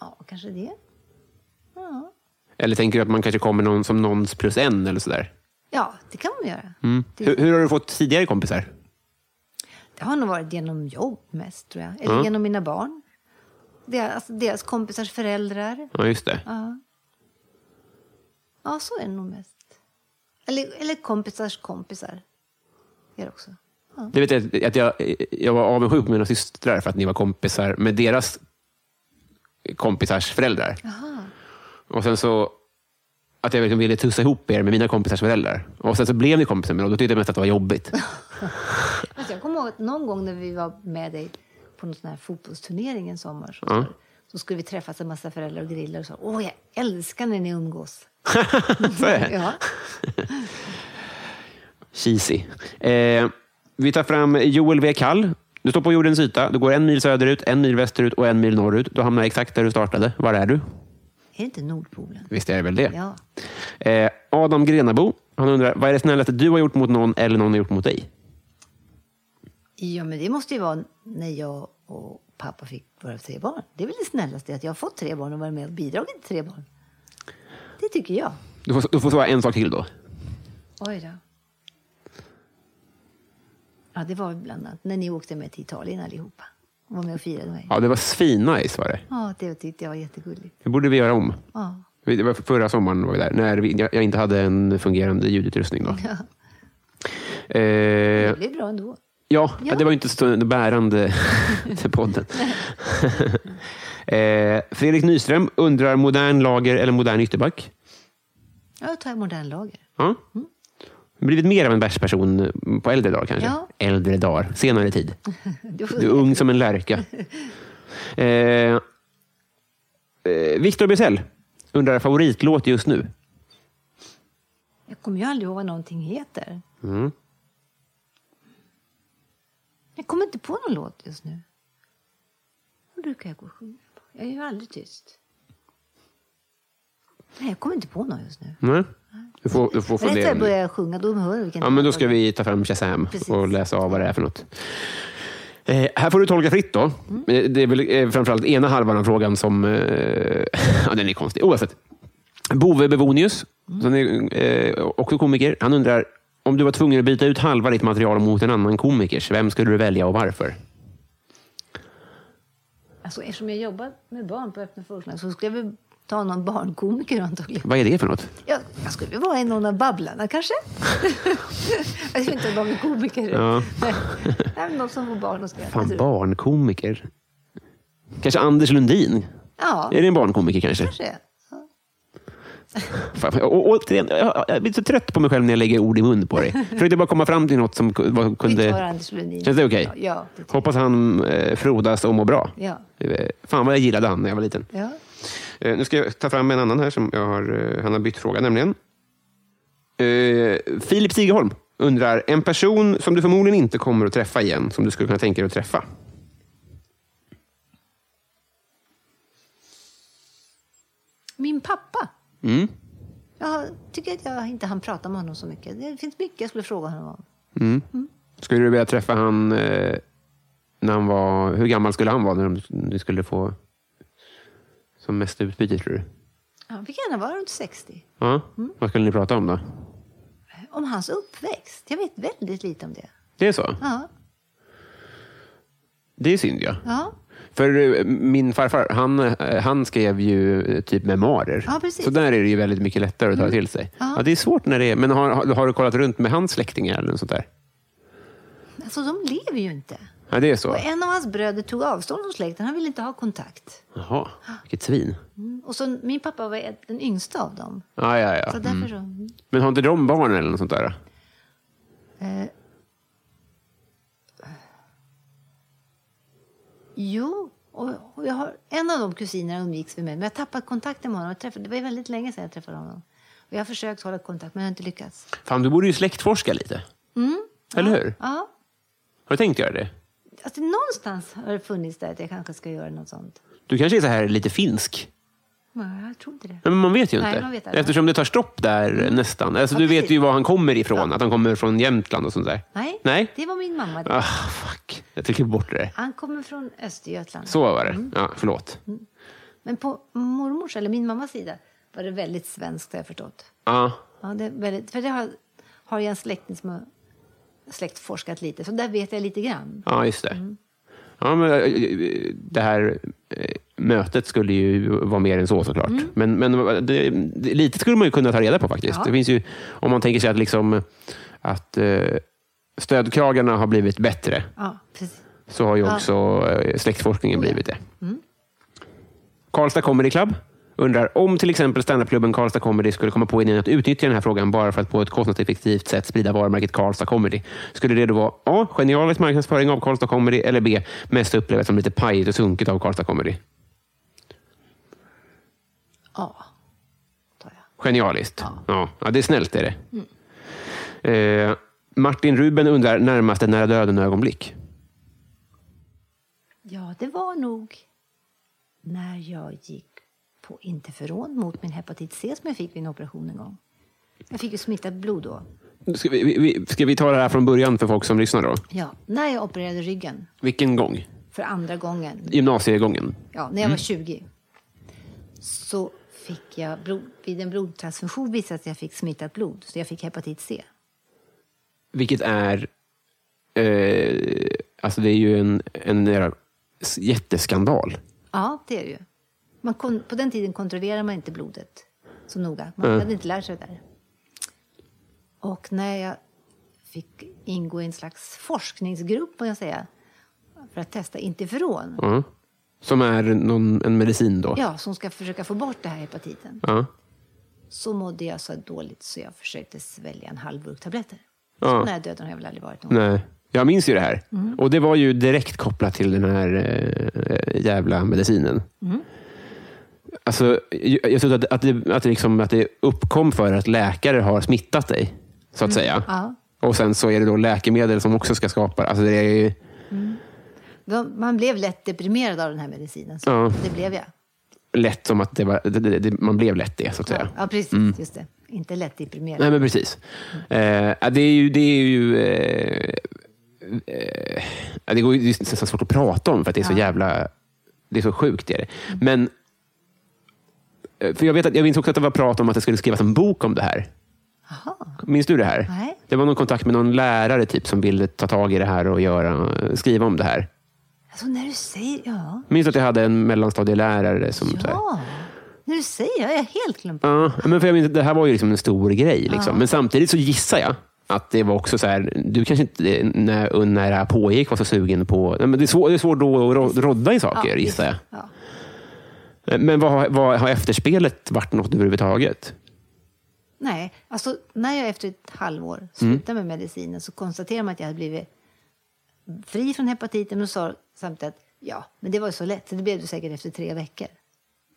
[SPEAKER 2] Ja, kanske det.
[SPEAKER 1] Eller tänker du att man kanske kommer någon, som någons plus en eller sådär?
[SPEAKER 2] Ja, det kan man göra. Det-
[SPEAKER 1] Hur, hur har du fått tidigare kompisar?
[SPEAKER 2] Det har nog varit genom jobb mest, tror jag. Eller genom mina barn. Deras, alltså, deras kompisars föräldrar.
[SPEAKER 1] Ja, just det.
[SPEAKER 2] Ja, så är det nog mest. Eller, eller kompisars kompisar. Det är det också.
[SPEAKER 1] Det vet jag att jag, jag var avundsjuk på mina systrar för att ni var kompisar med deras kompisars föräldrar. Och sen så att jag liksom ville tussa ihop er med mina kompisars föräldrar. Och sen så blev ni kompisar med dem. Då tyckte jag mest att det var jobbigt.
[SPEAKER 2] Alltså, jag kommer ihåg att någon gång när vi var med dig på någon sån här fotbollsturnering en sommar så, så skulle vi träffas en massa föräldrar och grilla och så. Åh, jag älskar när ni umgås.
[SPEAKER 1] så är det.
[SPEAKER 2] Ja.
[SPEAKER 1] Cheesy. Eh, vi tar fram Joel V. Kall. Du står på jordens yta. Du går en mil söderut, en mil västerut och en mil norrut. Du hamnar exakt där du startade. Var är du?
[SPEAKER 2] Är det inte Nordpolen?
[SPEAKER 1] Visst är det väl det?
[SPEAKER 2] Ja.
[SPEAKER 1] Eh, Adam Grenabo. Han undrar, vad är det snällaste du har gjort mot någon eller någon har gjort mot dig?
[SPEAKER 2] Ja, men det måste ju vara när jag och pappa fick våra tre barn. Det är väl det snällaste, att jag har fått tre barn och varit med och bidragit till tre barn. Det tycker jag.
[SPEAKER 1] Du får, du får svara en sak till då.
[SPEAKER 2] Oj då. Ja, det var bland annat när ni åkte med till Italien allihopa och var med och firade mig.
[SPEAKER 1] Ja, det var svinnice var det.
[SPEAKER 2] Ja, det tyckte jag var jättegulligt.
[SPEAKER 1] Det borde vi göra om.
[SPEAKER 2] Ja.
[SPEAKER 1] Vi- Det var förra sommaren var vi där, när vi, jag, jag inte hade en fungerande ljudutrustning. Då. Eh,
[SPEAKER 2] Det blev bra ändå.
[SPEAKER 1] ja, det var ju inte så den bärande till podden. eh, Fredrik Nyström undrar modern lager eller modern ytterback?
[SPEAKER 2] Ja, Jag tar modern lager.
[SPEAKER 1] Ja. Blivit mer av en bärsperson på äldre dagar kanske?
[SPEAKER 2] Ja.
[SPEAKER 1] Äldre dagar, senare tid.
[SPEAKER 2] Du får-
[SPEAKER 1] Du är ung som en lärka. Eh, eh, Victor Bysell undrar favoritlåt just nu.
[SPEAKER 2] Jag kommer ju aldrig ihåg vad någonting heter.
[SPEAKER 1] Mm.
[SPEAKER 2] Jag kommer inte på någon låt just nu. Vad brukar jag gå och sjunga på? Jag är ju aldrig tyst. Nej, jag kommer inte på någon just nu.
[SPEAKER 1] Nej. Mm. Du får, du får
[SPEAKER 2] Rätt när jag
[SPEAKER 1] fundera.
[SPEAKER 2] börjar sjunga, då hör jag vilken
[SPEAKER 1] Ja, men då ska vi ta fram Shazam
[SPEAKER 2] Precis.
[SPEAKER 1] och läsa av vad det är för något. Eh, här får du tolka fritt då.
[SPEAKER 2] Mm.
[SPEAKER 1] Eh, Det är väl eh, framförallt ena halvan av frågan som... Eh, ja, den är konstig. Oavsett. Bove Bevonius,
[SPEAKER 2] Mm.
[SPEAKER 1] som är eh, också komiker, han undrar om du var tvungen att byta ut halva ditt material mot en annan komikers, vem skulle du välja och varför?
[SPEAKER 2] Alltså, eftersom jag jobbar med barn på öppna förskolan så skulle jag väl ta någon barnkomiker antagligen.
[SPEAKER 1] Vad är det för något?
[SPEAKER 2] Jag, jag skulle väl vara en någon av Babblarna kanske? jag vet inte om de är komiker.
[SPEAKER 1] Ja.
[SPEAKER 2] Nej, Nej, men någon som får barn och Alltså, skrattar.
[SPEAKER 1] Fan, barnkomiker. Kanske Anders Lundin?
[SPEAKER 2] Ja,
[SPEAKER 1] Är det en barnkomiker kanske?
[SPEAKER 2] kanske.
[SPEAKER 1] Fan, jag- å- återigen, jag, jag blir så trött på mig själv när jag lägger ord i mun på dig. Jag Försökte bara komma fram till något som ku- vad kunde...
[SPEAKER 2] Vi tar Anders Lundin.
[SPEAKER 1] Känns det okej?
[SPEAKER 2] Ja, ja, det tycker
[SPEAKER 1] Hoppas han eh, frodas och mår bra.
[SPEAKER 2] Ja.
[SPEAKER 1] Eh, Fan vad jag gillade han när jag var liten.
[SPEAKER 2] jag. ja.
[SPEAKER 1] Eh, nu ska jag ta fram en annan här som jag har, eh, han har bytt fråga nämligen. Eh, Filip Sigerholm undrar, en person som du förmodligen inte kommer att träffa igen, som du skulle kunna tänka dig att träffa?
[SPEAKER 2] Min pappa.
[SPEAKER 1] Mm.
[SPEAKER 2] Jag tycker att jag inte hann prata med honom så mycket. Det finns mycket jag skulle fråga honom om.
[SPEAKER 1] Skulle du vilja träffa han eh, när han var... Hur gammal skulle han vara när de- du skulle få som mest utbyte, tror du?
[SPEAKER 2] Han fick gärna vara runt 60.
[SPEAKER 1] Ja. Vad skulle ni prata om då?
[SPEAKER 2] Om hans uppväxt. Jag vet väldigt lite om det.
[SPEAKER 1] Det är så?
[SPEAKER 2] Ja,
[SPEAKER 1] Det är synd, ja.
[SPEAKER 2] ja.
[SPEAKER 1] För eh, min farfar, han, eh, han skrev ju eh, typ memoarer.
[SPEAKER 2] Ja, precis. Mm.
[SPEAKER 1] Så där är det ju väldigt mycket lättare att ta till sig.
[SPEAKER 2] Ja.
[SPEAKER 1] Ja, det är svårt när det är... Men har, har, har du kollat runt med hans släktingar eller något sånt där?
[SPEAKER 2] Alltså, de lever ju inte.
[SPEAKER 1] Ja, det är så.
[SPEAKER 2] Och en av hans bröder tog avstånd från släkten. Han ville inte ha kontakt.
[SPEAKER 1] Jaha, vilket svin.
[SPEAKER 2] Mm. Och så, min pappa var ett- den yngsta av dem.
[SPEAKER 1] Ja, ja, ja.
[SPEAKER 2] Så därför så... mm.
[SPEAKER 1] Men har inte de barn eller något sånt där?
[SPEAKER 2] Eh. Jo, och, och jag har, en av de kusinerna umgicks med mig, men jag har tappat kontakten med honom. Jag träffade, det var ju väldigt länge sedan jag träffade honom. Och jag har försökt hålla kontakt, men jag har inte lyckats.
[SPEAKER 1] Fan, du borde ju släktforska lite. Eller hur?
[SPEAKER 2] Mm. Ja,
[SPEAKER 1] Har du tänkt göra det?
[SPEAKER 2] alltså, någonstans har det funnits där att jag kanske ska göra något sånt.
[SPEAKER 1] Du kanske är så här lite finsk?
[SPEAKER 2] Nej, jag tror inte det.
[SPEAKER 1] Men man vet ju
[SPEAKER 2] Nej,
[SPEAKER 1] inte.
[SPEAKER 2] man vet aldrig.
[SPEAKER 1] Eftersom det tar stopp där nästan. Alltså, du vet
[SPEAKER 2] precis.
[SPEAKER 1] ju var han kommer ifrån. Att han kommer från Jämtland och sånt där.
[SPEAKER 2] Nej,
[SPEAKER 1] Nej?
[SPEAKER 2] det var min mamma.
[SPEAKER 1] Ah, fuck. Jag trycker bort det där.
[SPEAKER 2] Han kommer från Östergötland.
[SPEAKER 1] Så var det.
[SPEAKER 2] Mm.
[SPEAKER 1] Ja, förlåt.
[SPEAKER 2] Men på mormors, eller min mammas sida, var det väldigt svenskt har jag förstått.
[SPEAKER 1] Ja.
[SPEAKER 2] Ja, det är väldigt, för det har, har jag en släkting som har släktforskat lite, så där vet jag lite grann.
[SPEAKER 1] ja, just det.
[SPEAKER 2] Mm.
[SPEAKER 1] Ja, men, eh, det här eh, mötet skulle ju vara mer än så såklart. Men, men eh, det, det, lite skulle man ju kunna ta reda på faktiskt.
[SPEAKER 2] Mm. Ja.
[SPEAKER 1] Det finns ju, om man tänker sig att, liksom, att eh, stödkragarna har blivit bättre,
[SPEAKER 2] Ja, precis.
[SPEAKER 1] så har ju också eh, släktforskningen blivit det. Karlstad Comedy Club undrar om till exempel standupklubben Karlstad Comedy skulle komma på idén att utnyttja den här frågan bara för att på ett kostnadseffektivt sätt sprida varumärket Karlstad Comedy. Skulle det då vara A. Genialisk marknadsföring av Karlstad Comedy eller B. Mest upplevt som lite pajigt och sunkigt av Karlstad Comedy?
[SPEAKER 2] Ja, tar jag.
[SPEAKER 1] Genialiskt. Ja. Ja, det är snällt är det. Eh, Martin Ruben undrar närmaste nära döden-ögonblick.
[SPEAKER 2] Ja, det var nog när jag gick på interferon mot min hepatit C som jag fick vid en operation en gång. Jag fick ju smittat blod då.
[SPEAKER 1] Ska vi, vi- vi, ska vi ta det här från början för folk som lyssnar då?
[SPEAKER 2] Ja, när jag opererade ryggen
[SPEAKER 1] Vilken gång?
[SPEAKER 2] för andra gången,
[SPEAKER 1] Gymnasiegången.
[SPEAKER 2] ja, när jag var 20, så fick jag blod, vid en blodtransfusion visade att jag fick smittat blod, så jag fick hepatit C.
[SPEAKER 1] Vilket är... Eh, alltså det är ju en, en jävla s- jätteskandal.
[SPEAKER 2] Ja, det är det ju. Man kon- på den tiden kontrollerade man inte blodet så noga. Man
[SPEAKER 1] Mm.
[SPEAKER 2] hade inte lärt sig det där. Och när jag fick ingå i en slags forskningsgrupp, får jag säga, för att testa interferon,
[SPEAKER 1] Ja. Som är någon, en medicin då.
[SPEAKER 2] ja, som ska försöka få bort den här hepatiten,
[SPEAKER 1] Ja.
[SPEAKER 2] så mådde jag så dåligt så jag försökte svälja en halv burk tabletter.
[SPEAKER 1] Ja.
[SPEAKER 2] Så nära döden har jag väl aldrig varit någon.
[SPEAKER 1] Nej. Jag minns ju det här.
[SPEAKER 2] Mm.
[SPEAKER 1] Och det var ju direkt kopplat till den här eh, jävla medicinen.
[SPEAKER 2] Mm.
[SPEAKER 1] Alltså, jag, jag tror att, att, det, att, det liksom, att det uppkom för att läkare har smittat dig, så att säga.
[SPEAKER 2] Mm. Ja.
[SPEAKER 1] Och sen så är det då läkemedel som också ska skapa... Alltså det är ju,
[SPEAKER 2] De- Man blev lätt deprimerad av den här medicinen, så
[SPEAKER 1] Ja.
[SPEAKER 2] det blev jag.
[SPEAKER 1] lätt som att det var, det, det, det, man blev lätt det, så att säga.
[SPEAKER 2] Ja, precis. Just det. Inte lätt deprimerad.
[SPEAKER 1] Nej, men precis. Eh, ja, det är ju... Det, är ju eh, eh, ja, det, går, ju- det är nästan svårt att prata om för att det är så jävla... Det är så sjukt. Det är det. Men, eh, för jag, vet att, jag minns också att det var prat om att det skulle skrivas en bok om det här. Minns du det här?
[SPEAKER 2] Nej.
[SPEAKER 1] Det var någon kontakt med någon lärare typ, som ville ta tag i det här och göra, skriva om det här.
[SPEAKER 2] Alltså, när du säger... Ja.
[SPEAKER 1] Minns du att jag hade en mellanstadielärare som... Så här,
[SPEAKER 2] Ja, när du säger det, jag är helt glömt.
[SPEAKER 1] Ja, men för jag minns, det här var ju liksom en stor grej. Liksom. Men samtidigt så gissar jag att det var också så här, du kanske inte när, när det här pågick var så sugen på... Nej, men det, är svår, det är svårt då att ro- rodda i saker, gissar jag.
[SPEAKER 2] Ja.
[SPEAKER 1] Men vad, har- vad har efterspelet varit något överhuvudtaget?
[SPEAKER 2] Nej, alltså när jag efter ett halvår slutade med medicinen så konstaterade man att jag hade blivit fri från hepatiten men sa samtidigt att ja, men det var ju så lätt, så det blev du säkert efter tre veckor.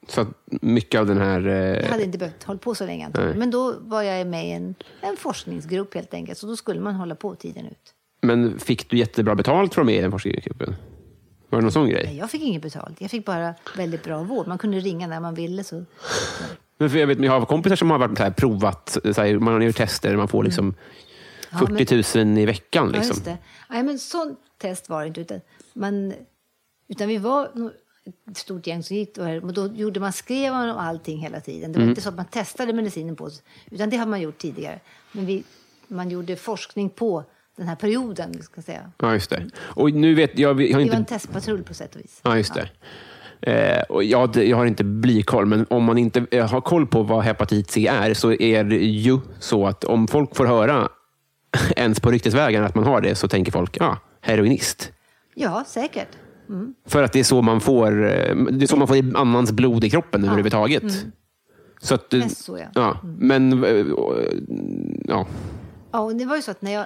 [SPEAKER 1] Så att mycket av den här...
[SPEAKER 2] Jag
[SPEAKER 1] Eh,
[SPEAKER 2] hade inte behövt hålla på så länge antagligen. Men då var jag med i en, en forskningsgrupp helt enkelt, så då skulle man hålla på tiden ut.
[SPEAKER 1] men fick du jättebra betalt från mig i den forskargruppen? Var det någon sån grej?
[SPEAKER 2] Nej, jag fick inget betalt, jag fick bara väldigt bra vård. Man kunde ringa när man ville. Så.
[SPEAKER 1] Men för jag, vet, jag har kompisar som har varit så här, provat, eh, så här, man har gjort tester, man får liksom 40 000 i veckan.
[SPEAKER 2] Mm. Ja,
[SPEAKER 1] Liksom.
[SPEAKER 2] just det. Nej, men sånt test var det inte. Utan, man, utan vi var nog ett stort gäng som gick. Och då gjorde man, skrev man om allting hela tiden.
[SPEAKER 1] Mm.
[SPEAKER 2] Det var inte så att man testade medicinen på oss, utan det har man gjort tidigare. Men vi, man gjorde forskning på den här perioden. Ska jag säga.
[SPEAKER 1] Ja, just det. Och nu vet jag... jag har
[SPEAKER 2] Det var
[SPEAKER 1] inte...
[SPEAKER 2] en testpatrull på sätt och vis.
[SPEAKER 1] Ja, just det. Eh, och ja, det- jag har inte blikoll, men om man inte eh, har koll på vad hepatit C är så är det ju så att om folk får höra ens på ryktesvägen att man har det så tänker folk ja, heroinist.
[SPEAKER 2] Ja, säkert.
[SPEAKER 1] För att det är så man får eh, det är så man får i annans blod i kroppen överhuvudtaget. Så att, eh,
[SPEAKER 2] Mest Mm. så, ja. Mm.
[SPEAKER 1] ja. Men eh, och, eh, ja,
[SPEAKER 2] Ja, och det var ju så att när jag...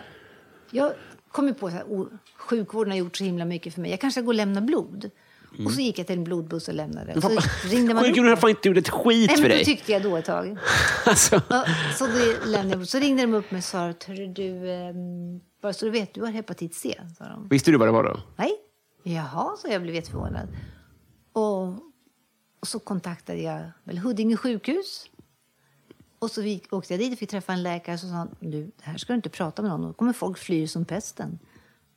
[SPEAKER 2] Jag kom ju på att sjukvården har gjort så himla mycket för mig. Jag kanske ska gå och lämnade blod.
[SPEAKER 1] Mm.
[SPEAKER 2] Och så gick jag till en blodbuss och lämnade. Och så ringde man
[SPEAKER 1] Sjukgymnasten har fan inte gjort ett skit
[SPEAKER 2] Nej,
[SPEAKER 1] för
[SPEAKER 2] men
[SPEAKER 1] dig.
[SPEAKER 2] det tyckte jag då ett tag.
[SPEAKER 1] alltså.
[SPEAKER 2] Ja, Så, det lämnade jag. så ringde de upp mig och sa att "Hörru, du, ehm, bara så du vet, du har hepatit C. Sa de.
[SPEAKER 1] Visste du vad det var då?
[SPEAKER 2] Nej. Jaha, så jag blev jätteförvånad. Och, och så kontaktade jag väl Huddinge sjukhus. Och så gick, åkte jag dit och fick träffa en läkare som sa du, det här ska du inte prata med någon om. Då kommer folk fly som pesten.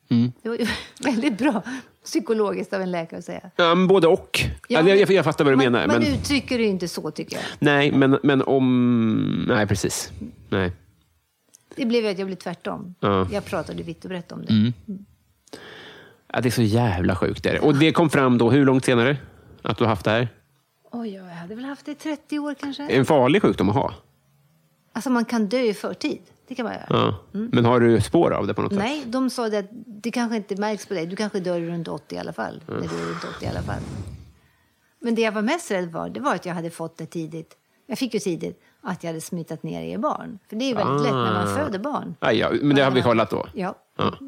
[SPEAKER 1] Mm.
[SPEAKER 2] Det var ju väldigt bra psykologiskt av en läkare att säga.
[SPEAKER 1] Ja, men både och.
[SPEAKER 2] Ja,
[SPEAKER 1] Eller jag, jag,
[SPEAKER 2] men-
[SPEAKER 1] jag fattar vad du
[SPEAKER 2] man,
[SPEAKER 1] menar.
[SPEAKER 2] Man
[SPEAKER 1] men...
[SPEAKER 2] uttrycker det ju inte så, tycker jag.
[SPEAKER 1] Nej, men, men om... Nej, precis. Nej.
[SPEAKER 2] Det blev ju att jag blev tvärtom.
[SPEAKER 1] Ja. Mm.
[SPEAKER 2] Jag pratade vitt och brett om det.
[SPEAKER 1] Ja, det är så jävla sjukt. Där. Och det kom fram då, hur långt senare? Att du har haft det här?
[SPEAKER 2] Oj, jag hade väl haft det i 30 år kanske.
[SPEAKER 1] En farlig sjukdom att ha.
[SPEAKER 2] Alltså man kan dö i förtid. Det kan man göra.
[SPEAKER 1] Ja. Mm. Men har du spår av det på något sätt?
[SPEAKER 2] Nej, de sa det att det kanske inte märks på dig. Du kanske dör runt 80 i alla fall. När du är runt 80 i alla fall. Men det jag var mest rädd för, det var att jag hade fått det tidigt. Jag fick ju tidigt att jag hade smittat ner er barn. För det är ju väldigt lätt när
[SPEAKER 1] Ah.
[SPEAKER 2] man föder barn.
[SPEAKER 1] Aj, ja, men det har vi kollat då.
[SPEAKER 2] Ja,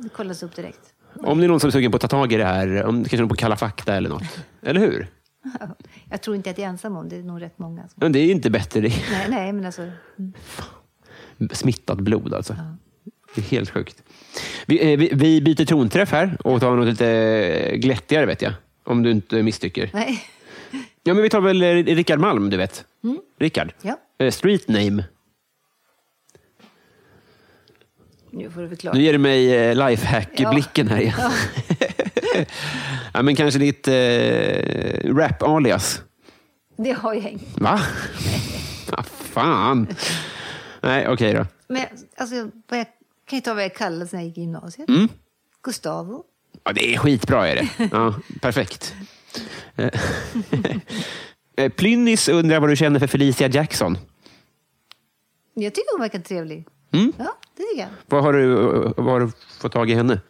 [SPEAKER 2] det kollas upp direkt.
[SPEAKER 1] Om det är någon som är sugen på att ta tag i det här, om, kanske någon på Kalla fakta eller något. Eller hur?
[SPEAKER 2] Jag tror inte att jag är ensam om det. Det är nog rätt många. Som...
[SPEAKER 1] Men det är ju inte bättre. Det är
[SPEAKER 2] Nej, nej, men alltså.
[SPEAKER 1] smittat blod alltså. Det är helt sjukt. Vi, eh, vi, vi byter tonträff här och tar något lite glättigare vet jag. Om du inte misstycker.
[SPEAKER 2] Nej.
[SPEAKER 1] Ja, men vi tar väl eh, Rickard Malm, du vet. Rickard.
[SPEAKER 2] Mm. Ja.
[SPEAKER 1] Eh, Street name.
[SPEAKER 2] Nu får du förklara.
[SPEAKER 1] Nu ger du mig eh, lifehack-blicken här igen. Ja. men kanske ditt eh, rap-alias.
[SPEAKER 2] Det har jag inget.
[SPEAKER 1] Va? ah, fan. Nej, okej då.
[SPEAKER 2] Men alltså, vad jag kan ju ta vad jag kallades när jag gick i gymnasiet.
[SPEAKER 1] Mm.
[SPEAKER 2] Gustavo.
[SPEAKER 1] Ja, det är skitbra. Är det. Ja, perfekt. Eh, eh, Plynnis undrar vad du känner för Felicia Jackson.
[SPEAKER 2] Jag tycker hon verkar trevlig.
[SPEAKER 1] Mm.
[SPEAKER 2] Ja, det tycker jag.
[SPEAKER 1] Vad har du, eh, vad har du fått tag i henne?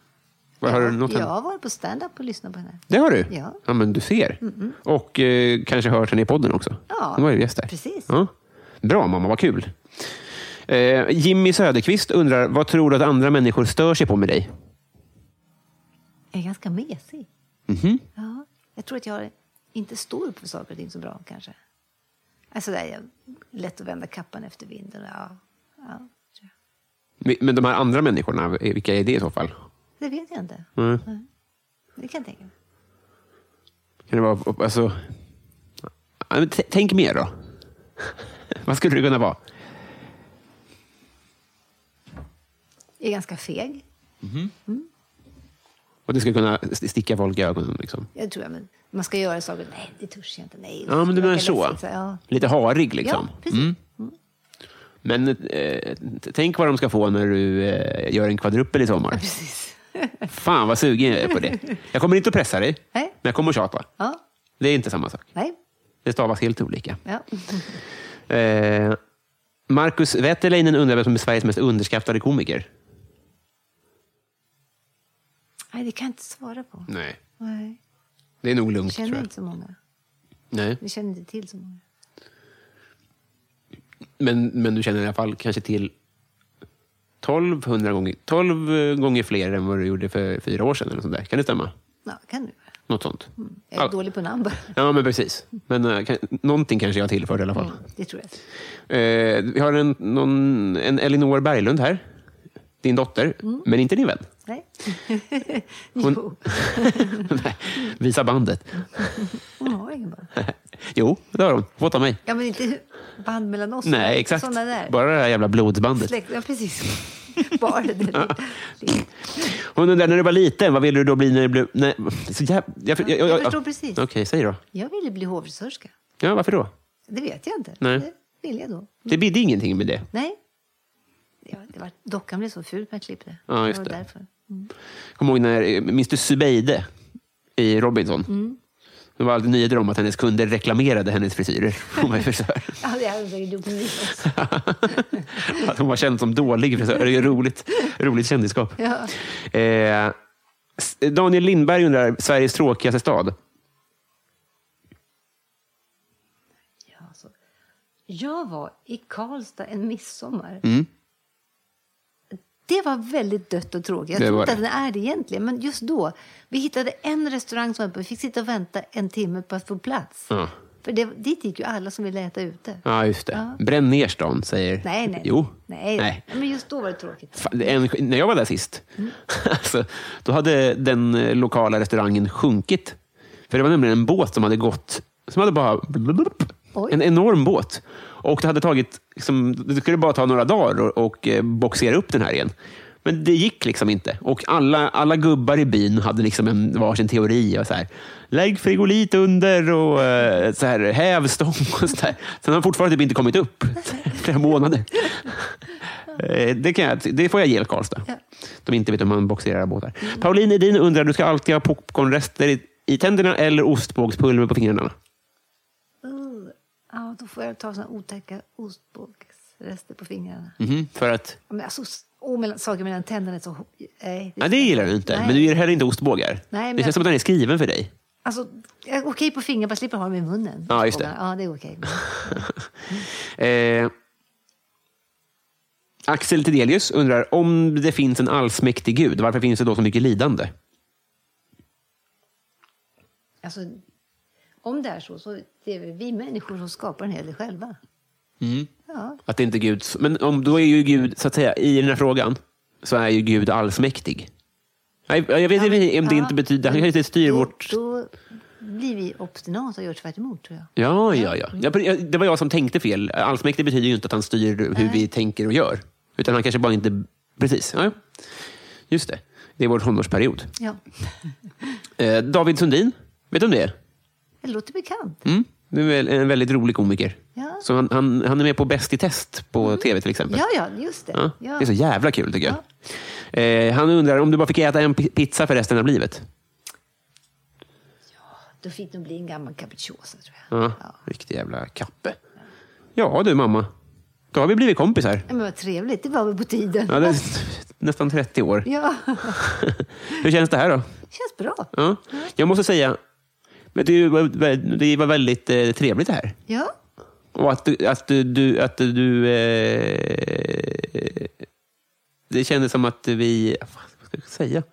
[SPEAKER 1] Vad har du nått
[SPEAKER 2] jag
[SPEAKER 1] henne?
[SPEAKER 2] har varit på stand-up och lyssnat på henne.
[SPEAKER 1] Det har du?
[SPEAKER 2] Ja.
[SPEAKER 1] men du ser. Och eh, kanske hört henne i podden också.
[SPEAKER 2] Ja,
[SPEAKER 1] Hon var ju gäst där.
[SPEAKER 2] precis.
[SPEAKER 1] Ja. Bra mamma, vad kul. Eh, Jimmy Söderqvist undrar, vad tror du att andra människor stör sig på med dig?
[SPEAKER 2] Jag är ganska mesig.
[SPEAKER 1] Mhm.
[SPEAKER 2] Ja, jag tror att jag inte står upp för saker och ting så bra kanske. Alltså, där, jag lätt att vända kappan efter vinden. Ja, ja, tror jag.
[SPEAKER 1] Vi- Men de här andra människorna, eh, vilka är det i så fall?
[SPEAKER 2] det vet jag inte.
[SPEAKER 1] Mm.
[SPEAKER 2] Nej. Det kan jag tänka mig.
[SPEAKER 1] Kan det vara, alltså... Ja, men t- Tänk mer då. vad skulle det kunna vara?
[SPEAKER 2] Jag är ganska feg.
[SPEAKER 1] Och det skulle kunna st- sticka folk i ögonen. Liksom.
[SPEAKER 2] Jag tror jag, men man ska göra saker. Nej, det törs jag inte. Nej,
[SPEAKER 1] Ja, men du
[SPEAKER 2] det
[SPEAKER 1] menar
[SPEAKER 2] verkar
[SPEAKER 1] så.
[SPEAKER 2] läskigt, Ja,
[SPEAKER 1] Lite harig liksom.
[SPEAKER 2] ja precis.
[SPEAKER 1] Men eh, t- tänk vad de ska få när du eh, gör en kvadruppel i sommar.
[SPEAKER 2] precis.
[SPEAKER 1] Fan vad sugen jag är på det. Jag kommer inte att pressa dig,
[SPEAKER 2] Nej.
[SPEAKER 1] men jag kommer att tjata.
[SPEAKER 2] Ja,
[SPEAKER 1] Det är inte samma sak.
[SPEAKER 2] nej.
[SPEAKER 1] Det stavas helt olika.
[SPEAKER 2] Ja.
[SPEAKER 1] Eh, Marcus Wetterleinen undrar vem som är Sveriges mest underskattade komiker.
[SPEAKER 2] Nej, det kan jag inte svara på.
[SPEAKER 1] Nej,
[SPEAKER 2] Nej.
[SPEAKER 1] det är nog
[SPEAKER 2] Jag
[SPEAKER 1] lugnt tror
[SPEAKER 2] känner
[SPEAKER 1] jag.
[SPEAKER 2] inte så många.
[SPEAKER 1] Nej.
[SPEAKER 2] Vi känner inte till så många.
[SPEAKER 1] Men, men du känner i alla fall kanske till 1200 gånger, 12 gånger fler än vad du gjorde för fyra år sedan. Eller något sånt där. Kan det stämma?
[SPEAKER 2] Ja, kan du.
[SPEAKER 1] Något sånt.
[SPEAKER 2] Jag är
[SPEAKER 1] Ja.
[SPEAKER 2] dålig på namn bara.
[SPEAKER 1] Ja, men precis. Men eh, kan, någonting kanske jag tillförde i alla fall.
[SPEAKER 2] Det tror jag.
[SPEAKER 1] Eh, vi har en, någon, en Elinor Berglund här. Din dotter,
[SPEAKER 2] Mm.
[SPEAKER 1] men inte din vän.
[SPEAKER 2] Nej.
[SPEAKER 1] Hon-
[SPEAKER 2] Hon...
[SPEAKER 1] Nej, Visa bandet.
[SPEAKER 2] Hon har ingen barn.
[SPEAKER 1] Jo, det har hon. Fått av mig.
[SPEAKER 2] Ja, men inte band mellan oss.
[SPEAKER 1] Nej, exakt.
[SPEAKER 2] Sådana där.
[SPEAKER 1] Bara det här jävla blodsbandet.
[SPEAKER 2] Släkt. Ja, precis. Bara det. där.
[SPEAKER 1] Hon undrar, när du var liten, vad ville du då bli när du blev... Nej, så jäv... jag, jag,
[SPEAKER 2] Jag förstår precis.
[SPEAKER 1] Okej, säg då.
[SPEAKER 2] Jag ville bli hovfrisörska.
[SPEAKER 1] Ja, varför då?
[SPEAKER 2] Det vet jag inte.
[SPEAKER 1] Nej.
[SPEAKER 2] Det ville jag då.
[SPEAKER 1] Det bidde ingenting med det.
[SPEAKER 2] Nej. Ja, det var, dockan blev så ful när jag klippte.
[SPEAKER 1] Ja, just
[SPEAKER 2] var
[SPEAKER 1] det.
[SPEAKER 2] Därför.
[SPEAKER 1] Kommer ihåg när, eh, minns du Subeide i Robinson?
[SPEAKER 2] Mm.
[SPEAKER 1] Det var alltid nyheter om att hennes kunder reklamerade hennes frisyrer. Hon var, ju frisör.
[SPEAKER 2] Ja, det hade jag gjort nu.
[SPEAKER 1] att hon var känd som dålig frisör. Det är ju roligt, roligt kändisskap.
[SPEAKER 2] Ja.
[SPEAKER 1] Eh, S- Daniel Lindberg undrar, Sveriges tråkigaste stad?
[SPEAKER 2] Ja, alltså. Jag var i Karlstad en midsommar.
[SPEAKER 1] Mm.
[SPEAKER 2] Det var väldigt dött och tråkigt. Jag
[SPEAKER 1] Det
[SPEAKER 2] tror
[SPEAKER 1] var
[SPEAKER 2] inte att
[SPEAKER 1] det.
[SPEAKER 2] den är det egentligen, men just då. Vi hittade en restaurang som öppnade. Vi fick sitta och vänta en timme på att få plats.
[SPEAKER 1] Ja.
[SPEAKER 2] För det, dit gick ju alla som ville äta ute.
[SPEAKER 1] Ja, just det. Bränn ner stan, säger...
[SPEAKER 2] Nej, nej.
[SPEAKER 1] Jo.
[SPEAKER 2] Nej. Men just då var det tråkigt.
[SPEAKER 1] Fan, det är En, när jag var där sist,
[SPEAKER 2] Mm.
[SPEAKER 1] alltså, då hade den eh, lokala restaurangen sjunkit. För det var nämligen en båt som hade gått, som hade bara...
[SPEAKER 2] Oj.
[SPEAKER 1] En enorm båt. Och det hade tagit, liksom, det skulle bara ta några dagar och, och eh, boxera upp den här igen. Men det gick liksom inte. Och alla, alla gubbar i byn hade liksom en varsin teori. Och så här, Lägg frigolit under och eh, så här, häv stång. Och så där. Sen har fortfarande typ inte kommit upp. Flera månader. Eh, Det, kan jag, det får jag ge Karlstad.
[SPEAKER 2] Ja.
[SPEAKER 1] De inte vet hur man boxerar båtar. Pauline Edin undrar, du ska alltid ha popcornrester i, i tänderna eller ostbågspulver på fingrarna?
[SPEAKER 2] Uh, ja, då får jag ta såna otäcka ostbågsrester på fingrarna.
[SPEAKER 1] Mhm, För att,
[SPEAKER 2] Ja, Men alltså, s- åh, mellan, saker mellan tänderna är så... ho- Nej,
[SPEAKER 1] nej, det gillar du inte,
[SPEAKER 2] Nej.
[SPEAKER 1] men du gillar heller inte ostbågar.
[SPEAKER 2] Nej, men
[SPEAKER 1] det känns
[SPEAKER 2] jag-
[SPEAKER 1] som att den är skriven för dig.
[SPEAKER 2] Alltså, jag är okej på fingrar, bara slipper ha dem i munnen.
[SPEAKER 1] Ja, just det.
[SPEAKER 2] Ja, det är okej.
[SPEAKER 1] Eh, Axel Tidelius undrar, om det finns en allsmäktig gud, varför finns det då så mycket lidande?
[SPEAKER 2] Alltså, om det är så, så det är väl vi människor som skapar en hel del själva. Ja,
[SPEAKER 1] Att det inte är Gud, men om, då är ju Gud, så att säga, i den här frågan, så är ju Gud allsmäktig. Nej, jag vet inte om det
[SPEAKER 2] ja. Mm.
[SPEAKER 1] inte betyder, han kanske inte styr
[SPEAKER 2] då,
[SPEAKER 1] vårt
[SPEAKER 2] Då blir vi obstinata och gör tvärt emot, tror jag.
[SPEAKER 1] Ja, ja, ja. ja. pre- ja, Det var jag som tänkte fel. Allsmäktig betyder ju inte att han styr hur vi tänker och gör. Utan han kanske bara inte... Precis. Ja, ja. just det. Det är vår tonårsperiod.
[SPEAKER 2] Ja,
[SPEAKER 1] Eh, David Sundin, vet du om det är?
[SPEAKER 2] det låter bekant.
[SPEAKER 1] Mm. Det är väl en väldigt rolig komiker.
[SPEAKER 2] Ja.
[SPEAKER 1] Så han, han, han är med på Bäst i test på tv till exempel.
[SPEAKER 2] Ja, ja, just det.
[SPEAKER 1] Mm. Ja. Det är så jävla kul tycker jag. Eh, han undrar om du bara fick äta en pi- pizza för resten av livet.
[SPEAKER 2] Då fick de bli en gammal capricciosa, tror jag.
[SPEAKER 1] Ja. Riktig jävla kappe. Ja du mamma, då har vi blivit kompisar.
[SPEAKER 2] Men vad trevligt, det var väl på tiden.
[SPEAKER 1] Ja, det är nästan 30 år.
[SPEAKER 2] Ja,
[SPEAKER 1] Hur känns det här då?
[SPEAKER 2] känns bra.
[SPEAKER 1] Ja. Jag måste säga, men det, var- det var väldigt eh, trevligt det här.
[SPEAKER 2] Ja,
[SPEAKER 1] Och att du... Att du, du, att du eh, det kändes som att vi... Vad ska jag säga?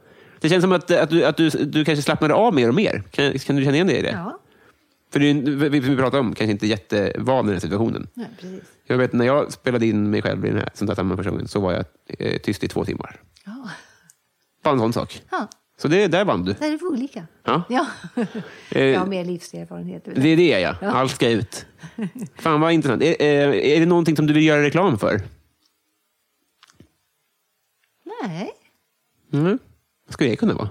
[SPEAKER 1] Det känns som att, att, du, att du, du kanske slappnade av mer och mer. Kan, kan du känna igen dig i det?
[SPEAKER 2] ja.
[SPEAKER 1] För det är ju- vi, vi pratar om kanske inte jättevan i den här situationen.
[SPEAKER 2] Nej, precis.
[SPEAKER 1] Jag vet när jag spelade in mig själv i den här sånt här samma personen så var jag eh, tyst i två timmar.
[SPEAKER 2] Ja.
[SPEAKER 1] Bara en sån sak.
[SPEAKER 2] Ja.
[SPEAKER 1] Så det, där vann du.
[SPEAKER 2] Där är vi olika.
[SPEAKER 1] Ja.
[SPEAKER 2] ja.
[SPEAKER 1] Eh,
[SPEAKER 2] Jag har mer livserfarenhet.
[SPEAKER 1] Det är det, ja. Allt ska ut. Fan vad intressant. Är, är, är det någonting som du vill göra reklam för?
[SPEAKER 2] Nej,
[SPEAKER 1] Mm. Vad skulle det kunna vara?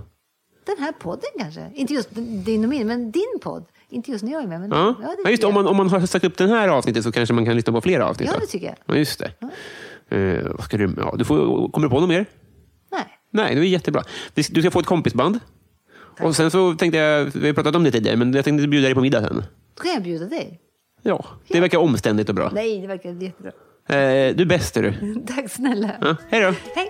[SPEAKER 2] den här podden kanske. Inte just din och min, men din podd. Inte just när jag är med. Men
[SPEAKER 1] Ja.
[SPEAKER 2] det
[SPEAKER 1] Ja, just, det.
[SPEAKER 2] tycker
[SPEAKER 1] om, man,
[SPEAKER 2] jag.
[SPEAKER 1] om man har sagt upp den här avsnittet så kanske man kan lyssna på flera avsnitt.
[SPEAKER 2] Ja,
[SPEAKER 1] då.
[SPEAKER 2] det tycker jag.
[SPEAKER 1] Ja, just det. Eh, vad ska du, ja, du får, kommer du på något mer?
[SPEAKER 2] Nej.
[SPEAKER 1] Nej, det är jättebra. Vi- Du ska få ett kompisband. Och sen så tänkte jag, vi har pratat om det tidigare, men jag tänkte bjuda dig på middag sen.
[SPEAKER 2] Då kan jag bjuda dig.
[SPEAKER 1] Ja, det verkar omständigt och bra.
[SPEAKER 2] Nej, Mm. det verkar jättebra.
[SPEAKER 1] Eh, du är bäst, är du.
[SPEAKER 2] Tack snälla.
[SPEAKER 1] Ja, hej då.
[SPEAKER 2] Hej.